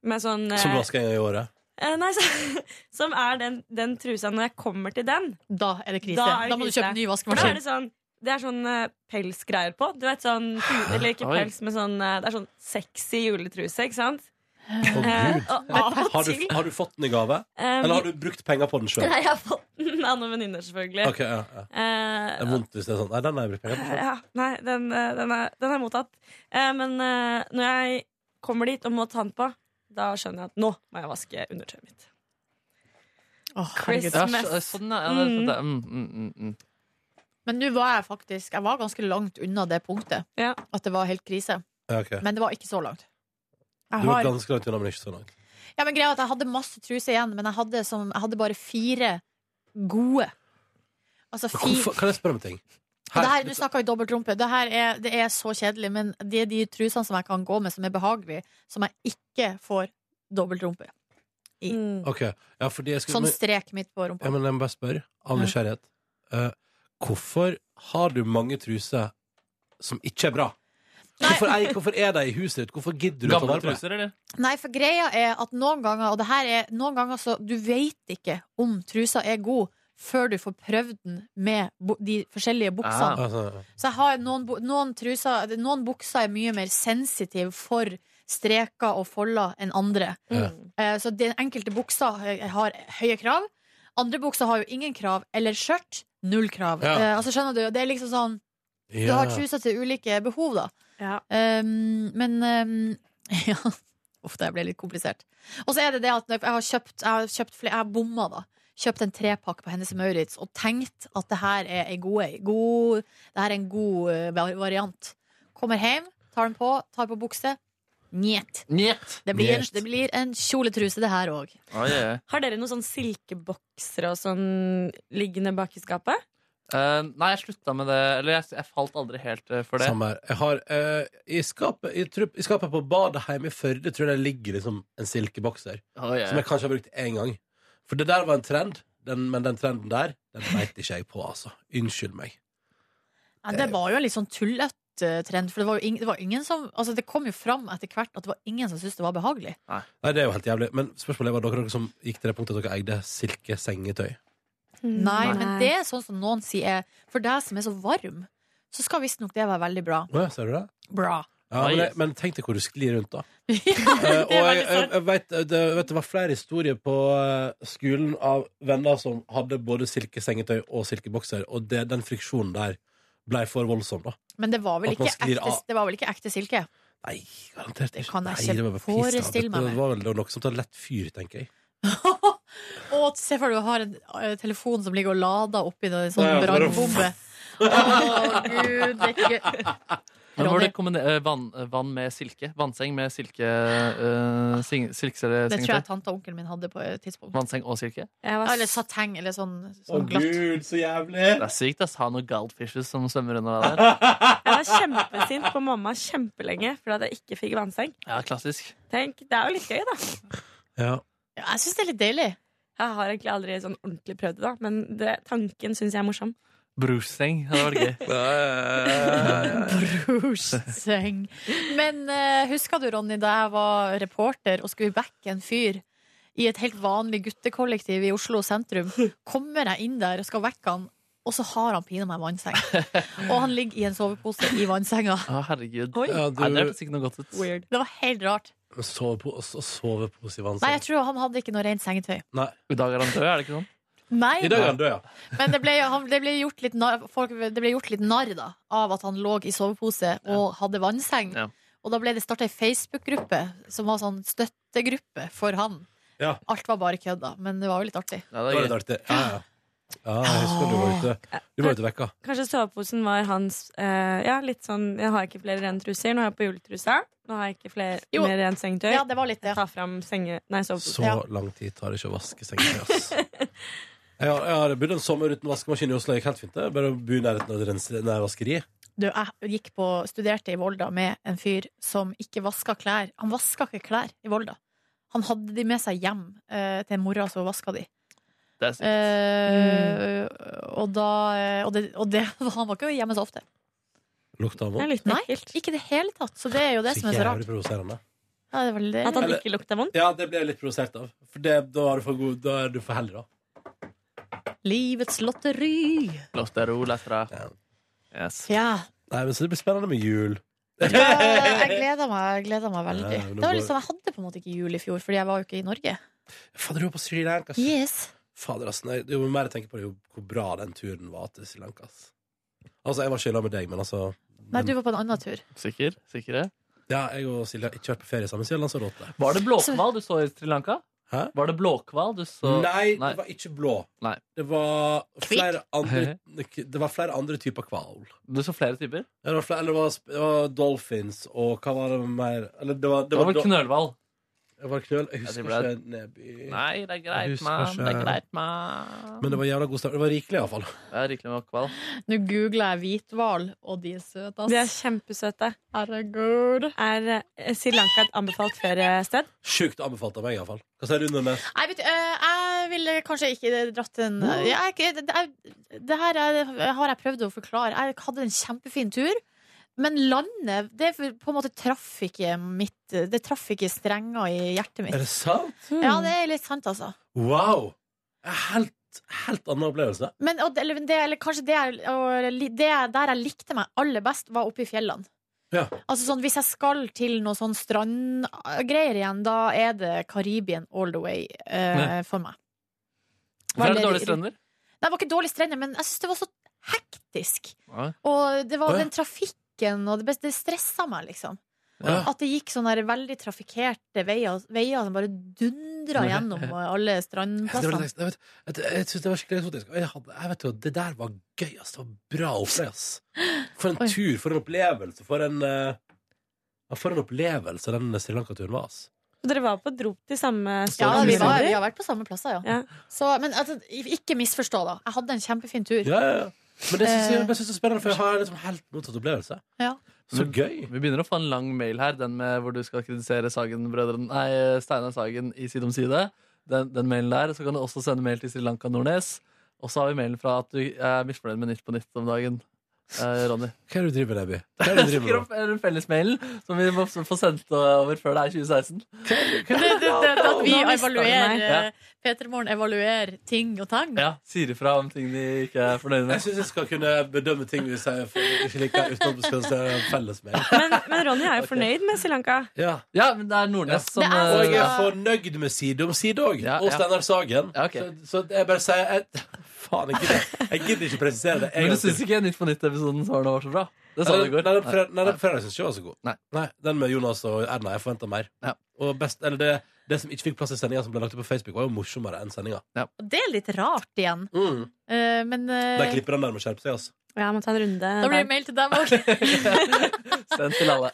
Speaker 6: med sånn eh,
Speaker 1: Som vasker en gang i året.
Speaker 6: eh, Nei, så, <laughs> som er den, den trusa når jeg kommer til den.
Speaker 2: da er det krise.
Speaker 6: Da
Speaker 2: Da,
Speaker 6: er det
Speaker 2: må du
Speaker 6: krise.
Speaker 2: kjøpe ny
Speaker 6: For da er
Speaker 2: vaskemaskin.
Speaker 6: det sånn det er sånn eh, pelsgreier på. Du vet sånn,
Speaker 1: Ah,
Speaker 6: hu- Eller ikke
Speaker 3: Oi.
Speaker 6: pels, men sånn, eh, det er sånn sexy juletruse, ikke sant?
Speaker 1: Å,
Speaker 6: Eh,
Speaker 1: Gud.
Speaker 6: og av og
Speaker 1: Har du,
Speaker 6: til
Speaker 1: har du fått den i gave?
Speaker 6: eh,
Speaker 1: Eller har du brukt penger på den sjøl?
Speaker 6: <laughs> Nei, jeg har fått den av noen venninner, selvfølgelig.
Speaker 1: Ok, ja, ja.
Speaker 6: Eh,
Speaker 1: Det er vondt hvis det er sånn. Nei, den har jeg brukt penger på.
Speaker 6: Ja, nei, den, eh, den, er, den er mottatt. Eh, men eh, når jeg kommer dit og må ta den på, da skjønner jeg at nå må jeg vaske undertøyet mitt.
Speaker 2: Åh, herregud.
Speaker 6: Chris.
Speaker 3: Ja,
Speaker 6: Mest.
Speaker 3: så- sånn, ja. ja det,
Speaker 6: Mm.
Speaker 3: det, mm, mm, mm, mm.
Speaker 2: Men nå var jeg faktisk Jeg var ganske langt unna det punktet.
Speaker 6: Ja.
Speaker 2: At det var helt krise.
Speaker 1: Ja, ok.
Speaker 2: Men det var ikke så langt. Jeg
Speaker 1: Du var
Speaker 2: har,
Speaker 1: ganske langt unna, men ikke så langt.
Speaker 2: ja, men greia er at jeg hadde masse truser igjen, men jeg hadde, som, jeg hadde bare fire gode. Altså
Speaker 1: Hvorfor,
Speaker 2: fire
Speaker 1: kan jeg spørre om en ting?
Speaker 2: Og det her, Nå snakker vi dobbeltrumpe. Det her er, det er så kjedelig, men det er de trusene som jeg kan gå med, som er behagelige, som jeg ikke får dobbeltrumpe.
Speaker 6: Mm,
Speaker 1: Ok, ja, fordi jeg skulle...
Speaker 2: Sånn strek midt på rumpa.
Speaker 1: Ja, men jeg må bare spørre, av nysgjerrighet. Eh, hvorfor har du mange truser som ikke er bra? Hvorfor er, hvorfor er de i huset ditt? Hvorfor gidder du å ta
Speaker 3: Gamle
Speaker 1: vare på dem?
Speaker 3: truser, eller?
Speaker 2: Nei, for greia er at noen ganger, og det her er noen ganger så du vet ikke om trusa er god før du får prøvd den med bu- de forskjellige buksene.
Speaker 1: Altså,
Speaker 2: Så jeg har noen, bu- noen truser Noen bukser er mye mer sensitive for streker og folder enn andre.
Speaker 1: Ja.
Speaker 2: Eh, Så den enkelte buksa har- har høye krav. Andre bukser har jo ingen krav. Eller skjørt null krav.
Speaker 1: Ja.
Speaker 2: Eh, Altså skjønner du, Det er liksom sånn Du
Speaker 1: ja.
Speaker 2: har truser til ulike behov, da.
Speaker 6: Ja.
Speaker 2: Um, men um, <laughs> ja. Uff, det ble litt komplisert. Og så er det det at jeg har kjøpt, jeg har kjøpt flere, jeg har bomma, da. Kjøpt en trepakke på Hennes Maurits og tenkt at det her er en god, god, det her er en god eh, var- variant. Kommer hjem, tar den på, tar på bukse. Njet.
Speaker 3: Njet.
Speaker 2: Det blir, en,
Speaker 1: Njet.
Speaker 2: det blir en kjoletruse, det her òg.
Speaker 3: Oi, oi, oi.
Speaker 6: Har dere noen sånn silkeboksere og sånn liggende bak i skapet?
Speaker 3: Eh, nei, jeg slutta med det. Eller jeg, jeg falt aldri helt eh, for det.
Speaker 1: Samme her. Jeg har eh, i, skapet, i, trupp- I skapet på badet hjemme i Førde tror jeg det ligger liksom en silkebokser.
Speaker 3: Oi, oi.
Speaker 1: Som jeg kanskje har brukt én gang. For det der var en trend, den, men den trenden der, den veit ikke jeg på, altså. Unnskyld meg.
Speaker 2: Ja, det var jo en litt sånn tullete eh, trend, for det var jo ing- det var ingen som Altså, det kom jo fram etter hvert at det var ingen som syntes det var behagelig.
Speaker 1: Nei, det er jo helt jævlig. Men spørsmålet var dere, dere som gikk til det punktet at dere eide silkesengetøy.
Speaker 2: Nei,
Speaker 6: Mm, Nei.
Speaker 2: men det er sånn som noen sier er For deg som er så varm, så skal visstnok det være veldig bra.
Speaker 1: Å ja, ser du det?
Speaker 2: Bra.
Speaker 1: Ja,
Speaker 3: Nei.
Speaker 1: men, jeg, men tenk deg hvor du sklir rundt, da. Eh,
Speaker 2: ja,
Speaker 1: og jeg, jeg, jeg vet, det, vet, det var flere historier på eh, skolen av venner som hadde både silkesengetøy og silkebokser, og det, den friksjonen der ble for voldsom, da.
Speaker 2: Men det var, vel
Speaker 1: At man
Speaker 2: ikke
Speaker 1: sklir
Speaker 2: ekte,
Speaker 1: av.
Speaker 2: det var vel ikke ekte <laughs> silke?
Speaker 1: Nei, garantert
Speaker 2: Det
Speaker 1: ikke.
Speaker 2: kan jeg
Speaker 1: Nei,
Speaker 2: ikke
Speaker 1: det var bare piss, da.
Speaker 2: forestille meg.
Speaker 1: Det var vel noe som tar lett fyr, tenker jeg.
Speaker 2: og se for deg du har en eh, telefon som ligger og lader oppi en sånn
Speaker 1: Ja, ja, bare- <laughs>
Speaker 2: brannbombe. Å, gud, det er ikke gøy.
Speaker 3: Men var
Speaker 2: Ronny.
Speaker 3: det kombine- eh, vann, eh, vann med silke? Vannseng med silke uh, sing, silkesengetøy?
Speaker 2: Det tror jeg tante og onkelen min hadde på et tidspunkt.
Speaker 3: Vannseng og silke?
Speaker 6: Jeg var,
Speaker 2: Eller sateng, eller sånn, sånn glatt.
Speaker 1: så jævlig!
Speaker 3: Det er sykt ass. ha noen goldfishes som svømmer under deg der.
Speaker 6: jeg var kjempesint på mamma kjempelenge fordi at jeg ikke fikk vannseng.
Speaker 3: Ja, klassisk.
Speaker 6: Tenk, Det er jo litt gøy, da.
Speaker 1: Ja.
Speaker 2: Ja, jeg syns det er litt deilig.
Speaker 6: Jeg har egentlig aldri sånn ordentlig prøvd det, da, men det, tanken syns jeg er morsom.
Speaker 3: Brurseng. Det hadde
Speaker 8: <laughs>
Speaker 3: vært gøy.
Speaker 2: Brorsseng. Men eh, husker du, Ronny, da jeg var reporter og skulle backe en fyr i et helt vanlig guttekollektiv i Oslo sentrum, kommer jeg inn der og skal vekke han, og så har han pinadø meg vannseng. Og han ligger i en sovepose i vannsenga.
Speaker 3: Å, herregud.
Speaker 6: Oi.
Speaker 1: <laughs> Ja,
Speaker 3: Nei, det
Speaker 1: du
Speaker 3: hørtes ikke noe godt ut.
Speaker 6: Weird.
Speaker 2: Det var helt rart.
Speaker 1: sovepose sove i
Speaker 2: Nei,
Speaker 1: vannseng.
Speaker 2: jeg tror han hadde ikke noe rent sengetøy.
Speaker 1: Nei.
Speaker 3: I dag er han død, er det ikke sånn?
Speaker 2: Nei,
Speaker 1: I dag er han død, ja.
Speaker 2: men det ble, han, det ble gjort litt narr, folk, det ble gjort litt narr da, av at han lå i sovepose og hadde vannseng.
Speaker 3: Ja.
Speaker 2: Og da ble det starta ei Facebook-gruppe som var sånn støttegruppe for han.
Speaker 1: Ja.
Speaker 2: Alt var bare kødd, da, men det var jo litt artig.
Speaker 1: Det
Speaker 3: Ja, det
Speaker 1: var
Speaker 3: er
Speaker 1: litt
Speaker 3: gøy.
Speaker 1: artig. Ja, ja. ja, jeg husker du var ute Du var ute vekka.
Speaker 6: Kanskje soveposen var hans eh, Ja, litt sånn Jeg har ikke flere rene truser. Nå er jeg på juletrusa. Nå har jeg ikke flere,
Speaker 2: Jo.
Speaker 6: mer rent sengetøy.
Speaker 2: Ja, det var litt det.
Speaker 6: Ta fram senge... Nei, soveposen.
Speaker 2: <laughs>
Speaker 1: Så lang tid tar det ikke å vaske sengetøy, ass. Jeg har, jeg har bodd en sommer uten vaskemaskin i Oslo. Det gikk helt fint. Det. Bare å bo i nærheten av et rense- nærvaskeri.
Speaker 2: Du, jeg gikk på, studerte i Volda med en fyr som ikke vaska klær. Han vaska ikke klær i Volda. Han hadde de med seg hjem eh, til mora, så vaska de.
Speaker 3: Det er sykt.
Speaker 2: Eh, og da eh, Og, det, og det, <laughs> han var ikke hjemme så ofte.
Speaker 1: Lukta av
Speaker 6: Det er
Speaker 1: vondt.
Speaker 6: litt
Speaker 2: Nei.
Speaker 6: ekkelt.
Speaker 2: Ikke i det hele tatt. Så det er jo det
Speaker 1: Så
Speaker 2: som er så
Speaker 1: jævlig
Speaker 2: rart.
Speaker 1: provoserende.
Speaker 2: Ja, det er veldig...
Speaker 6: At han
Speaker 1: Eller-
Speaker 6: ikke lukter vondt.
Speaker 1: Ja, det ble jeg litt provosert av. For det, da er du for god Da er du for heldig, da.
Speaker 2: Livets lotteri.
Speaker 3: Los de ro, les dere.
Speaker 1: Ja.
Speaker 3: Yes.
Speaker 2: Eh.
Speaker 1: <laughs>
Speaker 2: Ja.
Speaker 1: Nei, men Så det blir spennende med jul.
Speaker 2: Ja, jeg gleder meg, jeg gleder meg veldig.
Speaker 1: Ja, men
Speaker 2: det var
Speaker 1: nå
Speaker 2: litt sånn, Jeg hadde på en måte ikke jul i fjor, fordi jeg var jo ikke i Norge.
Speaker 1: Fader, du var på Sri Lanka. ass.
Speaker 2: Yes.
Speaker 1: Fader, ass. Nei, jo mer jeg tenker på det, jo hvor bra den turen var til Sri Lanka. Ass. Altså, jeg var ikke i lag med deg, men altså
Speaker 2: Nei, du var på en annen tur.
Speaker 3: Sikker? Sikre?
Speaker 1: Ja, jeg og Silje har ikke vært på ferie sammen siden Lanzarote.
Speaker 8: Var det blåkval du så i Sri Lanka?
Speaker 1: Hæ?
Speaker 8: Var det blåkval du så
Speaker 1: Nei,
Speaker 8: Nei.
Speaker 1: det var ikke blå.
Speaker 8: Nei.
Speaker 1: Det var flere andre
Speaker 8: Hehe.
Speaker 1: Det var flere andre typer hval.
Speaker 8: Du så flere typer?
Speaker 1: Ja, Det var, flere, eller det var, sp- det var dolphins og hva var det mer Eller det var, det
Speaker 8: Det var
Speaker 1: var,
Speaker 8: vel
Speaker 1: do-
Speaker 8: knølhval?
Speaker 1: det var knøl. Jeg husker
Speaker 3: det ble-
Speaker 1: ikke Neby.
Speaker 3: Nei, det er
Speaker 1: Jeg
Speaker 3: greit,
Speaker 1: husker
Speaker 3: mann. Det er
Speaker 1: ikke.
Speaker 3: greit, mann.
Speaker 1: Men det var jævla god stemning. Det var rikelig, iallfall.
Speaker 3: Det er rikelig med hval.
Speaker 2: Nå googla jeg hvithval, og de er søte,
Speaker 6: De er
Speaker 2: ass.
Speaker 6: kjempesøte.
Speaker 2: Herregud.
Speaker 6: Er eh, Sri Lanka et anbefalt feriested?
Speaker 1: <laughs> Sjukt anbefalt av meg, iallfall. Hva sier du, Nordnes?
Speaker 2: Nei, vet du, eh, jeg ville kanskje ikke dratt en jeg, er ikke- det, det- det her er, har jeg prøvd å forklare. Jeg hadde en kjempefin tur. Men landet det på en måte traff ikke mitt Det traff ikke strenger i hjertet
Speaker 1: Er
Speaker 2: mitt.
Speaker 1: det sånn? sant?
Speaker 2: Mm. Ja, det er litt sant, altså.
Speaker 1: Wow! En Helt, helt annen opplevelse.
Speaker 2: Men, og, det- eller, det, eller kanskje det, jeg- og, li- det jeg- der jeg likte meg aller best, var oppe i fjellene.
Speaker 1: Ja.
Speaker 2: Altså sånn, Hvis jeg skal til noe sånn strandgreier igjen, da er det Karibien all the way eh, for meg.
Speaker 3: Hvorfor er det
Speaker 2: Veldig-
Speaker 3: dårlige strender?
Speaker 2: Nei, det var ikke dårlig strender, men jeg syns det var så hektisk.
Speaker 3: Ja.
Speaker 2: Og det var
Speaker 1: Å, ja.
Speaker 2: den trafikken, og det, best- det stressa meg, liksom.
Speaker 1: Ja.
Speaker 2: At det gikk sånne der veldig trafikkerte veier, veier som bare dundra
Speaker 1: <laughs>
Speaker 2: gjennom alle
Speaker 1: Det var
Speaker 2: strandplassene.
Speaker 1: litt, jeg vet, jeg, jeg synes det var skikkelig eksotisk. Og Jeg, hadde, jeg vet jo, Det der var gøy. Ass. Det var bra opplegg. ass. For en
Speaker 2: Oi.
Speaker 1: tur, for en opplevelse. For en, eh, ja, for en opplevelse den Sri Lanka-turen var. ass.
Speaker 6: Og dere var på drop til samme
Speaker 2: Ja,
Speaker 6: sted?
Speaker 2: vi, var, vi har vært på samme plasser, ja.
Speaker 6: Ja.
Speaker 2: Så, men altså, ikke misforstå, da. Jeg hadde en kjempefin tur.
Speaker 1: Ja, ja, ja. Men det synes jeg,
Speaker 2: Eh.
Speaker 1: jeg synes det er spennende, for jeg har liksom helt motsatt opplevelse.
Speaker 2: Ja.
Speaker 1: Så
Speaker 3: Men-
Speaker 1: gøy.
Speaker 3: Vi begynner å få en lang mail her, den med hvor du skal kritisere Sagen-brødrene Nei, Steinar Sagen i Side om side. Den, den mailen der. Så kan du også sende mail til Sri Lanka Nordnes. Og så har vi mailen fra at du er misfornøyd med Nytt på Nytt om dagen. Eh, <laughs> Ronny.
Speaker 1: Hva er det du driver med, <laughs> Neby? Hva er det du driver
Speaker 3: Skriv
Speaker 1: med?
Speaker 3: opp den fellesmailen som vi må f- få sendt over før det er 2016.
Speaker 2: Det, det, det, det at vi
Speaker 6: Nå mistet du meg.
Speaker 2: evaluerer eh, Peter Morgen evaluerer ting og tang.
Speaker 3: Ja, Sier ifra om ting de ikke er fornøyd
Speaker 1: Jeg
Speaker 3: med.
Speaker 1: syns jeg skal kunne bedømme ting hvis jeg ikke liker uten at vi skal se felles med.
Speaker 6: Men, men Ronny er jo fornøyd med Sri Lanka.
Speaker 1: Ja.
Speaker 3: Ja, men det er Nordnes som
Speaker 2: Det er-
Speaker 1: Og
Speaker 3: eh,
Speaker 1: jeg er fornøyd med Side om side òg.
Speaker 3: Ja,
Speaker 1: Og
Speaker 3: ja.
Speaker 1: Steinar Sagen.
Speaker 3: Ja, ok.
Speaker 1: Så, så jeg bare sier jeg, Faen, jeg gidder, jeg gidder ikke presisere det.
Speaker 3: Men du syns ikke Nytt på Nytt-episoden var noe så bra?
Speaker 2: sånn
Speaker 3: Det sa du i
Speaker 1: Nei,
Speaker 3: går.
Speaker 1: den på fredag- nei, den på fredag syns ikke jeg var så god.
Speaker 3: Nei.
Speaker 1: Den med Jonas og Erna. Jeg forventa mer.
Speaker 3: Ja.
Speaker 1: Og best, eller det, det som ikke fikk plass i sendinga, som ble lagt ut på Facebook, var jo morsommere enn sendinga.
Speaker 2: Og det er litt rart igjen.
Speaker 1: Mm.
Speaker 2: Eh, men eh,
Speaker 1: De klipperne der må skjerpe seg, altså.
Speaker 6: Ja, jeg må ta en runde.
Speaker 2: da blir det
Speaker 6: der.
Speaker 2: mail til deg òg.
Speaker 3: Send til alle.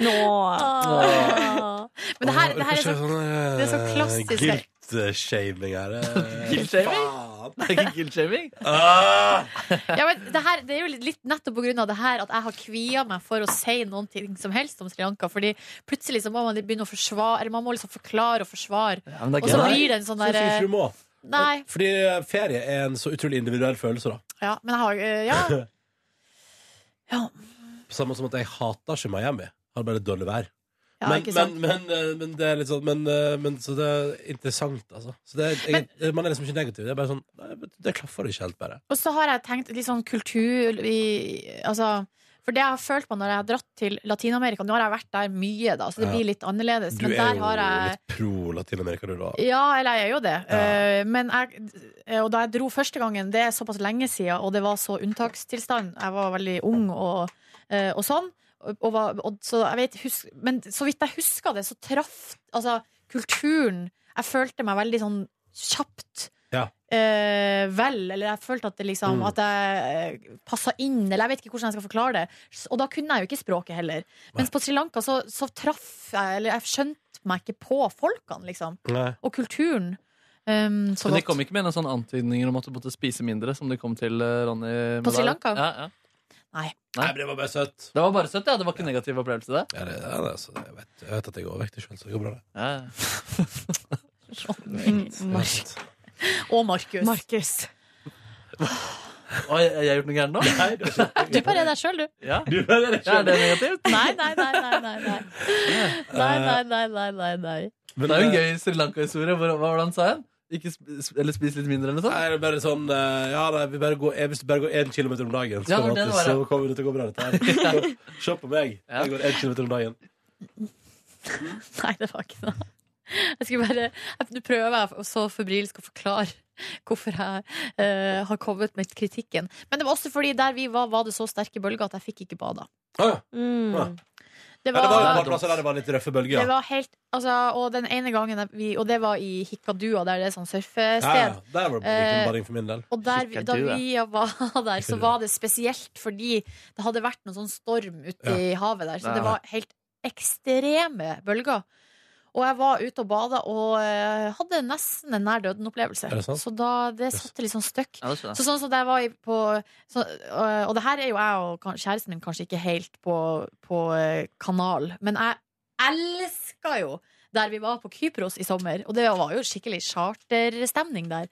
Speaker 6: Nå!
Speaker 2: Ah. Men det her,
Speaker 1: Åh,
Speaker 2: det her er
Speaker 1: kanskje
Speaker 2: så
Speaker 1: sånn, eh,
Speaker 2: det er så klassisk her.
Speaker 1: Guilt-shaming her. eh.
Speaker 3: Guilt-shaming?
Speaker 1: Faen.
Speaker 3: Det er ikke guilt-shaming.
Speaker 1: Ah!
Speaker 2: sånn- Ja, men det, her, det er jo litt- litt nettopp på grunn av det her at jeg har kvia meg for å si noen ting som helst om Sri Lanka. Fordi plutselig så må man begynne å forsvare Eller man må liksom forklare og forsvare.
Speaker 3: Ja, men det
Speaker 2: Og
Speaker 3: er
Speaker 2: så
Speaker 3: gøy.
Speaker 2: blir det en sånn
Speaker 1: Syns jeg ikke
Speaker 2: derre
Speaker 1: du må.
Speaker 2: Nei.
Speaker 1: Fordi ferie er en så utrolig individuell følelse, da.
Speaker 2: Ja, men jeg har eh, Ja. Ja,
Speaker 1: Samme som at jeg hater ikke Miami. Har bare dårlig vær.
Speaker 2: ja
Speaker 1: men,
Speaker 2: ikke sant.
Speaker 1: men, men, eh, men det er litt sånn men, eh, men, Så det er interessant, altså. Så det er, jeg, man er liksom ikke negativ. Det er bare sånn nei, vet du, Det klaffer ikke helt, bare.
Speaker 2: Og så har jeg tenkt litt sånn kultur i Altså for det jeg har følt på når jeg har dratt til Latin-Amerika Nå har jeg vært der mye, da, så
Speaker 1: Ja.
Speaker 2: det blir litt annerledes.
Speaker 1: Du
Speaker 2: Men
Speaker 1: er
Speaker 2: der
Speaker 1: jo
Speaker 2: har jeg
Speaker 1: litt pro Latin-Amerika, du, da.
Speaker 2: Ja, eller jeg er jo det.
Speaker 1: Ja.
Speaker 2: Eh, Men jeg, eh, og da jeg dro første gangen, det er såpass lenge siden, og det var så unntakstilstand. Jeg var veldig ung og, eh, og sånn. Og, og, var- og, så jeg vet, husk, men så vidt jeg husker det, så traff altså, kulturen Jeg følte meg veldig sånn kjapt.
Speaker 1: Ja.
Speaker 2: eh, vel, eller jeg følte at, det liksom,
Speaker 1: Mm.
Speaker 2: at jeg uh, passa inn, eller jeg vet ikke hvordan jeg skal forklare det. S- Og da kunne jeg jo ikke språket heller. Mens på Sri Lanka så, så traff jeg, eller jeg skjønte meg ikke på folkene, liksom
Speaker 1: Nei.
Speaker 2: og kulturen. Um, så
Speaker 8: Men de
Speaker 2: godt.
Speaker 8: kom ikke med noen sånne antydninger om at du måtte spise mindre, som de kom til eh, Ronny med
Speaker 2: På
Speaker 8: deg?
Speaker 2: Sri Lanka?
Speaker 8: Ja, ja.
Speaker 1: Nei, men det var bare søtt.
Speaker 8: Det var bare søtt, ja. Det var ikke en negativ opplevelse, det.
Speaker 1: Ja, det, ja, det, er så- jeg, vet, jeg vet at jeg er overvektig sjøl, så det går bra, det.
Speaker 8: Ja.
Speaker 2: Mark. Og Markus.
Speaker 6: Markus.
Speaker 8: Oi, jeg har gjort noe gærent nå?
Speaker 1: Nei, det er ikke-
Speaker 2: Du bare er deg sjøl, <laughs> du.
Speaker 8: Ja.
Speaker 1: Du hører det
Speaker 8: Ja,
Speaker 1: ikke.
Speaker 8: er det negativt?
Speaker 2: Nei, nei, nei, nei. Nei, nei, nei, nei, nei, nei, nei.
Speaker 1: Men eh,
Speaker 8: Det er jo en gøy Sri Lanka-historie. Hvor- Hva var det han sa igjen? Ikke sp eller spis litt mindre, eller noe sånt?
Speaker 1: Nei, det er bare sånn eh, Ja, nei, vi bare går, eh, hvis du bare går én kilometer om dagen, så,
Speaker 8: Ja,
Speaker 1: kommer
Speaker 8: det
Speaker 1: det,
Speaker 8: var det.
Speaker 1: så kommer det til å gå bra, dette her. Se på meg.
Speaker 8: Ja.
Speaker 1: Jeg går én kilometer om dagen.
Speaker 2: Nei, det var ikke det. Jeg skulle bare, jeg- Nå prøver jeg å- så febrilsk å forklare hvorfor jeg eh, har kommet med kritikken. Men det var også fordi der vi var, var det så sterke bølger at jeg fikk ikke bada.
Speaker 1: Å, ja.
Speaker 6: Mm.
Speaker 2: Det
Speaker 1: Ja, det var jo
Speaker 2: var,
Speaker 1: et par plasser der det var litt røffe bølger.
Speaker 2: det
Speaker 1: ja.
Speaker 2: var helt altså, Og den ene gangen jeg- vi Og det var i Hikkadua, der det er sånn
Speaker 1: Ja,
Speaker 2: surfested.
Speaker 1: ja, der var det
Speaker 2: Eh,
Speaker 1: ikke bading for min del.
Speaker 2: Og der, vi- da
Speaker 3: Hikkadua.
Speaker 2: vi var der, så var det spesielt fordi det hadde vært noen sånn storm ute i havet der. Så det
Speaker 3: Ja.
Speaker 2: var helt ekstreme bølger. Og jeg var ute og bada og eh, hadde nesten en nær døden-opplevelse.
Speaker 1: Er det sant?
Speaker 2: Så da, det
Speaker 1: Yes.
Speaker 2: satte litt sånn støkk.
Speaker 3: Ja, det skjønner jeg.
Speaker 2: Så sånn som da jeg var i- på så, øh, Og det her er jo jeg og kan- kjæresten min kanskje ikke helt på, på øh, kanal, men jeg elska jo der vi var på Kypros i sommer, og det var jo skikkelig charterstemning der.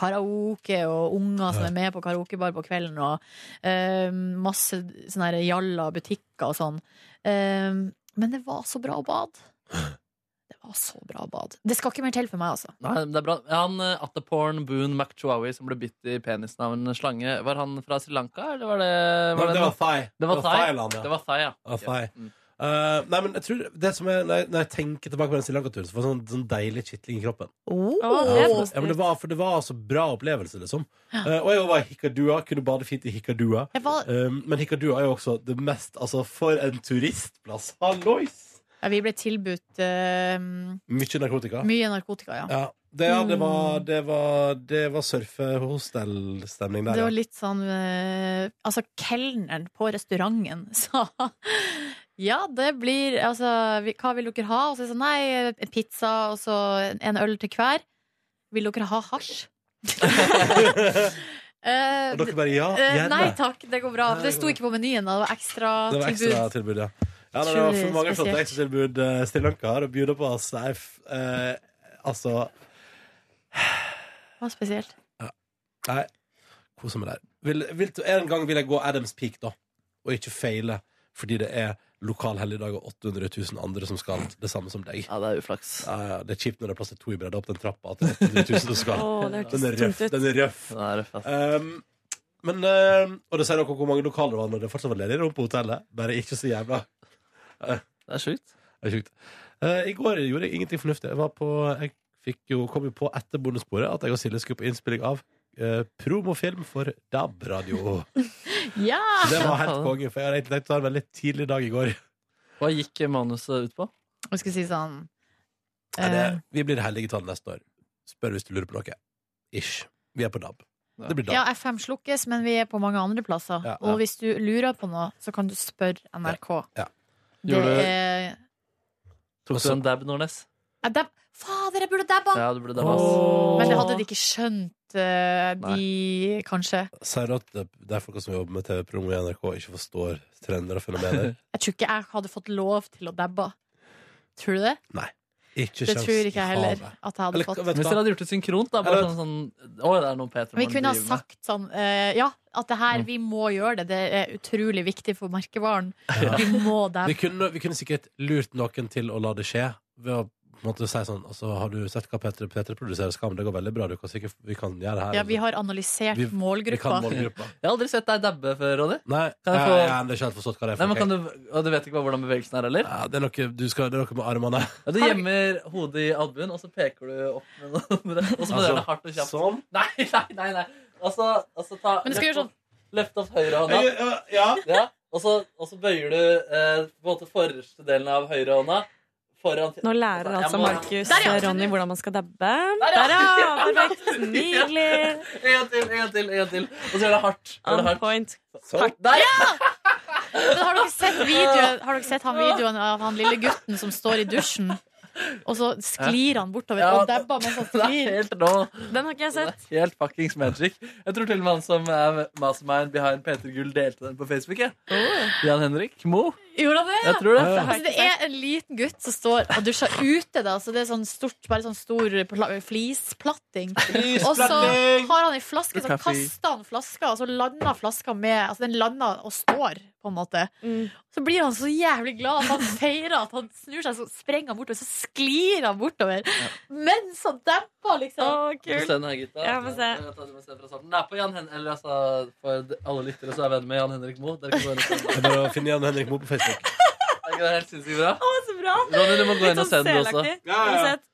Speaker 2: Karaoke og unger som er med på karaokebar på kvelden, og øh, masse sånne her jalla butikker og sånn. Ehm, men det var så bra å bade. Det var så bra å bade. Det skal ikke mer til for meg, altså.
Speaker 8: Nei, men det er bra. Han eh, Attaporn Boon McChowawi som ble bitt i penisen av en slange, var han fra Sri Lanka, eller var det
Speaker 1: Nei, det var
Speaker 8: det,
Speaker 1: Thai.
Speaker 8: det var Thai.
Speaker 1: Thailand, ja.
Speaker 8: det var Thai, ja.
Speaker 1: Ja, Thai.
Speaker 8: Mm.
Speaker 1: Eh, nei, men jeg tror det som er, når, jeg, når jeg tenker tilbake på den Sri Lanka-turen, så får jeg sånn, sånn deilig kitling i kroppen.
Speaker 6: Å, det
Speaker 1: Ja,
Speaker 6: er
Speaker 1: for, ja, men det
Speaker 6: positivt.
Speaker 1: var, for det var altså bra opplevelse, liksom. Eh, og jeg var i Hikkadua, kunne bade fint i Hikkadua.
Speaker 2: Jeg var,
Speaker 1: Um, men Hikkadua er jo også det mest Altså, for en turistplass! Hallois!
Speaker 2: ja, vi ble tilbudt øh,
Speaker 1: Mye narkotika.
Speaker 2: Mye narkotika, ja.
Speaker 1: Ja. Det, ja, det var, det var, det var surfehostellstemning der,
Speaker 2: Det var
Speaker 1: ja.
Speaker 2: litt sånn eh, Altså, kelneren på restauranten <laughs> sa ja, det blir Altså, vi- hva vil dere ha? Og så er det sånn, nei, en pizza og så en øl til hver. Vil dere ha
Speaker 1: <laughs>
Speaker 2: hasj? Eh,
Speaker 1: Og dere bare ja,
Speaker 2: eh,
Speaker 1: gjerne.
Speaker 2: nei takk, det går bra.
Speaker 1: Nei, det
Speaker 2: Det sto
Speaker 1: går
Speaker 2: ikke på menyen. da. Det var ekstra
Speaker 1: Det var
Speaker 2: tilbud.
Speaker 1: ekstra tilbud, ja. ja nei, det var for
Speaker 2: Utrolig
Speaker 1: mange flotte
Speaker 2: spesielt.
Speaker 1: ekstratilbud eh, Sri Lanka har å bjuda på. Altså, jeg f- eh, altså
Speaker 2: Det var spesielt.
Speaker 1: Nei, koser meg der. Vil, vil, en gang vil jeg gå Adams Peak, da, og ikke feile fordi det er lokal helligdag og 800 000 andre som skal det samme som deg.
Speaker 3: Ja, det er uflaks.
Speaker 1: Ja, ja, det er kjipt når det er plass til to i bredda opp den trappa. At det er 800 000 som
Speaker 6: <laughs>
Speaker 1: skal.
Speaker 6: Å, det
Speaker 1: Den er
Speaker 6: hørtes
Speaker 1: røff.
Speaker 6: tungt ut.
Speaker 1: Den er røff.
Speaker 3: Det er røft, ass.
Speaker 1: Um, men, um, og det sier dere hvor mange lokaler det var når det fortsatt var ledig rom på hotellet. Bare ikke så jævla
Speaker 3: Det er sjukt.
Speaker 1: Det er sjukt. Eh, I går gjorde jeg ingenting fornuftig. Jeg, var på, jeg fikk jo, kom jo på etter bondesporet at jeg og Silje skulle på innspilling av eh, promofilm for
Speaker 2: <laughs>
Speaker 1: DAB-radio.
Speaker 2: Ja!
Speaker 1: Det var helt konge, for jeg hadde egentlig tenkt å ha en veldig tidlig dag i går.
Speaker 8: Hva gikk manuset ut på?
Speaker 2: Jeg skulle si sånn
Speaker 1: Nei,
Speaker 2: eh,
Speaker 1: det, vi blir det hellige tall neste år. Spør hvis du lurer på noe. Ish. Vi er på DAB. Det blir DAB.
Speaker 2: Ja, FM slukkes, men vi er på mange andre plasser.
Speaker 1: Ja, ja.
Speaker 2: Og hvis du lurer på noe, så kan du spørre NRK.
Speaker 1: Ja.
Speaker 2: Det
Speaker 8: Gjorde-
Speaker 2: er
Speaker 1: Tok
Speaker 3: Tok
Speaker 1: så-
Speaker 3: du en dab, Nordnes?
Speaker 2: jeg dab... Fader, jeg burde dabba!
Speaker 3: Altså- Ja, du ble dabba. ass.
Speaker 2: Men det hadde de ikke skjønt, eh, de, kanskje.
Speaker 1: Sier du at det, det er folk som jobber med TV-promo i NRK, ikke forstår trender og
Speaker 2: <laughs>
Speaker 1: fenomener?
Speaker 2: Jeg tror ikke jeg hadde fått lov til å dabba. Tror du det?
Speaker 1: Ikke
Speaker 2: Det
Speaker 1: sjans
Speaker 2: tror
Speaker 1: i
Speaker 2: ikke jeg heller.
Speaker 1: havet.
Speaker 2: At jeg hadde
Speaker 1: Eller,
Speaker 2: fått
Speaker 1: vet du
Speaker 8: Hvis
Speaker 1: hva?
Speaker 8: dere hadde gjort det synkront, da. Bare
Speaker 1: Eller-
Speaker 8: sånn, sånn Å, det er noe Peter
Speaker 2: Men vi kunne ha
Speaker 8: driver med.
Speaker 2: sagt sånn eh, Ja, at det
Speaker 1: Mm.
Speaker 2: her, vi må gjøre det. Det er utrolig viktig for merkevaren.
Speaker 1: Ja.
Speaker 2: Vi må
Speaker 1: <laughs>
Speaker 2: dabbe.
Speaker 1: Vi kunne, vi kunne sikkert lurt noen til å la det skje ved å på en måte si sånn altså, Har du sett hva Petre, Petre produserer Skam? Det går veldig bra. Du kan sikkert, vi kan gjøre det her.
Speaker 2: Ja, vi har analysert
Speaker 1: Vi- Vi
Speaker 2: målgruppa.
Speaker 1: kan målgruppa.
Speaker 8: Jeg har aldri sett deg dabbe før, Ronny.
Speaker 1: Nei,
Speaker 8: Kan
Speaker 1: jeg,
Speaker 8: jeg få-
Speaker 1: jeg, har ennå ikke helt forstått hva det
Speaker 8: Nei,
Speaker 1: er. For,
Speaker 8: men kan du, og du vet ikke hva- hvordan bevegelsen er heller?
Speaker 1: ja, det, er noe, du skal, det er noe med armene.
Speaker 8: Ja, du gjemmer hodet i albuen, og så peker du opp med noe <laughs> Og
Speaker 1: Altså-
Speaker 8: så må du gjøre det hardt og kjapt.
Speaker 1: Sånn.
Speaker 8: Nei,
Speaker 3: <laughs>
Speaker 8: nei, nei. nei. Altså, altså ta
Speaker 2: Men du skal gjøre sånn.
Speaker 8: Løft opp høyre hånda.
Speaker 1: Jeg, ja, ja.
Speaker 8: Ja, og så, og så bøyer du eh, på en måte forreste delen av høyre hånda foran
Speaker 6: Nå lærer
Speaker 8: Jeg
Speaker 6: altså
Speaker 8: må-
Speaker 6: Markus
Speaker 2: Der, ja.
Speaker 6: Ronny hvordan man skal dabbe.
Speaker 8: Der, ja.
Speaker 6: Der, ja! Perfekt. Nydelig.
Speaker 8: En gang til, en gang til, en gang til. Og så gjør det hardt. Gjør
Speaker 6: On
Speaker 8: det hardt.
Speaker 6: point.
Speaker 1: Sånn.
Speaker 8: Der, ja!
Speaker 2: Men har dere sett videoen, har dere sett han videoen av han lille gutten som står i dusjen? Og så sklir han bortover
Speaker 3: Ja.
Speaker 2: og dabber mens han
Speaker 3: Det er
Speaker 2: sklir.
Speaker 3: helt nå.
Speaker 6: Den har ikke
Speaker 3: Det
Speaker 6: jeg sett.
Speaker 3: er helt fuckings magic. Jeg tror til og med han som er mastermind behind Peter Gull, delte den på Facebook. Jeg. Jan Henrik Mo.
Speaker 2: Gjorde han det?
Speaker 3: Jeg tror det.
Speaker 2: Altså, det er en liten gutt som står og dusjer ute. Da, så det er sånn stort, bare sånn stor pla- flisplatting. Og så har han ei flaske, så
Speaker 3: Kaffe.
Speaker 2: kaster han flaska, og så lander flaska med Altså den lander og står, på en måte.
Speaker 6: Mm.
Speaker 2: Så blir han så jævlig glad at han feirer at han snur seg, så sprenger han bortover, så sklir han bortover. Mens han demper,
Speaker 6: Å,
Speaker 2: liksom.
Speaker 3: Du
Speaker 6: kult.
Speaker 3: ser den her, gutta.
Speaker 6: Ja, få se.
Speaker 3: Jeg tar- du må se fra starten. Den er på Jan Hen eller, altså, for de- alle lyttere som er venner med Jan Henrik Mo Dere kan gå inn og se den.
Speaker 1: Det er bare å finne igjen Henrik Moe på <laughs> Facebook.
Speaker 3: Er ikke det helt sinnssykt bra?
Speaker 6: Å, så bra!
Speaker 3: Ronny, du må gå
Speaker 6: Litt
Speaker 3: inn og
Speaker 6: sånn
Speaker 3: se den du også.
Speaker 6: selaktig. Har du sett?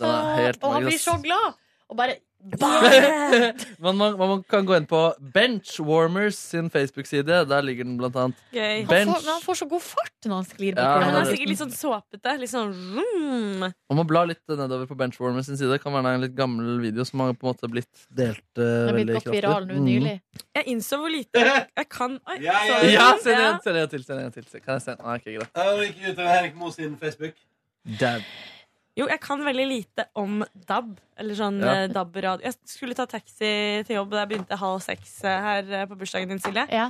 Speaker 3: Den er helt
Speaker 2: og han blir
Speaker 3: magisk. <laughs>
Speaker 2: så glad. Og bare <laughs>
Speaker 3: man, man, man kan gå inn på Benchwarmers sin Facebook-side. Der ligger den blant annet.
Speaker 6: Gøy.
Speaker 2: han får,
Speaker 3: Bench.
Speaker 2: men han får så god fart når han sklir
Speaker 3: Ja,
Speaker 6: Den er
Speaker 2: bortover.
Speaker 6: sikkert litt sånn såpete. Litt sånn vroom.
Speaker 3: Man må bla litt nedover på Benchwarmers sin side. Det kan være en litt gammel video som har på en måte blitt delt
Speaker 2: Det
Speaker 3: uh,
Speaker 2: har blitt
Speaker 3: veldig
Speaker 2: gått viral nå
Speaker 3: Mm.
Speaker 2: nylig.
Speaker 6: Jeg innså hvor
Speaker 1: <laughs>
Speaker 6: lite jeg, jeg kan Oi,
Speaker 1: Ja, ja,
Speaker 6: så du
Speaker 3: <laughs> Ja,
Speaker 6: den?
Speaker 3: send en, send en til. Send en til. Kan jeg sende? Nei, ikke greit.
Speaker 1: gikk ut over Henrik Moe sin Facebook.
Speaker 3: Dab.
Speaker 2: Eh,
Speaker 6: Jo, jeg kan veldig lite om DAB. Eller sånn
Speaker 3: Ja.
Speaker 6: eh, DAB-radio. Jeg skulle ta taxi til jobb, og jeg begynte halv seks eh, her eh, på bursdagen din, Silje.
Speaker 2: Ja.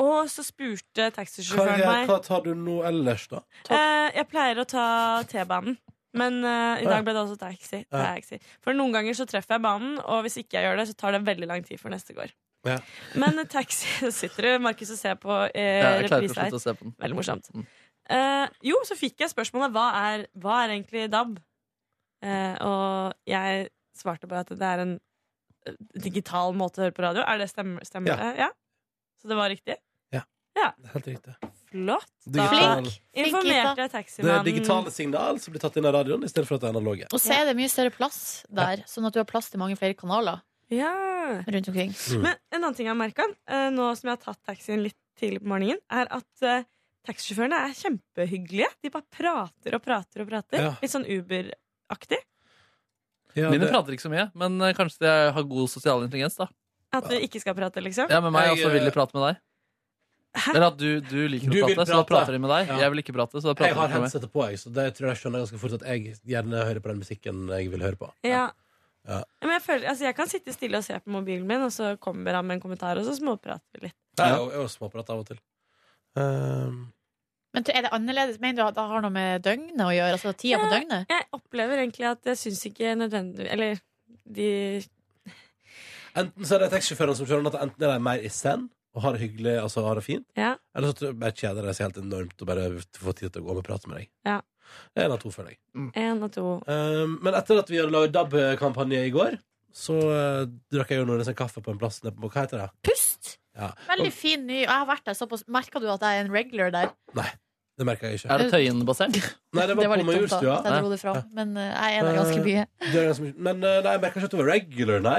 Speaker 6: Og så spurte
Speaker 1: Hva,
Speaker 6: taxisjåføren meg
Speaker 1: hva tar du nå ellers, da?
Speaker 6: eh, Jeg pleier å ta T-banen. Men eh, i dag ble det også taxi.
Speaker 1: Ja.
Speaker 6: taxi. For noen ganger så treffer jeg banen, og hvis ikke jeg gjør det, så tar det veldig lang tid før neste går.
Speaker 1: Ja.
Speaker 6: Men eh, taxi <laughs> Så sitter du, Markus, og ser på
Speaker 3: Ja,
Speaker 6: eh,
Speaker 3: jeg klarer ikke å
Speaker 6: reprise her.
Speaker 3: slutte å se på den.
Speaker 6: Veldig morsomt.
Speaker 3: Mm.
Speaker 6: Eh, jo, så fikk jeg spørsmålet hva er, hva er egentlig DAB? Eh, og jeg svarte bare at det er en eh, digital måte å høre på radio. Er det stemmer? stemmer
Speaker 1: Ja.
Speaker 6: det? ja. Så det var riktig?
Speaker 1: Helt riktig.
Speaker 6: Flott. Da
Speaker 1: Digital.
Speaker 2: Flink. Flink,
Speaker 6: informerte jeg
Speaker 1: Det er
Speaker 6: taximannen.
Speaker 1: digitale signal som blir tatt inn av radioen, i stedet for at det er analoge.
Speaker 2: Og så er det mye større plass der, sånn at du har plass til mange flere kanaler
Speaker 6: Ja.
Speaker 2: rundt omkring.
Speaker 6: Men en annen ting jeg har merka nå som jeg har tatt taxien litt tidlig på morgenen, er at uh, taxisjåførene er kjempehyggelige. De bare prater og prater og prater.
Speaker 1: Ja.
Speaker 6: Litt sånn Uber-aktig.
Speaker 1: Ja,
Speaker 3: Mine
Speaker 1: det-
Speaker 3: prater ikke så mye, men eh, kanskje jeg har god sosial intelligens, da.
Speaker 6: At du ikke skal prate, liksom.
Speaker 3: Ja, med meg,
Speaker 1: Jeg, eh,
Speaker 3: og så vil de prate med deg. Eller at du, du liker
Speaker 1: Du
Speaker 3: å
Speaker 1: vil
Speaker 3: prate, så da
Speaker 1: prate.
Speaker 3: prater de med deg.
Speaker 1: Ja.
Speaker 3: Jeg vil ikke prate, så da
Speaker 1: jeg
Speaker 3: prater
Speaker 1: har
Speaker 3: de med meg.
Speaker 1: headsetet på, jeg, så det tror jeg skjønner ganske fort at jeg gjerne hører på den musikken jeg vil høre på.
Speaker 6: Ja.
Speaker 1: Ja.
Speaker 6: Men jeg, føler, altså jeg kan sitte stille og se på mobilen min, og så kommer han med en kommentar, og så småprater vi litt.
Speaker 1: Jeg er jo- jeg er jo småprat av og til. Ehm,
Speaker 2: Men er det annerledes? Mener du at det har noe med døgnet å gjøre? Altså tida på døgnet?
Speaker 6: Jeg opplever egentlig at jeg syns ikke nødvendig Eller de
Speaker 1: enten så er det taxisjåførene som skjønner at enten er de mer i send og har det hyggelig, altså har det fint,
Speaker 6: Ja.
Speaker 1: eller så tror jeg bare kjeder de seg helt enormt og bare får tid til å gå og prate med deg.
Speaker 6: Ja.
Speaker 1: Det er en av to, føler jeg.
Speaker 6: Én og to.
Speaker 1: Ehm, men etter at vi hadde laget DAB-kampanje i går, så eh, drakk jeg jo Nordnes en kaffe på en plass nede på Hva heter det?
Speaker 2: Pust!
Speaker 1: Ja.
Speaker 2: Veldig fin ny. Jeg har vært der såpass. Merka du at jeg er en regular der?
Speaker 1: Det merka jeg ikke.
Speaker 3: Er det Tøyen-basert?
Speaker 1: Nei, det var,
Speaker 2: Det
Speaker 1: på
Speaker 2: var litt dumt da,
Speaker 1: Majorstua.
Speaker 2: at jeg dro det fra. Men eh, jeg er der ganske mye.
Speaker 1: Det er ganske mye- Men eh, nei, jeg merka ikke at du var regular, nei.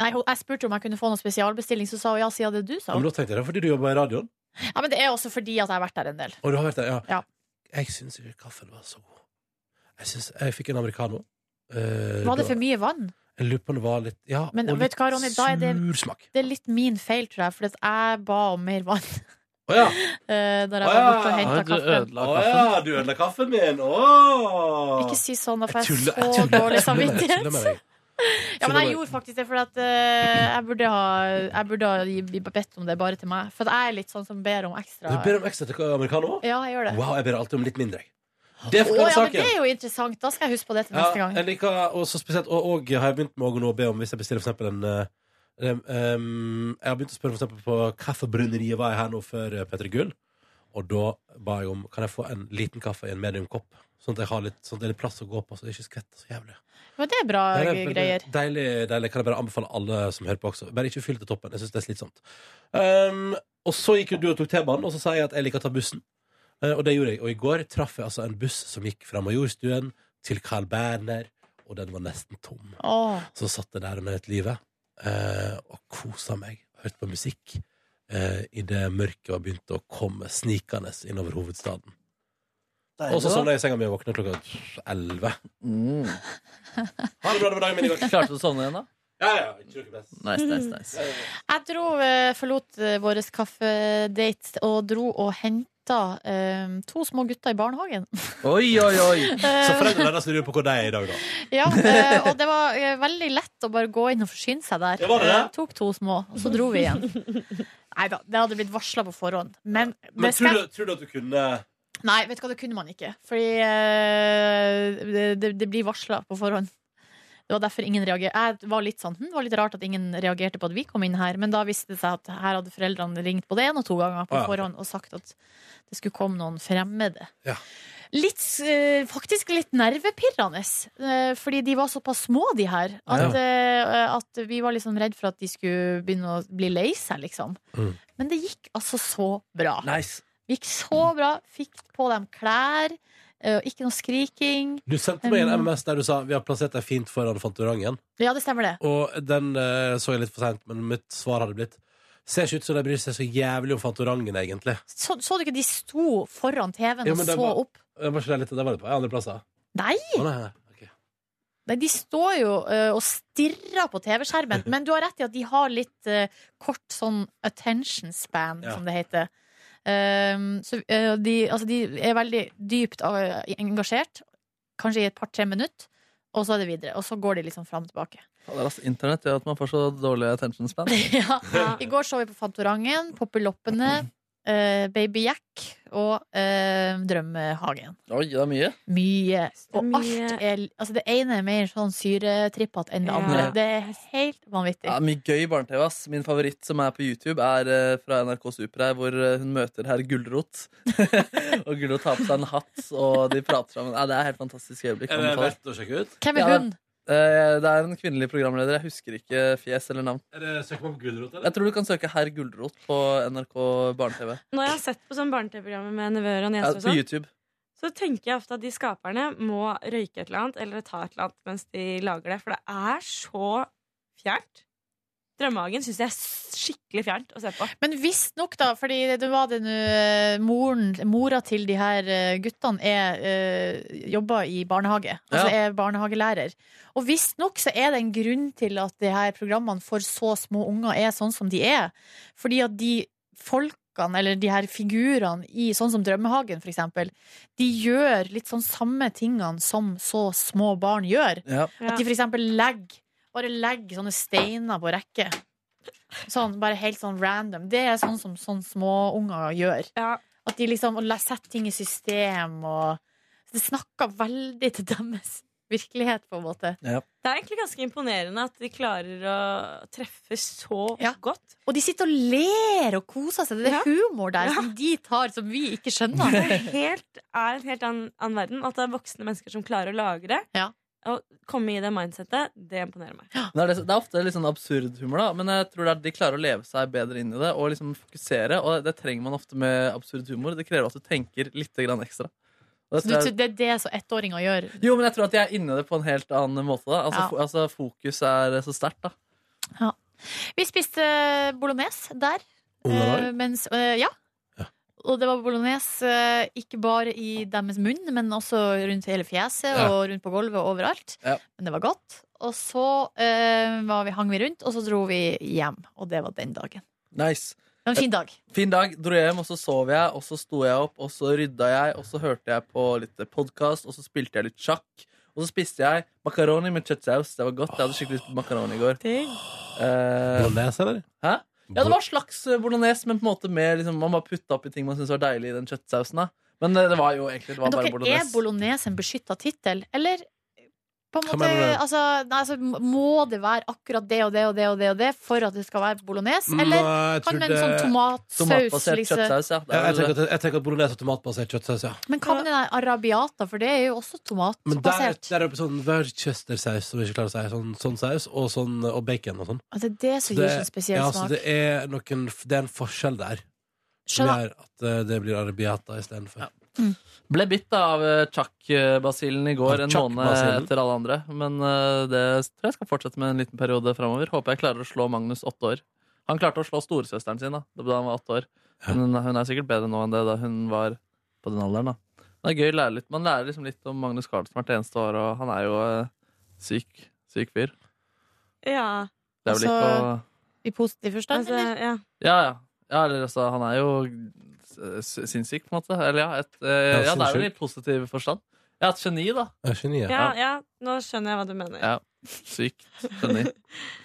Speaker 2: Nei, hun- jeg spurte om jeg kunne få noen spesialbestilling, så sa hun ja, siden det du sa.
Speaker 1: Men
Speaker 2: hun.
Speaker 1: da tenkte jeg det er fordi du jobber i radioen.
Speaker 2: Ja, men det er også fordi at jeg har vært der en del.
Speaker 1: Og du har vært der, ja.
Speaker 2: Ja.
Speaker 1: Jeg syns ikke kaffen var så god. Jeg, synes, jeg fikk en americano. Eh,
Speaker 2: Var det
Speaker 1: da-
Speaker 2: for mye vann?
Speaker 1: Jeg lurer på om det var litt Ja,
Speaker 2: Men
Speaker 1: og
Speaker 2: vet
Speaker 1: litt
Speaker 2: du hva, Ronny, da er det-
Speaker 1: sur smak.
Speaker 2: Det er litt min feil, tror jeg, for at jeg ba om mer vann <laughs>
Speaker 1: Å ja.
Speaker 2: eh, da jeg
Speaker 1: Å
Speaker 2: var
Speaker 1: ja.
Speaker 2: borte og
Speaker 3: Har
Speaker 2: henta
Speaker 3: du
Speaker 2: kaffen.
Speaker 3: ødela
Speaker 1: Å
Speaker 3: kaffen?
Speaker 1: ja, du ødela kaffen min! Åh!
Speaker 2: Ikke si sånn, da
Speaker 1: Jeg
Speaker 2: får jeg
Speaker 1: tuller- jeg
Speaker 2: så
Speaker 1: tuller-
Speaker 2: dårlig
Speaker 1: jeg tuller med deg, jeg tuller
Speaker 2: samvittighet.
Speaker 1: med deg.
Speaker 2: Ja, men jeg
Speaker 1: Tuller med-
Speaker 2: gjorde faktisk det, for at eh, jeg burde ha Jeg burde ha gi- bedt om det bare til meg. For at jeg er litt sånn som ber om ekstra.
Speaker 1: Du ber om ekstra til americano?
Speaker 2: Ja, jeg gjør det.
Speaker 1: Wow, jeg ber alltid om litt mindre. jeg. Det
Speaker 2: Å,
Speaker 1: forklarer
Speaker 2: ja, men det
Speaker 1: saken.
Speaker 2: er jo interessant. Da skal jeg huske på det til
Speaker 1: Ja,
Speaker 2: neste gang.
Speaker 1: jeg liker, og så spesielt, og, og har jeg begynt med å nå be om hvis jeg bestiller for eksempel en eh, em, em, Jeg har begynt å spørre for eksempel på kaffebruneriet var jeg her nå før eh, Petter Gull. Og da ba jeg om kan jeg få en liten kaffe i en mediumkopp. Sånn at jeg har litt, sånn at det er litt plass å gå på, så det ikke skvetter så jævlig.
Speaker 2: Men det er bra
Speaker 1: Det er veldig
Speaker 2: greier.
Speaker 1: Deilig, deilig. Kan jeg bare anbefale alle som hører på også. Bare ikke fyll til toppen. Jeg syns det er slitsomt. Um, og så gikk jo du og tok T-banen, og så sa jeg at jeg liker å ta bussen. Eh, og det gjorde jeg. Og i går traff jeg altså en buss som gikk fra Majorstuen til Carl Berner, og den var nesten tom.
Speaker 2: Åh,
Speaker 1: Så satt jeg der og nøt livet eh, og kosa meg. Hørte på musikk eh, idet mørket var begynt å komme snikende innover hovedstaden. Og så
Speaker 3: sånn-
Speaker 1: sovna jeg i senga mi og våkna klokka elleve.
Speaker 3: Mm.
Speaker 1: Ha det bra, det var dagen min i går.
Speaker 3: Klarte du å sovne igjen, da?
Speaker 1: Ja, ja, ikke noe press.
Speaker 3: Nice, nice, nice.
Speaker 2: Jeg dro, eh, forlot eh, vår kaffedate og dro og henta gutter, eh, to små gutter i barnehagen. Eh,
Speaker 3: Oi, oi, oi.
Speaker 1: Så foreldrene deres lurer på hvor de er i dag, da.
Speaker 2: Ja, eh, og det var eh, veldig lett å bare gå inn og forsyne seg der.
Speaker 1: Ja, var det det?
Speaker 2: Eh, tok to små, og så dro vi igjen.
Speaker 1: <laughs>
Speaker 2: Nei da, det hadde blitt varsla på forhånd. Men,
Speaker 1: Men
Speaker 2: det
Speaker 1: tror
Speaker 2: skal...
Speaker 1: du, tror du at du kunne
Speaker 2: Nei, vet du hva, det kunne man ikke. Fordi eh, det, det, det blir varsla på forhånd. Det var derfor ingen reagerte. Jeg var litt sånn, hm, det var litt rart at ingen reagerte på at vi kom inn her. Men da viste det seg at her hadde foreldrene ringt både én og to ganger på
Speaker 1: Ah, ja.
Speaker 2: forhånd og sagt at det skulle komme noen fremmede.
Speaker 1: Ja.
Speaker 2: Litt, eh, faktisk litt nervepirrende, eh, fordi de var såpass små, de her. At, eh, at vi var liksom redd for at de skulle begynne å bli lei seg, liksom.
Speaker 1: Mm.
Speaker 2: Men det gikk altså så bra.
Speaker 3: Nice.
Speaker 2: Gikk så bra. Fikk på dem klær. eh, Ikke noe skriking.
Speaker 1: Du sendte meg en
Speaker 2: Mm.
Speaker 1: MMS der du sa vi har plassert deg fint foran Fantorangen.
Speaker 2: Ja, det stemmer det.
Speaker 1: Og den eh, så jeg litt for seint, men mitt svar hadde blitt Ser ikke ut som de bryr seg så jævlig om Fantorangen, egentlig.
Speaker 2: Så, så du ikke de sto foran TV-en
Speaker 1: Ja,
Speaker 2: og
Speaker 1: men
Speaker 2: så
Speaker 1: det var-
Speaker 2: opp?
Speaker 1: Det var ikke det litt, det var det på andre plasser.
Speaker 2: Nei!
Speaker 1: Å, nei, ok.
Speaker 2: Nei, De står jo eh, og stirrer på
Speaker 1: <laughs>
Speaker 2: TV-skjermen, men du har rett i at de har litt eh, kort sånn attention span,
Speaker 1: Ja.
Speaker 2: som det heter. Ehm, så eh, de, altså, de er veldig dypt eh, engasjert, kanskje i et par-tre minutter, og så er det videre. Og så går de liksom fram
Speaker 1: <laughs>
Speaker 2: og tilbake.
Speaker 3: Det er altså internett gjør at man får så dårlig attention span.
Speaker 2: ja. <laughs>
Speaker 6: Ja.
Speaker 2: I går så vi på Fantorangen, Poppeloppene, eh, Baby Jack og eh, Drømmehagen.
Speaker 3: Oi, det er mye.
Speaker 2: Mye. Og
Speaker 6: Mye-
Speaker 2: alt er Altså, det ene er mer sånn syretrippete enn det
Speaker 6: Ja.
Speaker 2: andre. Det er helt vanvittig.
Speaker 3: Ja, mye gøy barne-TV. ass. Min favoritt som er på YouTube, er eh, fra NRK Super her, hvor eh, hun møter herr Gulrot. <laughs> og Gulrot har på seg en hatt, og de prater sammen. Ja, det er helt fantastisk øyeblikk.
Speaker 1: Er det
Speaker 3: anbefaler.
Speaker 1: verdt å sjekke ut?
Speaker 2: Hvem
Speaker 3: Ja,
Speaker 2: er
Speaker 3: det-
Speaker 2: hun?
Speaker 3: Eh, Det er en kvinnelig programleder. Jeg husker ikke fjes eller navn.
Speaker 1: Er det Søker man på gulrot,
Speaker 2: Eh,
Speaker 1: eller?
Speaker 3: Jeg tror du kan søke herr Gulrot på NRK barne-TV.
Speaker 6: Når jeg har sett på sånn barne-TV-programmer med nevøer og
Speaker 3: Ja,
Speaker 6: nieser, og
Speaker 3: på
Speaker 6: sånn,
Speaker 3: YouTube.
Speaker 6: så tenker jeg ofte at de skaperne må røyke et eller annet eller ta et eller annet mens de lager det, for det er så fjernt. Drømmehagen syns jeg er s- skikkelig fjernt å se på.
Speaker 2: Men visstnok, da, fordi det var det nå eh, moren, Mora til de her eh, guttene er eh, jobber i barnehage. Altså er barnehagelærer. Og visstnok så er det en grunn til at de her programmene for så små unger er sånn som de er. Fordi at de folkene, eller de her figurene i sånn som Drømmehagen, for eksempel, de gjør litt sånn samme tingene som så små barn gjør.
Speaker 3: Ja.
Speaker 6: Ja.
Speaker 2: At de for eksempel legger Bare legger sånne steiner på rekke Sånn, bare helt sånn random Det er sånn som sånn små unger gjør
Speaker 6: Ja.
Speaker 2: At de liksom og la- setter ting i system og, så Det snakker veldig til deres virkelighet på en måte
Speaker 6: Det er egentlig ganske imponerende at de klarer å treffe så
Speaker 2: Ja.
Speaker 6: godt.
Speaker 2: Og de sitter og ler og koser seg Det er
Speaker 6: Ja.
Speaker 2: humor der
Speaker 6: Ja.
Speaker 2: som de tar Som vi ikke
Speaker 6: <laughs>
Speaker 2: skjønner
Speaker 6: Det er, helt, er en helt annen, annen verden. At det er voksne mennesker som klarer å lage det.
Speaker 2: Ja.
Speaker 6: Og komme i det mindsettet, det imponerer meg.
Speaker 3: Men Det er, det er ofte litt sånn absurd humor, da, men jeg tror det er, de klarer å leve seg bedre inn i det og liksom fokusere. Og det trenger man ofte med absurd humor. Det krever at du tenker litt grann ekstra. Og det
Speaker 2: Så du,
Speaker 3: tror jeg-
Speaker 2: tror det er det som ettåringer gjør
Speaker 3: Jo, men jeg tror at jeg er inne i det på en helt annen måte. da Altså,
Speaker 2: Ja.
Speaker 3: fo- altså Fokus er så sterkt. da
Speaker 2: Vi spiste bolognese der
Speaker 1: Ungene
Speaker 2: Eh, mens, eh, ja. Og det var bolognese eh, ikke bare i deres munn, men også rundt hele fjeset
Speaker 1: Ja.
Speaker 2: og rundt på gulvet og overalt.
Speaker 3: Ja.
Speaker 2: Men det var godt. Og så eh, var vi, hang vi rundt, og så dro vi hjem. Og det var den dagen.
Speaker 3: Nice
Speaker 2: Det var en fin dag.
Speaker 3: Fin dag. Dro hjem, og så sov jeg, og så sto jeg opp, og så rydda jeg, og så hørte jeg på litt podkast, og så spilte jeg litt sjakk. Og så spiste jeg makaroni med kjøttsaus. Det var godt. Jeg hadde skikkelig lyst på makaroni i går. Eh,
Speaker 1: Bolognese, eller?
Speaker 3: hæ? Ja, det var slags eh, bolognese, men på en måte med liksom, man bare putta oppi ting man syntes var deilig i den kjøttsausen. da Men eh, det var jo egentlig det var
Speaker 2: Men
Speaker 3: bare
Speaker 2: dere, er
Speaker 3: bolognese.
Speaker 2: bolognese en beskytta tittel, eller? På en
Speaker 1: Hva
Speaker 2: måte,
Speaker 1: mener du?
Speaker 2: altså, nei, altså, må det være akkurat det og det og det og det og det for at det skal være bolognese? Eller
Speaker 1: Nei, Mm, jeg
Speaker 2: kan
Speaker 1: tror
Speaker 2: med en sånn
Speaker 1: det-
Speaker 2: tomatsaus
Speaker 3: Mm, Tomatbasert
Speaker 2: liksom?
Speaker 3: kjøttsaus, ja. Det
Speaker 1: Ja,
Speaker 3: er
Speaker 1: jeg,
Speaker 3: vel det.
Speaker 1: tenker at, jeg tenker at bolognese og tomatbasert kjøttsaus, ja.
Speaker 2: Men hva med den der arabiata, for det er jo også
Speaker 1: Men der,
Speaker 2: tomatbasert.
Speaker 1: der er det sånn Worcestersaus, som vi ikke klarer å si. Sånn, sånn saus, og, sånn, og bacon og sånn.
Speaker 2: At det er det som
Speaker 1: Det-
Speaker 2: gir sånn spesiell
Speaker 1: ja, så
Speaker 2: smak.
Speaker 1: det er, noen, det er en forskjell der. Som
Speaker 2: Skjønner.
Speaker 1: gjør at eh, det blir arabiata istedenfor.
Speaker 3: Ble bitt da av eh, Chak-basillen i
Speaker 1: Av
Speaker 3: går, en måned
Speaker 1: Chak-basillen?
Speaker 3: etter alle andre. Men eh, det tror jeg skal fortsette med en liten periode framover. Håper jeg klarer å slå Magnus åtte år. Han klarte å slå storesøsteren sin da da han var åtte år. Men hun- hun er sikkert bedre nå enn det da hun var på den alderen. da Det er gøy å lære litt. Man lærer liksom litt om Magnus Carlsen hvert eneste år, og han er jo eh, syk. Syk fyr.
Speaker 6: Ja,
Speaker 3: Det er vel
Speaker 2: Altså-
Speaker 3: ikke å
Speaker 2: I positiv forstand,
Speaker 6: altså,
Speaker 2: eller?
Speaker 6: ja.
Speaker 3: Ja, ja. ja eller, altså, han er jo s- sinnssyk, på en måte. Eller ja, et, eh, ja, det er vel i positiv forstand. Ja, et geni, da.
Speaker 1: Jeg er geni, jeg.
Speaker 6: Ja, ja, nå skjønner jeg hva du mener.
Speaker 3: Ja. Sykt geni.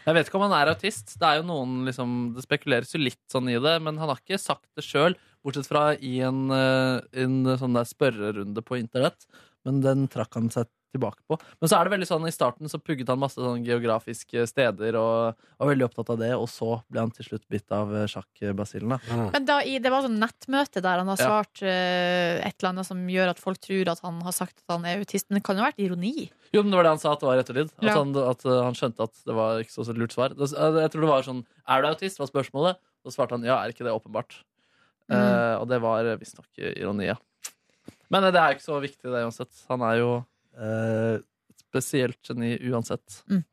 Speaker 3: Jeg vet ikke om han er autist. Det er jo noen, liksom, det spekuleres jo litt sånn i det, men han har ikke sagt det sjøl, bortsett fra i en, eh, en sånn der spørrerunde på internett. Men den trakk han seg tilbake på. Men så er det veldig sånn, i starten så pugget han masse sånn geografiske steder og var veldig opptatt av det, og så ble han til slutt bitt av eh, sjakkbasillen. da.
Speaker 2: Men da, i, det var sånn nettmøte der han har
Speaker 3: Ja.
Speaker 2: svart eh, et eller annet som gjør at folk tror at han har sagt at han er autist. Men det kan jo ha vært ironi.
Speaker 3: Jo, men det var det han sa at det var etterlyd. At,
Speaker 2: Ja.
Speaker 3: han, at uh, han skjønte at det var ikke så så lurt svar. Det- Jeg tror det var sånn Er du autist? var spørsmålet. Og så svarte han ja, er ikke det åpenbart?
Speaker 2: Mm.
Speaker 3: Eh, og det var visstnok ironi, ja. Men eh, det er jo ikke så viktig, det uansett. Han er jo eh, et spesielt geni uansett.
Speaker 6: Mm.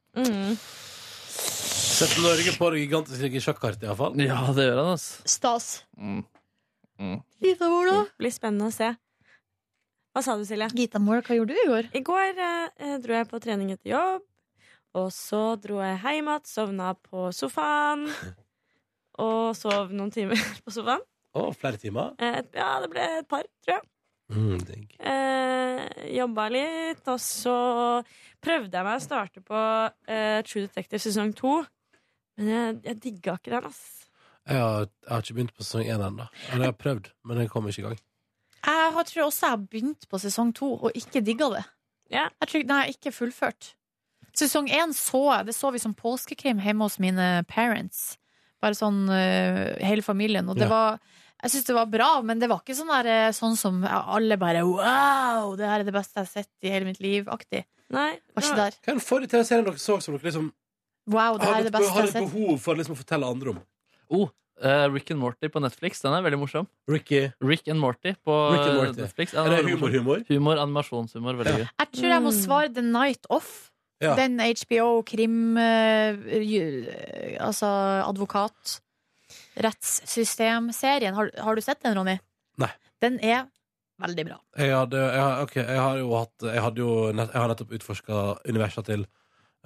Speaker 1: Setter Norge på det gigantiske sjakkartet, iallfall.
Speaker 3: Ja, det gjør han, altså.
Speaker 2: Stas.
Speaker 3: Mm.
Speaker 2: Gita Mola,
Speaker 6: Blir spennende å se. Hva sa du, Silje?
Speaker 2: Gita Mola, hva gjorde du i går?
Speaker 6: I går eh, dro jeg på trening etter jobb. Og så dro jeg hjem igjen, sovna på sofaen. Og sov noen timer <laughs> på sofaen.
Speaker 1: Å, flere timer?
Speaker 6: Eh, et- ja, det ble et par, tror jeg.
Speaker 1: Mm, digg.
Speaker 6: Eh, jobba litt, og så prøvde jeg meg å starte på eh, True Detective sesong to. Men jeg, jeg digga ikke den, ass.
Speaker 1: Jeg har, jeg har ikke begynt på sesong én ennå. Eller jeg har prøvd, men jeg kom ikke i gang.
Speaker 2: Jeg har, tror også jeg har begynt på sesong to og ikke digga det.
Speaker 6: Ja.
Speaker 2: Jeg tror, nei, jeg har ikke fullført. Sesong én så jeg. Det så vi som påskekrim hjemme hos mine parents. Bare sånn eh, hele familien. Og det
Speaker 1: Ja.
Speaker 2: var Jeg syns det var bra, men det var ikke sånn, der, eh, sånn som alle bare Wow, det her er det beste jeg har sett i hele mitt liv-aktig.
Speaker 6: Nei.
Speaker 2: Var ikke
Speaker 6: det var-
Speaker 2: der.
Speaker 1: Hva er den forrige TV-serien dere så som dere liksom
Speaker 2: Wow, det her
Speaker 1: har
Speaker 2: er
Speaker 1: et,
Speaker 2: det beste
Speaker 1: har
Speaker 2: jeg har
Speaker 1: et
Speaker 2: sett.
Speaker 1: behov for liksom å fortelle andre om?
Speaker 3: Eh, Rick and Morty på Netflix, den er veldig morsom.
Speaker 1: Ricky.
Speaker 3: Rick and Morty på
Speaker 1: Rick and Morty.
Speaker 3: Netflix.
Speaker 1: Er
Speaker 3: Den
Speaker 1: det
Speaker 3: veldig morsom.
Speaker 1: humor-humor?
Speaker 3: Humor, animasjonshumor. Veldig gøy.
Speaker 2: Jeg tror jeg må
Speaker 6: Mm.
Speaker 2: svare The Night Off.
Speaker 1: Ja.
Speaker 2: Den HBO-krim eh, ju- eh, Altså advokat Rettssystem-serien. Har, har du sett den, Ronny?
Speaker 1: Nei.
Speaker 2: Den er veldig bra.
Speaker 1: Jeg hadde, jeg, har- ok, jeg har jo hatt Jeg, hadde jo nett, jeg har nettopp utforska universet til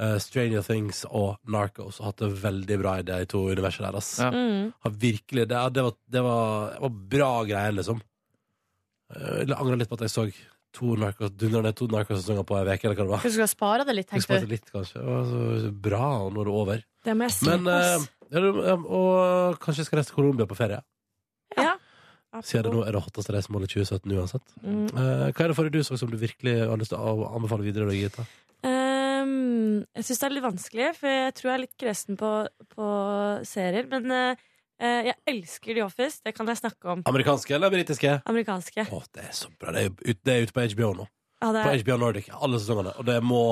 Speaker 1: eh, Stranger Things og Narcos og hatt det veldig bra i de to universene der. ass.
Speaker 3: Ja.
Speaker 6: Mm.
Speaker 1: Har virkelig, det, det, var, det, var, det var bra greier, liksom. Eh, Jeg angrer litt på at jeg så to Narcos dundrende to Narcos-sesonger på ei uke, eller hva det var.
Speaker 2: Kanskje du skal spare det litt,
Speaker 1: Jeg
Speaker 2: tenkte
Speaker 1: Ah. sparte
Speaker 2: du.
Speaker 1: litt, kanskje. Det var så bra når det er over.
Speaker 6: Det må jeg si.
Speaker 1: Men eh,
Speaker 6: ass.
Speaker 1: ja, du, eh, Og kanskje jeg skal reise til Colombia på ferie.
Speaker 6: ja.
Speaker 1: Siden det nå er det hotteste reisemålet 2017 uansett.
Speaker 6: Mm.
Speaker 1: Eh, hva er det forrige du så som du virkelig har lyst til å anbefale videre? Da, Gita?
Speaker 6: Ehm, jeg syns det er litt vanskelig, for jeg tror jeg er litt kresen på, på serier. Men eh, eh, jeg elsker The Office. Det kan jeg snakke om.
Speaker 1: Amerikanske eller britiske?
Speaker 6: Amerikanske.
Speaker 1: Å, det er så bra. Det er, ut, det er ute på HBO nå.
Speaker 6: Ja, det
Speaker 1: På
Speaker 6: er,
Speaker 1: HBO Nordic. Alle sesongene. Og det må,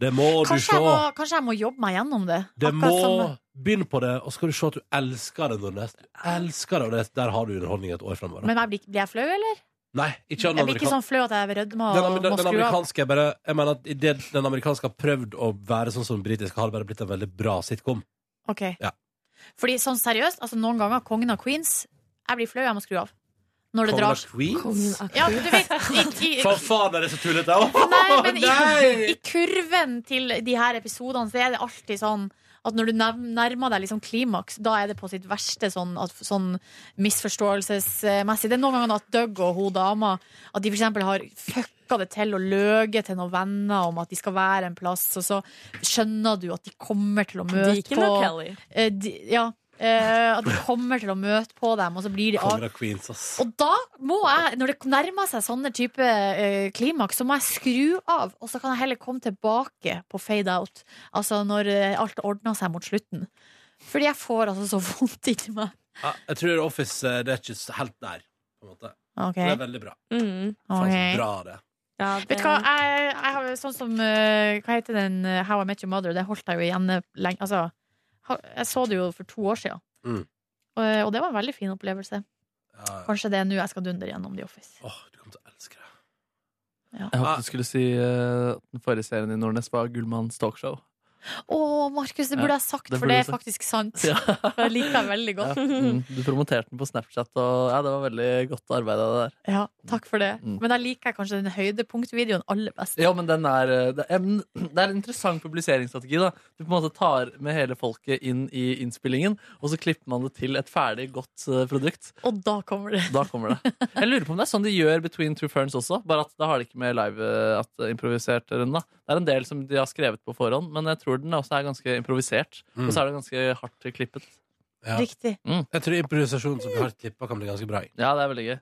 Speaker 1: det må du
Speaker 2: Kanskje
Speaker 1: se.
Speaker 2: jeg, må, kanskje jeg må jobbe meg gjennom det.
Speaker 1: Det
Speaker 2: Akkurat
Speaker 1: må
Speaker 2: som-
Speaker 1: Begynn på det, og så skal du se at du elsker det, Nordnes. Du elsker det, og det, der har du underholdning et år framover.
Speaker 2: Men jeg blir, blir jeg flau, eller?
Speaker 1: Nei, ikke
Speaker 2: Jeg
Speaker 1: den
Speaker 2: blir ikke
Speaker 1: amerikanske.
Speaker 2: sånn flau at jeg rødmer
Speaker 1: Den,
Speaker 2: og
Speaker 1: amer- den, den
Speaker 2: må skru av.
Speaker 1: amerikanske er bare Jeg mener at i det den amerikanske har prøvd å være sånn som den britiske, har det bare blitt en veldig bra sitcom.
Speaker 2: Ok.
Speaker 1: Ja.
Speaker 2: Fordi sånn seriøst, altså noen ganger Kongen av Queens Jeg blir flau, jeg må skru av. Når det
Speaker 1: Kongen av
Speaker 2: drar
Speaker 1: Queens?
Speaker 6: <laughs>
Speaker 2: Ja, du vet i, i,
Speaker 1: For faen, er det så tullete!
Speaker 2: Nei, men i,
Speaker 1: <laughs> Nei!
Speaker 2: i kurven til de her episodene Så er det alltid sånn at når du nev- nærmer deg liksom klimaks, da er det på sitt verste sånn, at, sånn misforståelsesmessig. Det er noen ganger at Doug og hun dama At de for eksempel har fucka det til og løyet til noen venner om at de skal være en plass, og så skjønner du at de kommer til å møte
Speaker 6: Deacon
Speaker 2: på
Speaker 6: og Kelly.
Speaker 2: eh, de, Ja. eh, at de kommer til å møte på dem, og så blir de av,
Speaker 1: Kongen av Queens, ass.
Speaker 2: og da må jeg, når det nærmer seg sånne type eh, klimaks, så må jeg skru av, og så kan jeg heller komme tilbake på fade out. Altså når eh, alt ordner seg mot slutten. Fordi jeg får altså så <laughs> vondt inni meg.
Speaker 1: Ja, jeg tror Office eh, det er ikke s- helt der. På en måte.
Speaker 2: Ok,
Speaker 1: Det er veldig bra.
Speaker 6: Mm.
Speaker 1: Faen, så
Speaker 2: ok.
Speaker 1: bra det.
Speaker 6: Ja, det,
Speaker 2: Vet du hva, jeg, jeg har jo sånn som eh, Hva heter den eh, How I Met Your Mother? Det holdt jeg jo igjen eh, lenge. Altså, ha- jeg så det jo for to år siden.
Speaker 1: Mm.
Speaker 2: Og, eh, og det var en veldig fin opplevelse.
Speaker 1: Ja.
Speaker 2: Kanskje det er nå jeg skal dundre gjennom The Office.
Speaker 1: Åh, du kommer til å elske det.
Speaker 3: Ah. Jeg håpet du skulle si eh, at den forrige serien i Nordnes var Gullmanns talkshow.
Speaker 2: Å, Markus, det burde jeg sagt,
Speaker 3: det
Speaker 2: for
Speaker 3: burde
Speaker 2: det er
Speaker 3: du sagt.
Speaker 2: faktisk sant.
Speaker 3: Ja.
Speaker 2: For <laughs> jeg liker deg veldig
Speaker 3: Ja.
Speaker 2: godt.
Speaker 3: Mm. Du promoterte den på Snapchat, og ja, det var veldig godt arbeid av det der.
Speaker 2: <laughs> Ja, takk for det.
Speaker 3: Mm.
Speaker 2: Men jeg liker kanskje den høydepunktvideoen aller best.
Speaker 3: Ja, men den er, eh, det er en- det er en interessant publiseringsstrategi. da Du på en måte tar med hele folket inn i innspillingen, og så klipper man det til et ferdig, godt eh, produkt.
Speaker 2: Og da kommer det.
Speaker 3: Da kommer det. <laughs> Jeg lurer på om det er sånn de gjør Between Two Ferns også, bare at da har de ikke med live eh, at eh, improvisert runde. da. Det er en del som de har skrevet på forhånd, men jeg tror den også er ganske improvisert.
Speaker 1: Mm.
Speaker 3: Og så er det ganske hardt klippet.
Speaker 1: Ja.
Speaker 2: Riktig.
Speaker 1: Jeg tror improvisasjon som blir hardt klippa, kan bli ganske bra. i
Speaker 3: Ja, det er veldig gøy.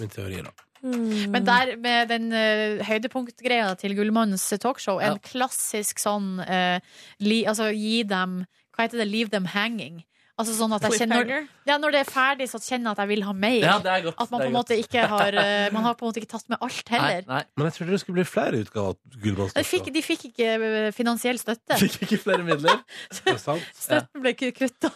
Speaker 1: Min teori, da.
Speaker 3: Mm.
Speaker 2: Men der med den eh, høydepunktgreia til Gullmannens talkshow, en
Speaker 3: Ja.
Speaker 2: klassisk sånn eh, li, Altså gi dem Hva heter det? Leave them hanging. Altså sånn at jeg kjenner
Speaker 6: Cliffhanger.
Speaker 2: ja, Når det er ferdig, så kjenner jeg at jeg vil ha mer.
Speaker 3: Ja, det er godt.
Speaker 2: At man
Speaker 3: det
Speaker 2: på
Speaker 3: er
Speaker 2: en måte ikke har
Speaker 3: <laughs>
Speaker 2: eh, Man har på en måte ikke tatt med alt heller.
Speaker 3: Nei, nei.
Speaker 1: Men jeg trodde det skulle bli flere utgaver av Gullmanns
Speaker 2: De fikk, de fikk ikke eh, finansiell støtte.
Speaker 3: Fikk ikke flere midler.
Speaker 2: <laughs> Støtten ble kutta.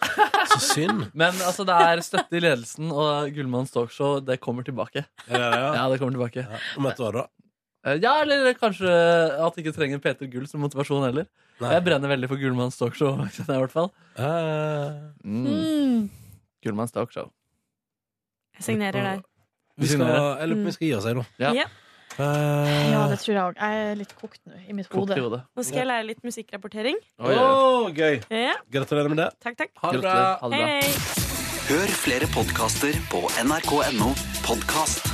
Speaker 1: Så synd.
Speaker 3: Men altså, det er støtte i ledelsen, og Gullmanns talkshow det kommer tilbake.
Speaker 1: Er det det, ja?
Speaker 3: Ja, det kommer tilbake.
Speaker 1: Ja. Om et år, da?
Speaker 3: Eh, Ja, eller kanskje at de ikke trenger Peter Gull som motivasjon heller.
Speaker 1: Nei.
Speaker 3: Jeg brenner veldig for Gullmanns <laughs> talkshow. kjenner jeg i hvert fall
Speaker 1: Eh,
Speaker 3: mm.
Speaker 2: Mm.
Speaker 3: Gullmanns talkshow.
Speaker 6: Jeg signerer der.
Speaker 1: vi skal, jeg lurer på om vi skal gi oss her nå.
Speaker 3: Ja.
Speaker 6: Ja.
Speaker 1: Eh,
Speaker 2: Ja, det tror jeg òg. Jeg er litt kokt nå, i mitt
Speaker 3: Kokt
Speaker 2: hode.
Speaker 3: i hodet.
Speaker 6: Nå skal jeg lære litt musikkrapportering.
Speaker 3: Oi, oi, oi.
Speaker 1: Å, Eh, gøy!
Speaker 6: Ja,
Speaker 1: Gratulerer med det.
Speaker 6: takk, takk.
Speaker 1: Ha det bra.
Speaker 3: Gratulerer. Ha det
Speaker 6: Hei,
Speaker 3: bra.
Speaker 6: hei.
Speaker 10: Hør flere podkaster på nrk.no podkast.